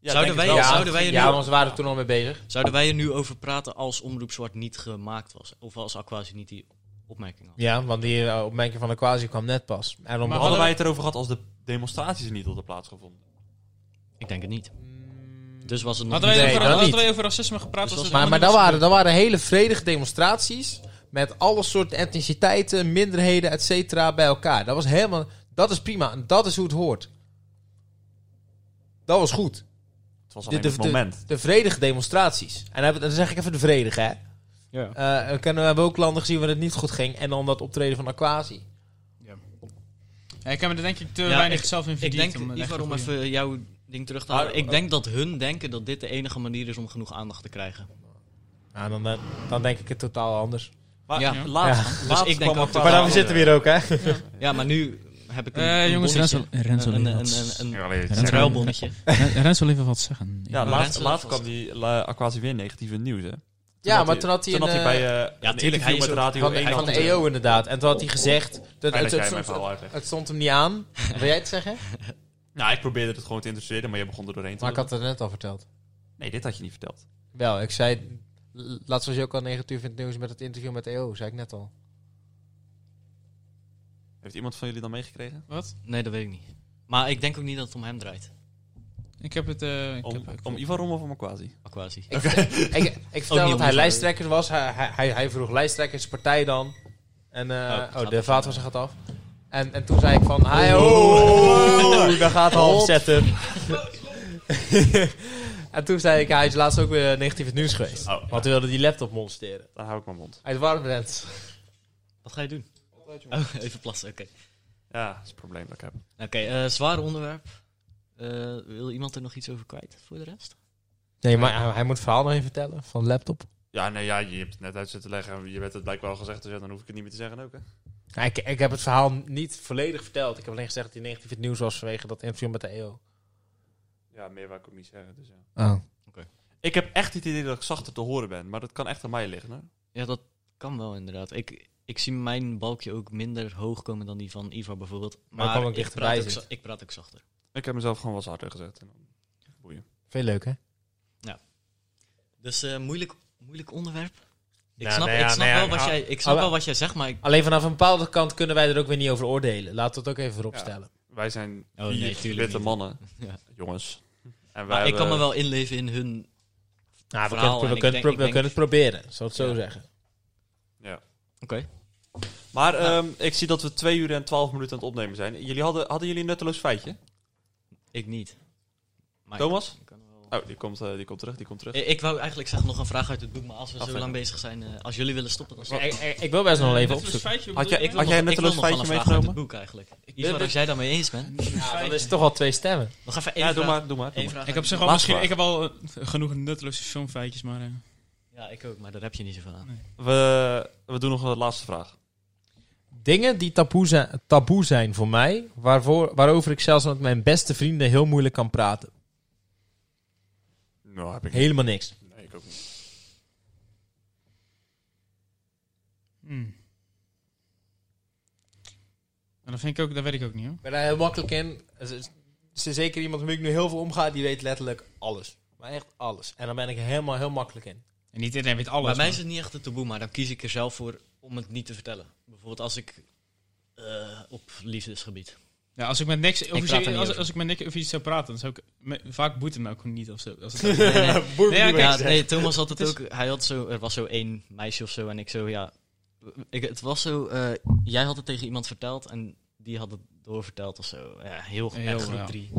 Ja,
Zouden
denk het
wij-
wel.
zouden wij er
ja
nu-
want ze waren er toen al mee bezig.
Zouden wij er nu over praten als Omroep Zwart niet gemaakt was? Of als Aquasi niet die opmerking had?
Ja, want die eh, opmerking van de quasi kwam net pas. En om
Maar
Hadden
hadden-
wij het erover gehad als de demonstraties niet hadden plaatsgevonden?
Ik denk het niet. Dus was het nog
Hadden wij,
Nee,
over,
dat
hadden
niet.
wij over racisme gepraat?
Dus
was
dat
het
Maar, maar
helemaal
dat,
niet
waren, dat waren hele vredige demonstraties. Met alle soorten etniciteiten, minderheden, et cetera, bij elkaar. Dat was helemaal. Dat is prima. En dat is hoe het hoort. Dat was goed.
Het was
De,
alleen
de,
het
de-
moment.
de vredige demonstraties. En dan, hebben- dan zeg ik even de vredige, hè.
Ja.
Eh, we kennen- we hebben ook landen gezien waar het niet goed ging. En dan dat optreden van Aquasi.
Ja, ik heb me er denk ik te
Ja,
weinig
ik-
zelf in
Ik
verdiept.
denk,
om eh, een
Ivar,
echte
om
goeie-
even jouw ding terug te halen.
Ah,
ik denk dat hun denken dat dit de enige manier is om genoeg aandacht te krijgen.
Nou, dan, eh, dan denk ik het totaal anders.
Maar
Ja.
laatst, laatst
Dus ik denk
kwam
ook dat-
Aquasi-
Maar dan zitten
hier ook, hè.
Ja, maar nu heb ik een,
Eh,
een
jongens,
bonnetje.
Renzo, Renzo
een, een,
wil
een,
wat-
een,
Ja, allee,
Renzo-
een ruilbonnetje.
Ren- Renzo wil even wat zeggen.
Ja,
Maar
laatst,
mensen-
laatst kwam die la, Aquasi weer negatieve nieuws, hè? Toen
Ja,
had
maar toen had hij
toen
een,
had hij bij eh
tuurlijk,
een interview
hij is
met
ook-
Radio
van,
1
van de
had-
EO inderdaad. En toen had hij gezegd... Dat,
Fijn
het,
dat jij
het,
mijn
stond,
verhaal uitlegt.
het stond hem niet aan. Wil jij het zeggen?
Nou, ik probeerde het gewoon te interesseren, maar je begon er doorheen te
Maar ik
lullen.
had het net al verteld.
Nee, dit had je niet verteld.
Wel, ik zei... l- Laatst was je ook al negatief in het nieuws met het interview met EO, zei ik net al.
Heeft iemand van jullie dan meegekregen?
Wat?
Nee, dat weet ik niet. Maar ik denk ook niet dat het om hem draait,
Ik heb het... eh, ik
Om,
heb-
om Ivan Rommel of om Aquasi?
Aquasi.
Ik, ik, ik vertel
niet
dat
om
hij
de-
lijsttrekker was. Hij, hij- hij, hij vroeg lijsttrekker zijn partij dan. En, eh,
Oh,
oh,
gaat
de
af.
vaatwasser gaat af. En, en toen zei ik van... Hij, oh, daar gaat de half zetten. en toen zei ik, hij is laatst ook weer negatief het nieuws geweest.
Oh,
Want hij wilde die laptop monsteren.
daar hou ik mijn mond.
Uit Warmbrand.
Wat ga je doen? Oh, even plassen, oké.
Ja, dat is het probleem dat ik heb.
Oké, eh, zwaar onderwerp. Eh, wil iemand er nog iets over kwijt voor de rest?
Nee, maar hij, hij moet het verhaal nog even vertellen van de laptop.
Ja, nee, ja, je hebt het net uit zitten leggen. Je werd het blijkbaar al gezegd, dus ja, dan hoef ik het niet meer te zeggen ook, hè?
Ja, Nou, ik, ik heb het verhaal niet volledig verteld. Ik heb alleen gezegd dat hij negatief het nieuws was vanwege dat interview met de E EO.
Ja, meer wou ik ook niet zeggen, dus ja.
Oh.
Ik heb echt het idee dat ik zachter te horen ben, maar dat kan echt aan mij liggen, hè?
Ja, dat kan wel inderdaad. Ik, ik zie mijn balkje ook minder hoog komen dan die van Ivar bijvoorbeeld.
Maar
Maar,
kwam ook
ik,
dichterbij
praat ook,
zit.
za- ik praat ook zachter.
Ik heb mezelf gewoon wat harder gezet. En dan- Boeien.
Veel leuk, hè?
Dus eh, moeilijk, moeilijk onderwerp. Ik
Ja,
snap,
nee, ja,
ik snap,
nee, ja,
wel, wat
nou,
jij, ik snap
alle-
wel wat jij zegt, maar ik...
Alleen vanaf een bepaalde kant kunnen wij er ook weer niet over oordelen. Laten Nou, we het ook even voorop
Ja.
stellen.
Wij zijn
Oh,
vier
nee, tuurlijk
witte
niet.
mannen,
Ja.
jongens. En wij
Maar ik kan me
hebben-
wel inleven in hun... Verhaal,
Nou, we kunnen,
en
we
ik
kunnen,
denk-
pro-
ik
we
denk-
kunnen het proberen, zal ik het zo
Ja.
zeggen.
Oké.
Maar ehm, ik zie dat we twee uur en twaalf minuten aan het opnemen zijn. Jullie hadden, hadden jullie een nutteloos feitje?
Ik niet. Maar
Thomas?
Ik, kan er wel-
Oh, die komt, eh, die komt terug, die komt terug.
Ik- ik wou eigenlijk zeggen nog een vraag uit het boek, maar als we zo
Afwerken.
lang bezig zijn, eh, als jullie willen stoppen, dan stoppen.
Ik, ik- ik wil best nog wel even
Dat is een
opzoeken.
feitje,
Had
bedoel
jij-
Ik
wil
had jij
nog-
een
ik wil
nutteloos
nog wel
feitje
een vraag uit het
meegenomen?
boek eigenlijk. Ivar, als jij daarmee eens bent.
Dan is het toch al twee stemmen.
Nog even één
Ja, doe
vraag.
maar, doe maar. doe
Eén
maar.
vraag
Ik
uit
heb,
het
zeg
boek.
al,
Laatste
misschien,
vraag.
ik heb al eh, genoeg nutteloze filmfeitjes, maar... eh,
Ja, ik ook, maar daar heb je niet zoveel aan.
We, we doen nog een laatste vraag.
Dingen die taboe zijn, taboe zijn voor mij, waarvoor, waarover ik zelfs met mijn beste vrienden heel moeilijk kan praten.
Nou, heb ik
Helemaal niks.
Nee, ik ook niet.
hmm. En dat vind ik ook, dat weet ik ook niet hoor.
Ik ben daar heel makkelijk in. Ze- ze- ze- Zeker iemand met wie ik nu heel veel omga, die weet letterlijk alles. Maar echt alles. En daar ben ik helemaal heel makkelijk in.
En niet iedereen weet alles.
Bij mij
maar-
is het niet echt een taboe, maar dan kies ik er zelf voor om het niet te vertellen. Bijvoorbeeld als ik eh, op liefdesgebied.
Ja, als ik met niks
praat
over,
er niet
als,
over.
als ik met niks over iets zou praten, dan zou ik... me- vaak boet het me ook niet of zo. Als het-
Nee, nee.
Nee, ja,
Ja,
kijk,
nee, Thomas had het
Het
ook. Hij had zo, er was zo één meisje of zo en ik zo, ja. Ik, het was zo, eh, jij had het tegen iemand verteld en die had het doorverteld of zo. Ja, heel
Heel,
erg groep
ja.
drie.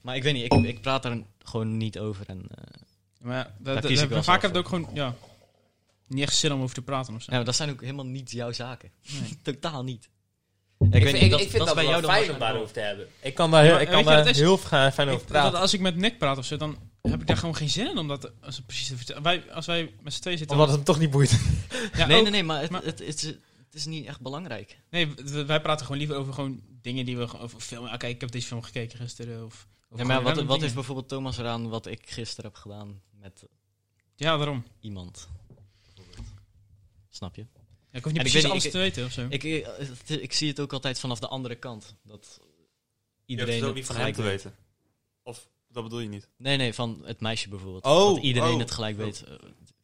Maar ik weet niet, ik, ik praat er gewoon niet over. En, eh,
Maar ja, dat, dat,
kies ik wel
vaak
zelf
heb ik ook gewoon, ja... Niet echt zin om over te praten of zo.
ja, maar dat zijn ook helemaal niet jouw zaken.
Nee.
Totaal niet. Ik,
Ik,
weet
vind-
niet,
ik,
dat,
ik vind dat,
dat bij jou dan
wel fijn
waarschijnlijk
om
wel.
daarover te hebben. Ik kan daar, heel-
maar
ik
weet
kan
je wat
daar
het is?
heel fijn fijn over
Ik- dat
praten.
als ik met Nick praat of zo, dan heb ik daar gewoon geen zin in om dat als het precies te vertellen. Wij, als wij met z'n tweeën zitten...
Omdat het hem toch niet boeit.
ja,
Oh. nee,
ook-
nee, nee, maar het,
maar-
het, het, is, het is niet echt belangrijk.
nee, w- wij praten gewoon liever over gewoon dingen die we... gewoon- Over filmen. Oké, ik heb deze film gekeken gisteren. Of, of
Ja, maar
gewoon
wat,
random
wat heeft
dingen.
bijvoorbeeld Thomas eraan wat ik gisteren heb gedaan met
Ja, daarom.
iemand? Snap je?
Ja, ik hoef niet
En
precies
ik weet niet,
alles
ik-
te weten of zo.
Ik, ik, het- ik zie het ook altijd vanaf de andere kant. Dat
Je
iedereen
hoeft het ook niet van hem
gelijk
te
weet.
weten. Of, dat bedoel je niet.
Nee, nee, van het meisje bijvoorbeeld.
Oh,
dat iedereen
oh.
het gelijk weet. eh,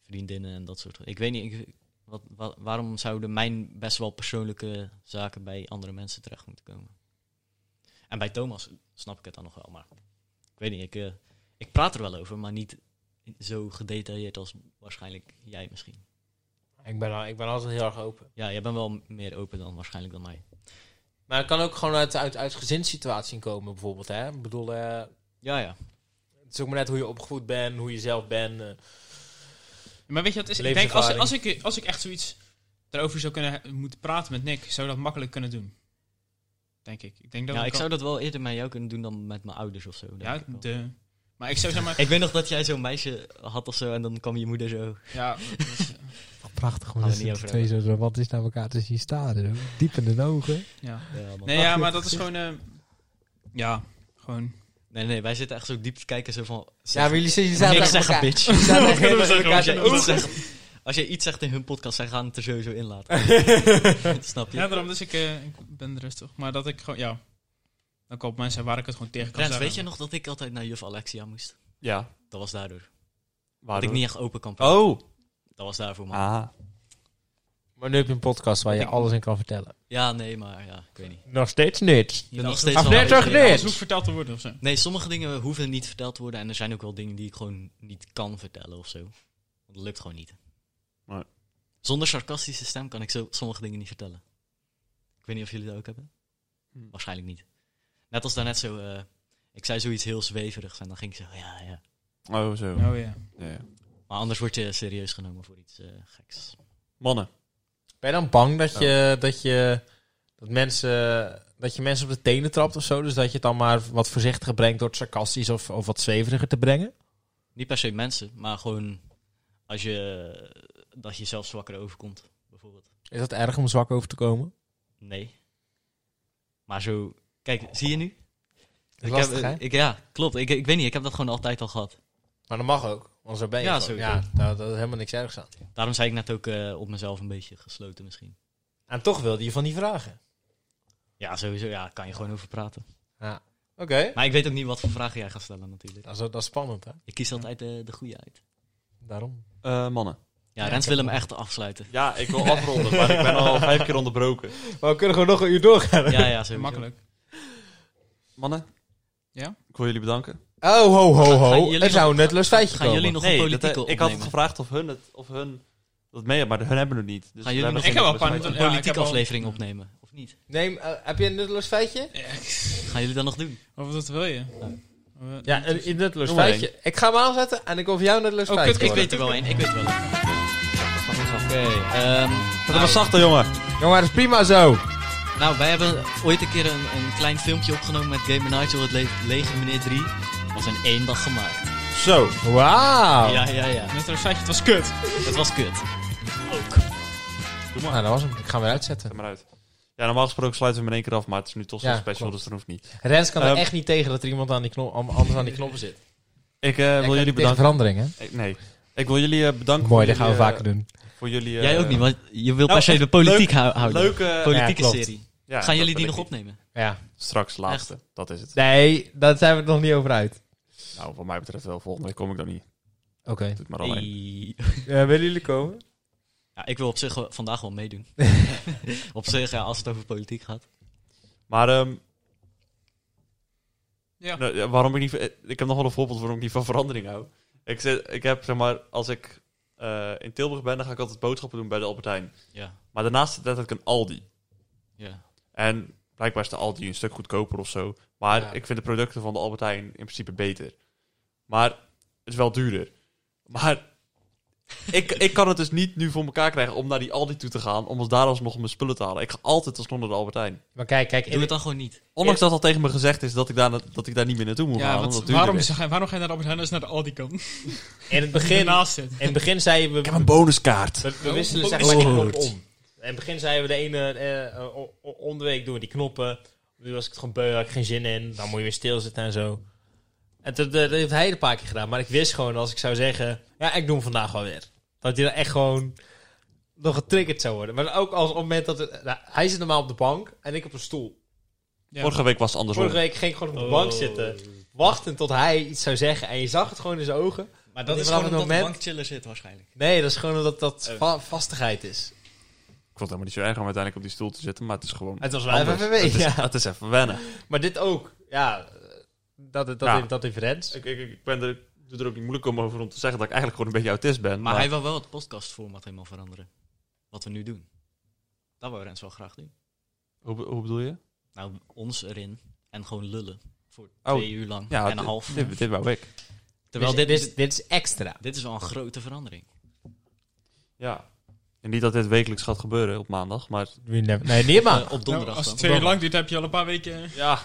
Vriendinnen en dat soort. Ik weet niet, ik, wat, wa- waarom zouden mijn best wel persoonlijke zaken bij andere mensen terecht moeten komen? En bij Thomas snap ik het dan nog wel, maar ik weet niet, ik, eh, ik praat er wel over, maar niet zo gedetailleerd als waarschijnlijk jij misschien.
Ik ben, al- ik ben altijd heel erg open.
Ja, jij bent wel m- meer open dan waarschijnlijk dan mij.
Maar het kan ook gewoon uit, uit, uit gezinssituatie komen bijvoorbeeld. Hè? Ik bedoel, eh,
Ja, ja.
het is ook maar net hoe je opgevoed bent, hoe je zelf bent. eh.
Maar weet je wat het is? Ik denk, als,
Levenservaring.
als, ik, als ik echt zoiets erover zou kunnen he- moeten praten met Nick, zou ik dat makkelijk kunnen doen. Denk ik. Ik denk dat
ja
dat
ik
kan-
zou dat wel eerder met jou kunnen doen dan met mijn ouders of zo. denk
Ja,
ik wel.
de... Maar ik zou zeg maar...
Ik weet nog dat jij zo'n meisje had of zo en dan kwam je moeder zo.
ja, dat is-
Prachtig
Gaan
om
we
eens
niet
met
over
de twee zo door wat is naar elkaar te zien staren. hoor. Diep in de ogen.
ja.
Ja, man.
Nee, ja, maar dat is gewoon... eh, ja, gewoon...
Nee, nee, wij zitten echt zo diep te kijken, zo van...
Ja, maar jullie zitten zaten
niks
tegen
zeggen,
elkaar-
bitch.
jullie zaten echt
Kunnen we
tegen
zeggen,
elkaar
we
te
zeggen,
Iets zeggen. Als je iets zegt in hun podcast, zij gaan het er sowieso in laten. Snap je?
Ja, daarom. Dus ik, eh, ik ben rustig. Maar dat ik gewoon... Ja. Dan koop mensen waar ik het gewoon tegen kan
Rens,
zeggen.
weet je nog dat ik altijd naar juf Alexia moest?
Ja,
Dat was daardoor. Dat
waardoor?
ik niet echt open kan praten.
Oh!
Dat was daarvoor, man.
Ah.
Maar nu heb je een podcast waar
je
alles in kan vertellen.
Ja, nee, maar ja, ik weet niet.
Nog steeds niks.
Ik ben nog
als-
steeds
als-
wel
nee, toch
uitgelegd.
niet?
Alles hoeft verteld te worden of zo.
Nee, sommige dingen hoeven niet verteld te worden. En er zijn ook wel dingen die ik gewoon niet kan vertellen of zo. Want dat lukt gewoon niet.
Nee.
Zonder sarcastische stem kan ik zo sommige dingen niet vertellen. Ik weet niet of jullie dat ook hebben.
Hm.
Waarschijnlijk niet. Net als daarnet zo... eh, ik zei zoiets heel zweverigs en dan ging ik zo... Ja, ja.
Oh, zo.
Oh ja.
Ja, ja.
Maar anders word je serieus genomen voor iets eh, geks.
Mannen.
Ben je dan bang dat je, dat je, dat mensen, dat je mensen op de tenen trapt of zo? Dus dat je het dan maar wat voorzichtiger brengt door het sarcastisch of, of wat zweveriger te brengen?
Niet per se mensen, maar gewoon... Als je... Dat je zelf zwakker overkomt, bijvoorbeeld.
Is dat erg om zwak over te komen?
Nee. Maar zo... Kijk, zie je nu?
Dat is
ik heb-
lastig, hè?
ik, ja, klopt. Ik, ik weet niet, ik heb dat gewoon altijd al gehad.
Maar dat mag ook, want zo ben je.
Ja,
gewoon.
sowieso.
ja daar, daar is helemaal niks ergs aan.
Daarom zei ik net ook eh, op mezelf een beetje gesloten misschien.
En toch wilde je van die vragen.
Ja, sowieso. Ja, kan je gewoon over praten.
Oké.
Maar ik weet ook niet wat voor vragen jij gaat stellen natuurlijk.
Dat, is, dat is spannend, hè?
Ik kies altijd eh, de goede uit.
Daarom.
Eh, mannen.
Ja, Rens wil hem echt afsluiten.
Ja, ik wil afronden, maar ik ben al vijf keer onderbroken.
Maar we kunnen gewoon nog een uur doorgaan.
Ja, ja, sowieso.
Makkelijk.
Mannen?
Ja?
Ik wil jullie bedanken.
Oh, ho, ho,
Gaan
ho.
jullie
Er zou
nog-
een nutteloos feitje
Gaan
komen.
jullie nog een
dat,
politieke
eh, ik had
opnemen?
gevraagd of hun het, of hun dat mee hebben, maar hun hebben het niet. Dus
Gaan
we
jullie
hebben
nog-
geen
Ik heb wel een paar
besluit.
minuten- Ja, ik
Een politieke
heb al-
aflevering opnemen, of niet?
Nee, eh, heb je een nutteloos feitje?
Gaan jullie dat nog doen?
Of wat wil je? Eh,
Ja, een, een nutteloos
Doe maar
feitje. Ik ga hem aanzetten en ik wil voor jou een nutteloos
Oh,
feitje.
kut,
Ik
horen.
weet er wel één, ik weet er wel één. Oké, ehm,
Dat was
nou,
zachter, jongen.
Jongen, dat is prima zo.
nou, wij hebben ooit een keer een, een klein filmpje opgenomen met Game Nigel, het le lege meneer 3. was in één dag gemaakt.
Zo. Oh.
Wauw.
Ja, ja, ja.
Net als feitje, het was kut.
Het was kut.
Nou, dat was hem. Ik ga hem weer uitzetten.
Kom maar uit. Ja, normaal gesproken sluiten we hem in één keer af, maar het is nu toch zo'n
Ja,
special,
klopt.
dus dat hoeft niet.
Rens kan
Ehm,
er echt niet tegen dat er iemand aan die knop, am- anders aan die knoppen zit.
Ik eh, wil jullie bedanken.
verandering, hè?
Ik- nee. Ik wil jullie eh, bedanken
Mooi,
voor
dat gaan we
jullie, eh,
vaker doen.
Voor jullie, eh,
Jij ook niet, want je wil
nou,
per se de
echt
politiek
leuk-
hou- houden.
Leuke...
Politieke
Ja, klopt.
serie.
ja,
Gaan jullie
dat
die
wil
nog
ik niet.
opnemen?
Ja.
Straks laatste. Dat is het.
Nee, daar zijn we het nog niet over uit.
Nou, wat mij betreft wel. Volgende week kom ik dan niet.
Oké.
Doe het maar alleen.
Hey.
willen jullie komen?
Ja, ik wil op zich wel- vandaag wel meedoen. op zich, ja, als het over politiek gaat.
Maar ehm,
Ja.
nou, ja, waarom ik niet... eh, Ik heb nog wel een voorbeeld waarom ik niet van verandering hou. Ik, zit, ik heb, zeg maar, als ik eh, in Tilburg ben, dan ga ik altijd boodschappen doen bij de Albert Heijn.
Ja,
Maar daarnaast zit ik een Aldi.
ja.
En blijkbaar is de Aldi een stuk goedkoper of zo. Maar
Ja.
ik vind de producten van de Albert Heijn in principe beter. Maar het is wel duurder. Maar ik, ik kan het dus niet nu voor elkaar krijgen om naar die Aldi toe te gaan. Om als daar alsnog mijn spullen te halen. Ik ga altijd alsnog naar de Albert Heijn.
Maar kijk, kijk.
Doe het dan gewoon niet.
Ondanks dat al tegen me gezegd is dat ik daar, na- dat ik daar niet meer naartoe moet gaan.
Ja,
omdat
want
het duurder
waarom,
is.
ga- waarom ga je naar de Albert Heijn als je naar de Aldi kan?
in het
Dat je
begin,
ernaast zit.
in het begin zei je... We,
Ik heb een bonuskaart.
We, we wisselen
Oh,
zeg maar die knop om. In het begin zeiden we de ene eh, eh, o- o- onderweek doen we die knoppen. Nu was ik het gewoon beu, had ik geen zin in. Dan moet je weer stilzitten en zo. En dat, dat heeft hij een paar keer gedaan. Maar ik wist gewoon als ik zou zeggen, ja, ik doe hem vandaag wel weer. Dat hij dan echt gewoon nog getriggerd zou worden. Maar ook als op het moment dat... het- nou, hij zit normaal op de bank en ik op een stoel.
Ja.
Vorige week was het andersom.
Vorige week ging ik
Oh.
gewoon op de bank zitten. Wachten tot hij iets zou zeggen. En je zag het gewoon in zijn ogen.
Maar
dat
dat
is
is gewoon
vanaf het
omdat de
moment-
bank chiller zit waarschijnlijk.
Nee, dat is gewoon omdat dat va- vastigheid is.
Ik vond het helemaal niet zo erg om uiteindelijk op die stoel te zitten. Maar het is gewoon...
Het was wel even
anders.
wennen,
Het is,
ja.
het is even wennen.
Maar dit ook. Ja, eh, dat, dat,
Ja.
dat, dat heeft Rens.
Ik, ik, ik ben er, doe er ook niet moeilijk om over om te zeggen dat ik eigenlijk gewoon een beetje autist ben.
Maar, hij wil wel het podcastformat helemaal veranderen. Wat we nu doen. Dat wil Rens wel graag doen.
hoe, be- hoe bedoel je?
Nou, ons erin en gewoon lullen. Voor
Oh,
twee uur lang
Ja,
en een
dit-
half.
Dit, dit wou ik.
Terwijl
dit,
dit,
is,
dit,
dit is extra.
dit is wel een grote verandering.
Ja. En niet dat dit wekelijks gaat gebeuren op maandag, maar...
Nee, niet maar.
Eh, op
Nou,
donderdag
als het
dan.
twee uur lang duurt, heb je al een paar weken...
Ja.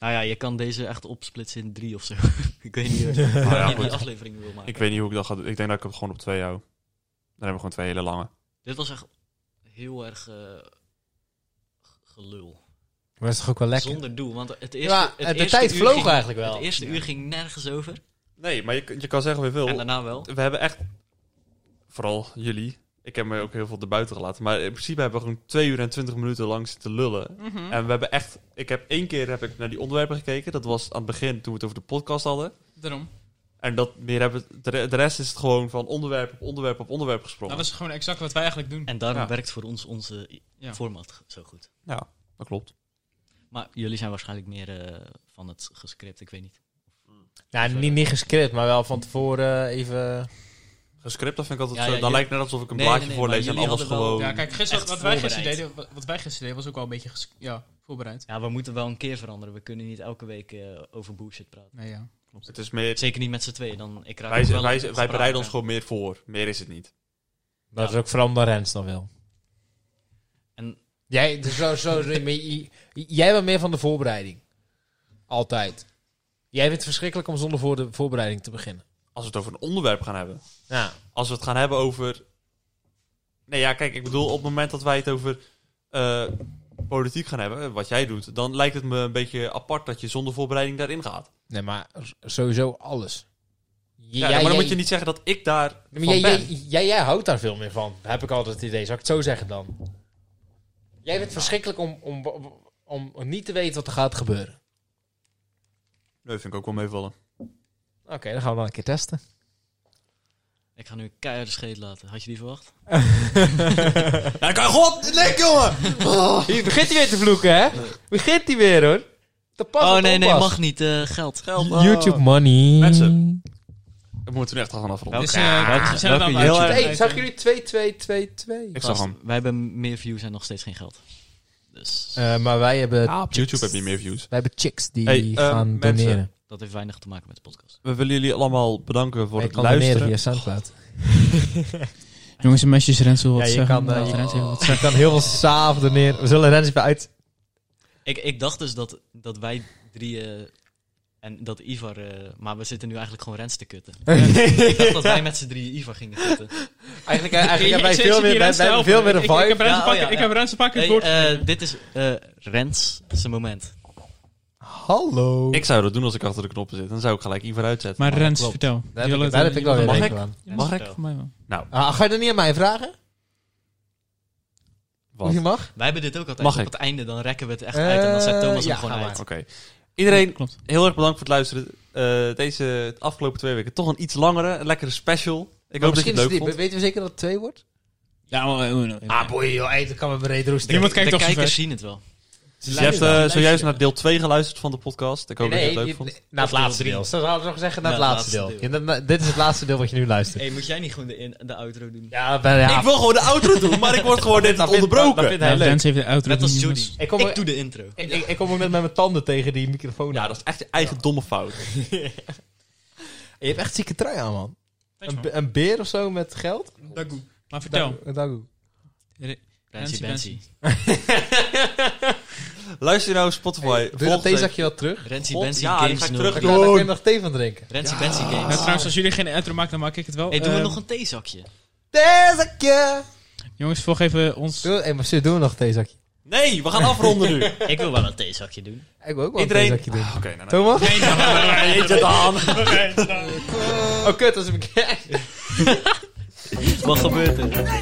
Nou ja, je kan deze echt opsplitsen in drie of zo. ik weet niet hoe
Nou ja,
je die
goed.
aflevering wil maken.
Ik weet niet hoe ik dat ga doen. Ik denk dat ik het gewoon op twee hou. Dan hebben we gewoon twee hele lange.
Dit was echt heel erg eh, g- gelul.
Maar is toch ook wel lekker?
Zonder doel, want het eerste,
Ja,
het
de
eerste
tijd
uur
vloog
ging-
eigenlijk wel.
Het eerste uur ging nergens over.
Nee, maar je, je kan zeggen weer veel.
En daarna wel.
We hebben echt... Vooral jullie. Ik heb me ook heel veel erbuiten gelaten. Maar in principe hebben we gewoon twee uur en twintig minuten lang zitten lullen.
Mhm.
En we hebben echt... Ik heb één keer heb ik naar die onderwerpen gekeken. Dat was aan het begin toen we het over de podcast hadden.
Daarom.
En dat meer hebben we- de re- de rest is het gewoon van onderwerp op onderwerp op onderwerp gesprongen.
Dat
Nou,
is gewoon exact wat wij eigenlijk doen.
En daarom
Ja.
werkt voor ons onze i-
Ja.
format g- zo goed.
Ja, dat klopt.
Maar jullie zijn waarschijnlijk meer eh, van het gescript, ik weet niet.
Nou, niet, niet gescript, maar wel van tevoren eh, even...
Gescript, dat vind ik altijd
Ja,
zo.
ja,
dan
je-
lijkt het net alsof ik een
Nee,
blaadje
nee, nee,
voorlees en
maar jullie
alles
hadden wel-
gewoon...
Ja, kijk, gisteren,
Echt
wat, wij gisteren
voorbereid.
deden, wat, wat wij gisteren deden was ook al een beetje ges- ja, voorbereid.
Ja, we moeten wel een keer veranderen. We kunnen niet elke week eh, over bullshit praten.
Nee, ja.
Het is meer...
Zeker niet met z'n tweeën. Dan, ik raak
Wij,
ook
zijn-
wel
wij,
een
zijn- wij
spraak,
bereiden ons
hè.
gewoon meer voor. Meer is het niet.
Dat
Ja.
is ook vooral omdat Rens dan wil.
En
Jij, dus zo, zo, zo- maar j- jij bent meer van de voorbereiding. Altijd. Jij vindt het verschrikkelijk om zonder voor de voorbereiding te beginnen.
Als we het over een onderwerp gaan hebben.
Ja.
Als we het gaan hebben over... Nee, ja, kijk, ik bedoel, op het moment dat wij het over eh, politiek gaan hebben, wat jij doet, dan lijkt het me een beetje apart dat je zonder voorbereiding daarin gaat.
Nee, maar sowieso alles.
Ja, maar dan moet je niet zeggen dat ik daar van
Maar jij, jij,
ben.
jij, jij houdt daar veel meer van. Heb ik altijd het idee. Zou ik het zo zeggen dan? Jij vindt het verschrikkelijk om, om, om, om niet te weten wat er gaat gebeuren.
Nee, vind ik ook wel meevallen.
Oké, dan gaan we dan een keer testen.
ik ga nu een keiharde scheet laten. Had je die verwacht?
Ja, kan God, lek jongen!
Hier begint hij weer te vloeken, hè? Begint hij weer, hoor. Te pas
oh
op,
nee, nee,
oppas.
mag niet. eh, geld. Geld.
Oh.
YouTube money.
Mensen. We moeten nu echt gaan afronden.
Dus, eh, we zijn er
welke
dan
heel
uit.
erg-
Hey, zag jullie 2, 2, 2, 2?
Ik zag hem.
Wij hebben meer views en nog steeds geen geld. Dus
maar wij hebben,
YouTube heeft niet meer views.
Wij hebben chicks die
Hey, eh,
gaan
mensen.
doneren.
dat heeft weinig te maken met de podcast.
We willen jullie allemaal bedanken voor
Wij
het
kan doneren
luisteren.
via Soundcloud.
Jongens en meisjes, Rens wil wat
Ja, je
zeggen.
kan, eh,
Want
je-
Rens heeft wat-
Je kan heel veel saaf doneren. We zullen Rens even uit...
Ik, ik dacht dus dat, dat wij drieën en dat Ivar, eh, maar we zitten nu eigenlijk gewoon Rens te kutten. ik dacht dat wij met z'n drieën Ivar gingen kutten.
Eigenlijk, eh, eigenlijk hebben wij
Ik- ik-
veel
ik-
meer,
ik-
wij,
ik-
wij hebben
ik-
veel meer een
ik- Ik heb
vibe.
Rens
Ja,
een
oh,
pakje-
ja,
ik
ja.
heb Rens een pakje
Hey,
het woord.
eh, dit is eh, Rens zijn moment.
Hallo.
Ik zou dat doen als ik achter de knoppen zit. Dan zou ik gelijk Ivar uitzetten.
Maar Rens,
klopt.
vertel.
Daar
Je
heb
wil
ik,
het-
daar heb ik wel weer
Mag
een
ik?
hekel aan.
Rens,
Mag ik?
vertel.
Voor mij wel.
Ah, ga je dan niet aan mij vragen?
Wat?
Of je
Oké.
mag?
Wij hebben dit ook altijd
Mag
op
ik?
het einde, dan rekken we het echt
Eh,
uit en dan zet Thomas
ja,
hem gewoon
ga
uit.
Iedereen,
Klopt.
heel erg bedankt voor het luisteren. Eh, deze afgelopen twee weken toch een iets langere, een lekkere special. Ik hoop dat je
misschien
het
is
leuk
het-
vond.
Weten we zeker dat het 2 wordt?
Ja,
Ah, boy, joh, hey, dat kan me breed roesten.
Niemand kijkt
de
toch zo
kijkers
ver.
zien het wel.
Dus je hebt eh, zojuist naar deel 2 geluisterd van de podcast. Ik hoop dat je het leuk
je-
vond.
naar het
Of
laatste
deel
deel.
drie.
Zo zouden we nog zeggen, naar
Ja,
het laatste deel. Ja, dan- dan- dit is het laatste deel wat je nu luistert.
Hey, moet jij niet gewoon de, in, de outro doen?
Ja, ben, ja.
Ik wil gewoon de outro doen, maar ik word gewoon net
Dat vindt- dat
onderbroken.
vindt hij leuk.
Rens heeft de outro.
Net als
niet,
Judy.
jongens.
Ik
Ik,
kom er-
doe de intro.
Ik, ik, ik kom ook net met mijn tanden tegen die microfoon.
Ja,
aan.
dat is echt je eigen domme fout.
Je hebt echt zieke trui aan, man.
Thanks,
Een,
man.
be- een beer of zo met geld?
Dagoe. Maar vertel.
Dagoe, Dagoe.
Bensie,
Bensie.
Bensie.
Luister nou op Spotify.
Hey, doe je dat
Volgende
theezakje wel terug?
Rensie,
God,
Bensie,
ja, die
Games
ga ik
0.
terug-
Ja, daar kun je nog thee van drinken.
Rensie, Bensie,
Nou,
Games.
trouwens, als jullie geen intro maken, dan maak ik het wel.
Ah. Hey, doen we
Eh,
nog een theezakje?
Theezakje!
Jongens, volg even ons...
Doe, hey, maar stuur, doe nog een theezakje.
Nee, we gaan afronden nu.
Ik wil wel een theezakje doen.
Ik wil ook wel
Iedereen-
een theezakje doen.
Oké, nou, nou.
Thomas?
Eentje dan.
Oh, kut, dat is een
Wat gebeurt er?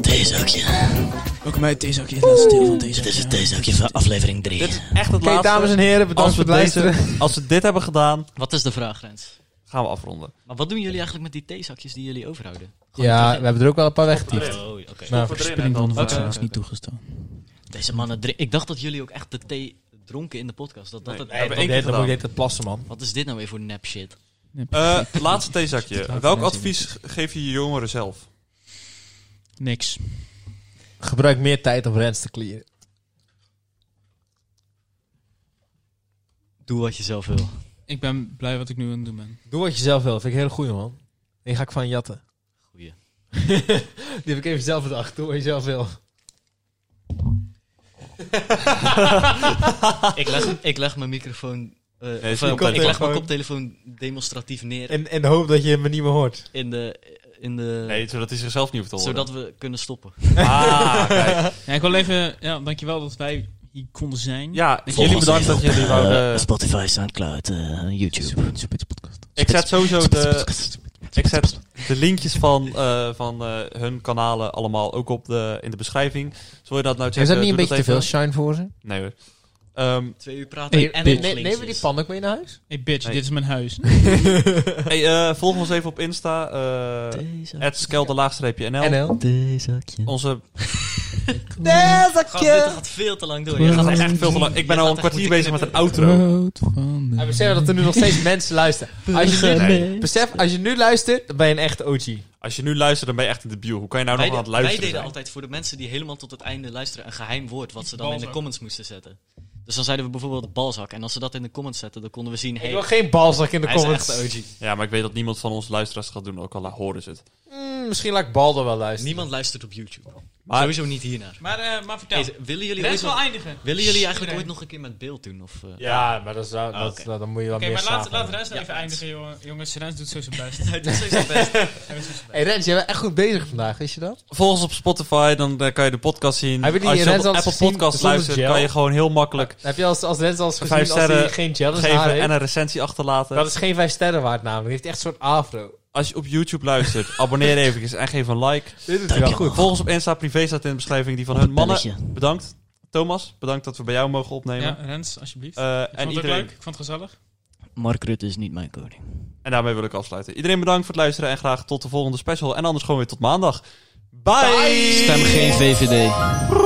Theezakje.
Ook mij deze zakje is laatste deel van deze
Dit is het theezakje van aflevering 3.
Dit is echt het
Oké,
laatste.
dames en heren, bedankt
als, we
voor het luisteren.
deze, als we dit hebben gedaan,
Wat is de vraag, Rens?
gaan we afronden.
Maar wat doen jullie eigenlijk met die theezakjes die jullie overhouden?
Ja, we hebben er ook wel een paar weggetiefd.
Oh, oké.
Nou,
verspilling van
Oké.
wordt trouwens niet toegestaan.
Deze mannen drinken... Ik dacht dat jullie ook echt de thee dronken in de podcast. Dat, dat
Nee,
het,
we hebben
Ik
één
deed
keer
dat ook,
gedaan.
deed dat plassen, man.
Wat is dit nou weer voor nep shit?
Eh, laatste theezakje.
Laatste
Welk
mensen
advies geef je je jongeren zelf?
Niks.
Gebruik meer tijd om rens te clearen.
Doe wat je zelf wil.
Ik ben blij wat ik nu aan het doen ben.
Doe wat je zelf wil, vind ik een hele goeie, man. Die ga ik van jatten.
Goeie.
Die heb ik even zelf bedacht. Doe wat je zelf wil.
ik, leg, ik leg mijn microfoon... eh, of,
is
eh,
niet
ik leg mijn
koptelefoon.
koptelefoon demonstratief neer
En, en hoop dat je me niet meer hoort.
in de... In de
Nee, zodat hij zichzelf niet hoeft te horen.
zodat we kunnen stoppen.
Ah, kijk.
Ja, ik wil even... Ja, dankjewel dat wij hier konden zijn.
Ja, jullie bedankt dat jullie wouden...
eh,
Eh,
Spotify, Soundcloud, eh, YouTube.
Super, super podcast.
Ik zet sowieso de, ik zet de linkjes van, eh, van eh, hun kanalen allemaal ook op de, in de beschrijving. Zul je dat nou checken?
Is dat niet een
doe
beetje te veel
even.
shine voor ze?
Nee hoor. Ehm,
Twee uur praten
Hey,
en
bitch.
nog
nemen we die
linkjes.
pan ook mee naar huis?
Hey bitch,
Nee.
dit is mijn huis.
hey, eh, volg ons even op Insta. eh at skelde-nl.
NL.
Onze...
Gast, dit gaat veel te lang door. Je gaat
Dat is
echt
echt veel te lang. Ik ben
Je
al
gaat
een kwartier
echt
bezig met
moeten
een outro.
Rood van de
En beseffen dat er nu nog steeds mensen luisteren. Als je, nu, besef, als je nu luistert, dan ben je een echte OG.
Als je nu luistert, dan ben je echt een debiel. Hoe kan je nou nog
wij,
aan het
de- wij
luisteren
deden
zijn?
altijd voor de mensen die helemaal tot het einde luisteren een geheim woord wat ze dan in de
Balzak.
comments moesten zetten. Dus dan zeiden we bijvoorbeeld balzak. En als ze dat in de comments zetten, dan konden we zien,
Ik
hey,
wil geen balzak in de
hij
comments.
is echt de OG.
Ja, maar ik weet dat niemand van onze luisteraars gaat doen, ook al horen ze het.
Mm, misschien laat ik Baldo wel luisteren.
Niemand luistert op YouTube.
Maar-
Sowieso niet hiernaar.
Maar, eh, maar vertel.
Hey, willen, jullie ooit
Rens wil
nog,
eindigen.
willen jullie eigenlijk
Iedereen.
ooit nog een keer met beeld doen? Of, eh,
Ja, maar dat is, dat, dat-
Oké.
dat- dan moet je wel
Oké,
meer
maar laat,
slapen.
laat Rens nou
Ja,
even
Rens.
eindigen, jongen. jongens. Rens doet zo zijn best.
dat is sowieso best.
Hey Rens, jij bent echt goed bezig vandaag, wist je dat?
Volg ons op Spotify, dan eh, kan je de podcast zien.
Hebben die
Als je
Rens
op
al eens
Apple
gezien
Podcast
zonder
luistert,
gel?
kan je gewoon heel makkelijk
Heb je als, als Rens al eens gezien
Vijf
als hij
sterren
geen challenge haar
geven
heeft?
en een recensie achterlaten.
Dat is geen vijf sterren waard namelijk. Die heeft echt een soort afro.
Als je op YouTube luistert, abonneer even en geef een like.
Dit is wel goed.
Volg ons op Insta, privé staat in de beschrijving die van hun. Mannen, bedankt. Thomas, bedankt dat we bij jou mogen opnemen.
Ja, Rens, alsjeblieft. ik
Eh, en,
vond het ook
iedereen,
leuk. Ik vond het gezellig.
Mark Rutte is niet mijn koning.
en daarmee wil ik afsluiten. Iedereen bedankt voor het luisteren en graag tot de volgende special. En anders gewoon weer tot maandag. Bye!
Stem geen VVD.
Bye.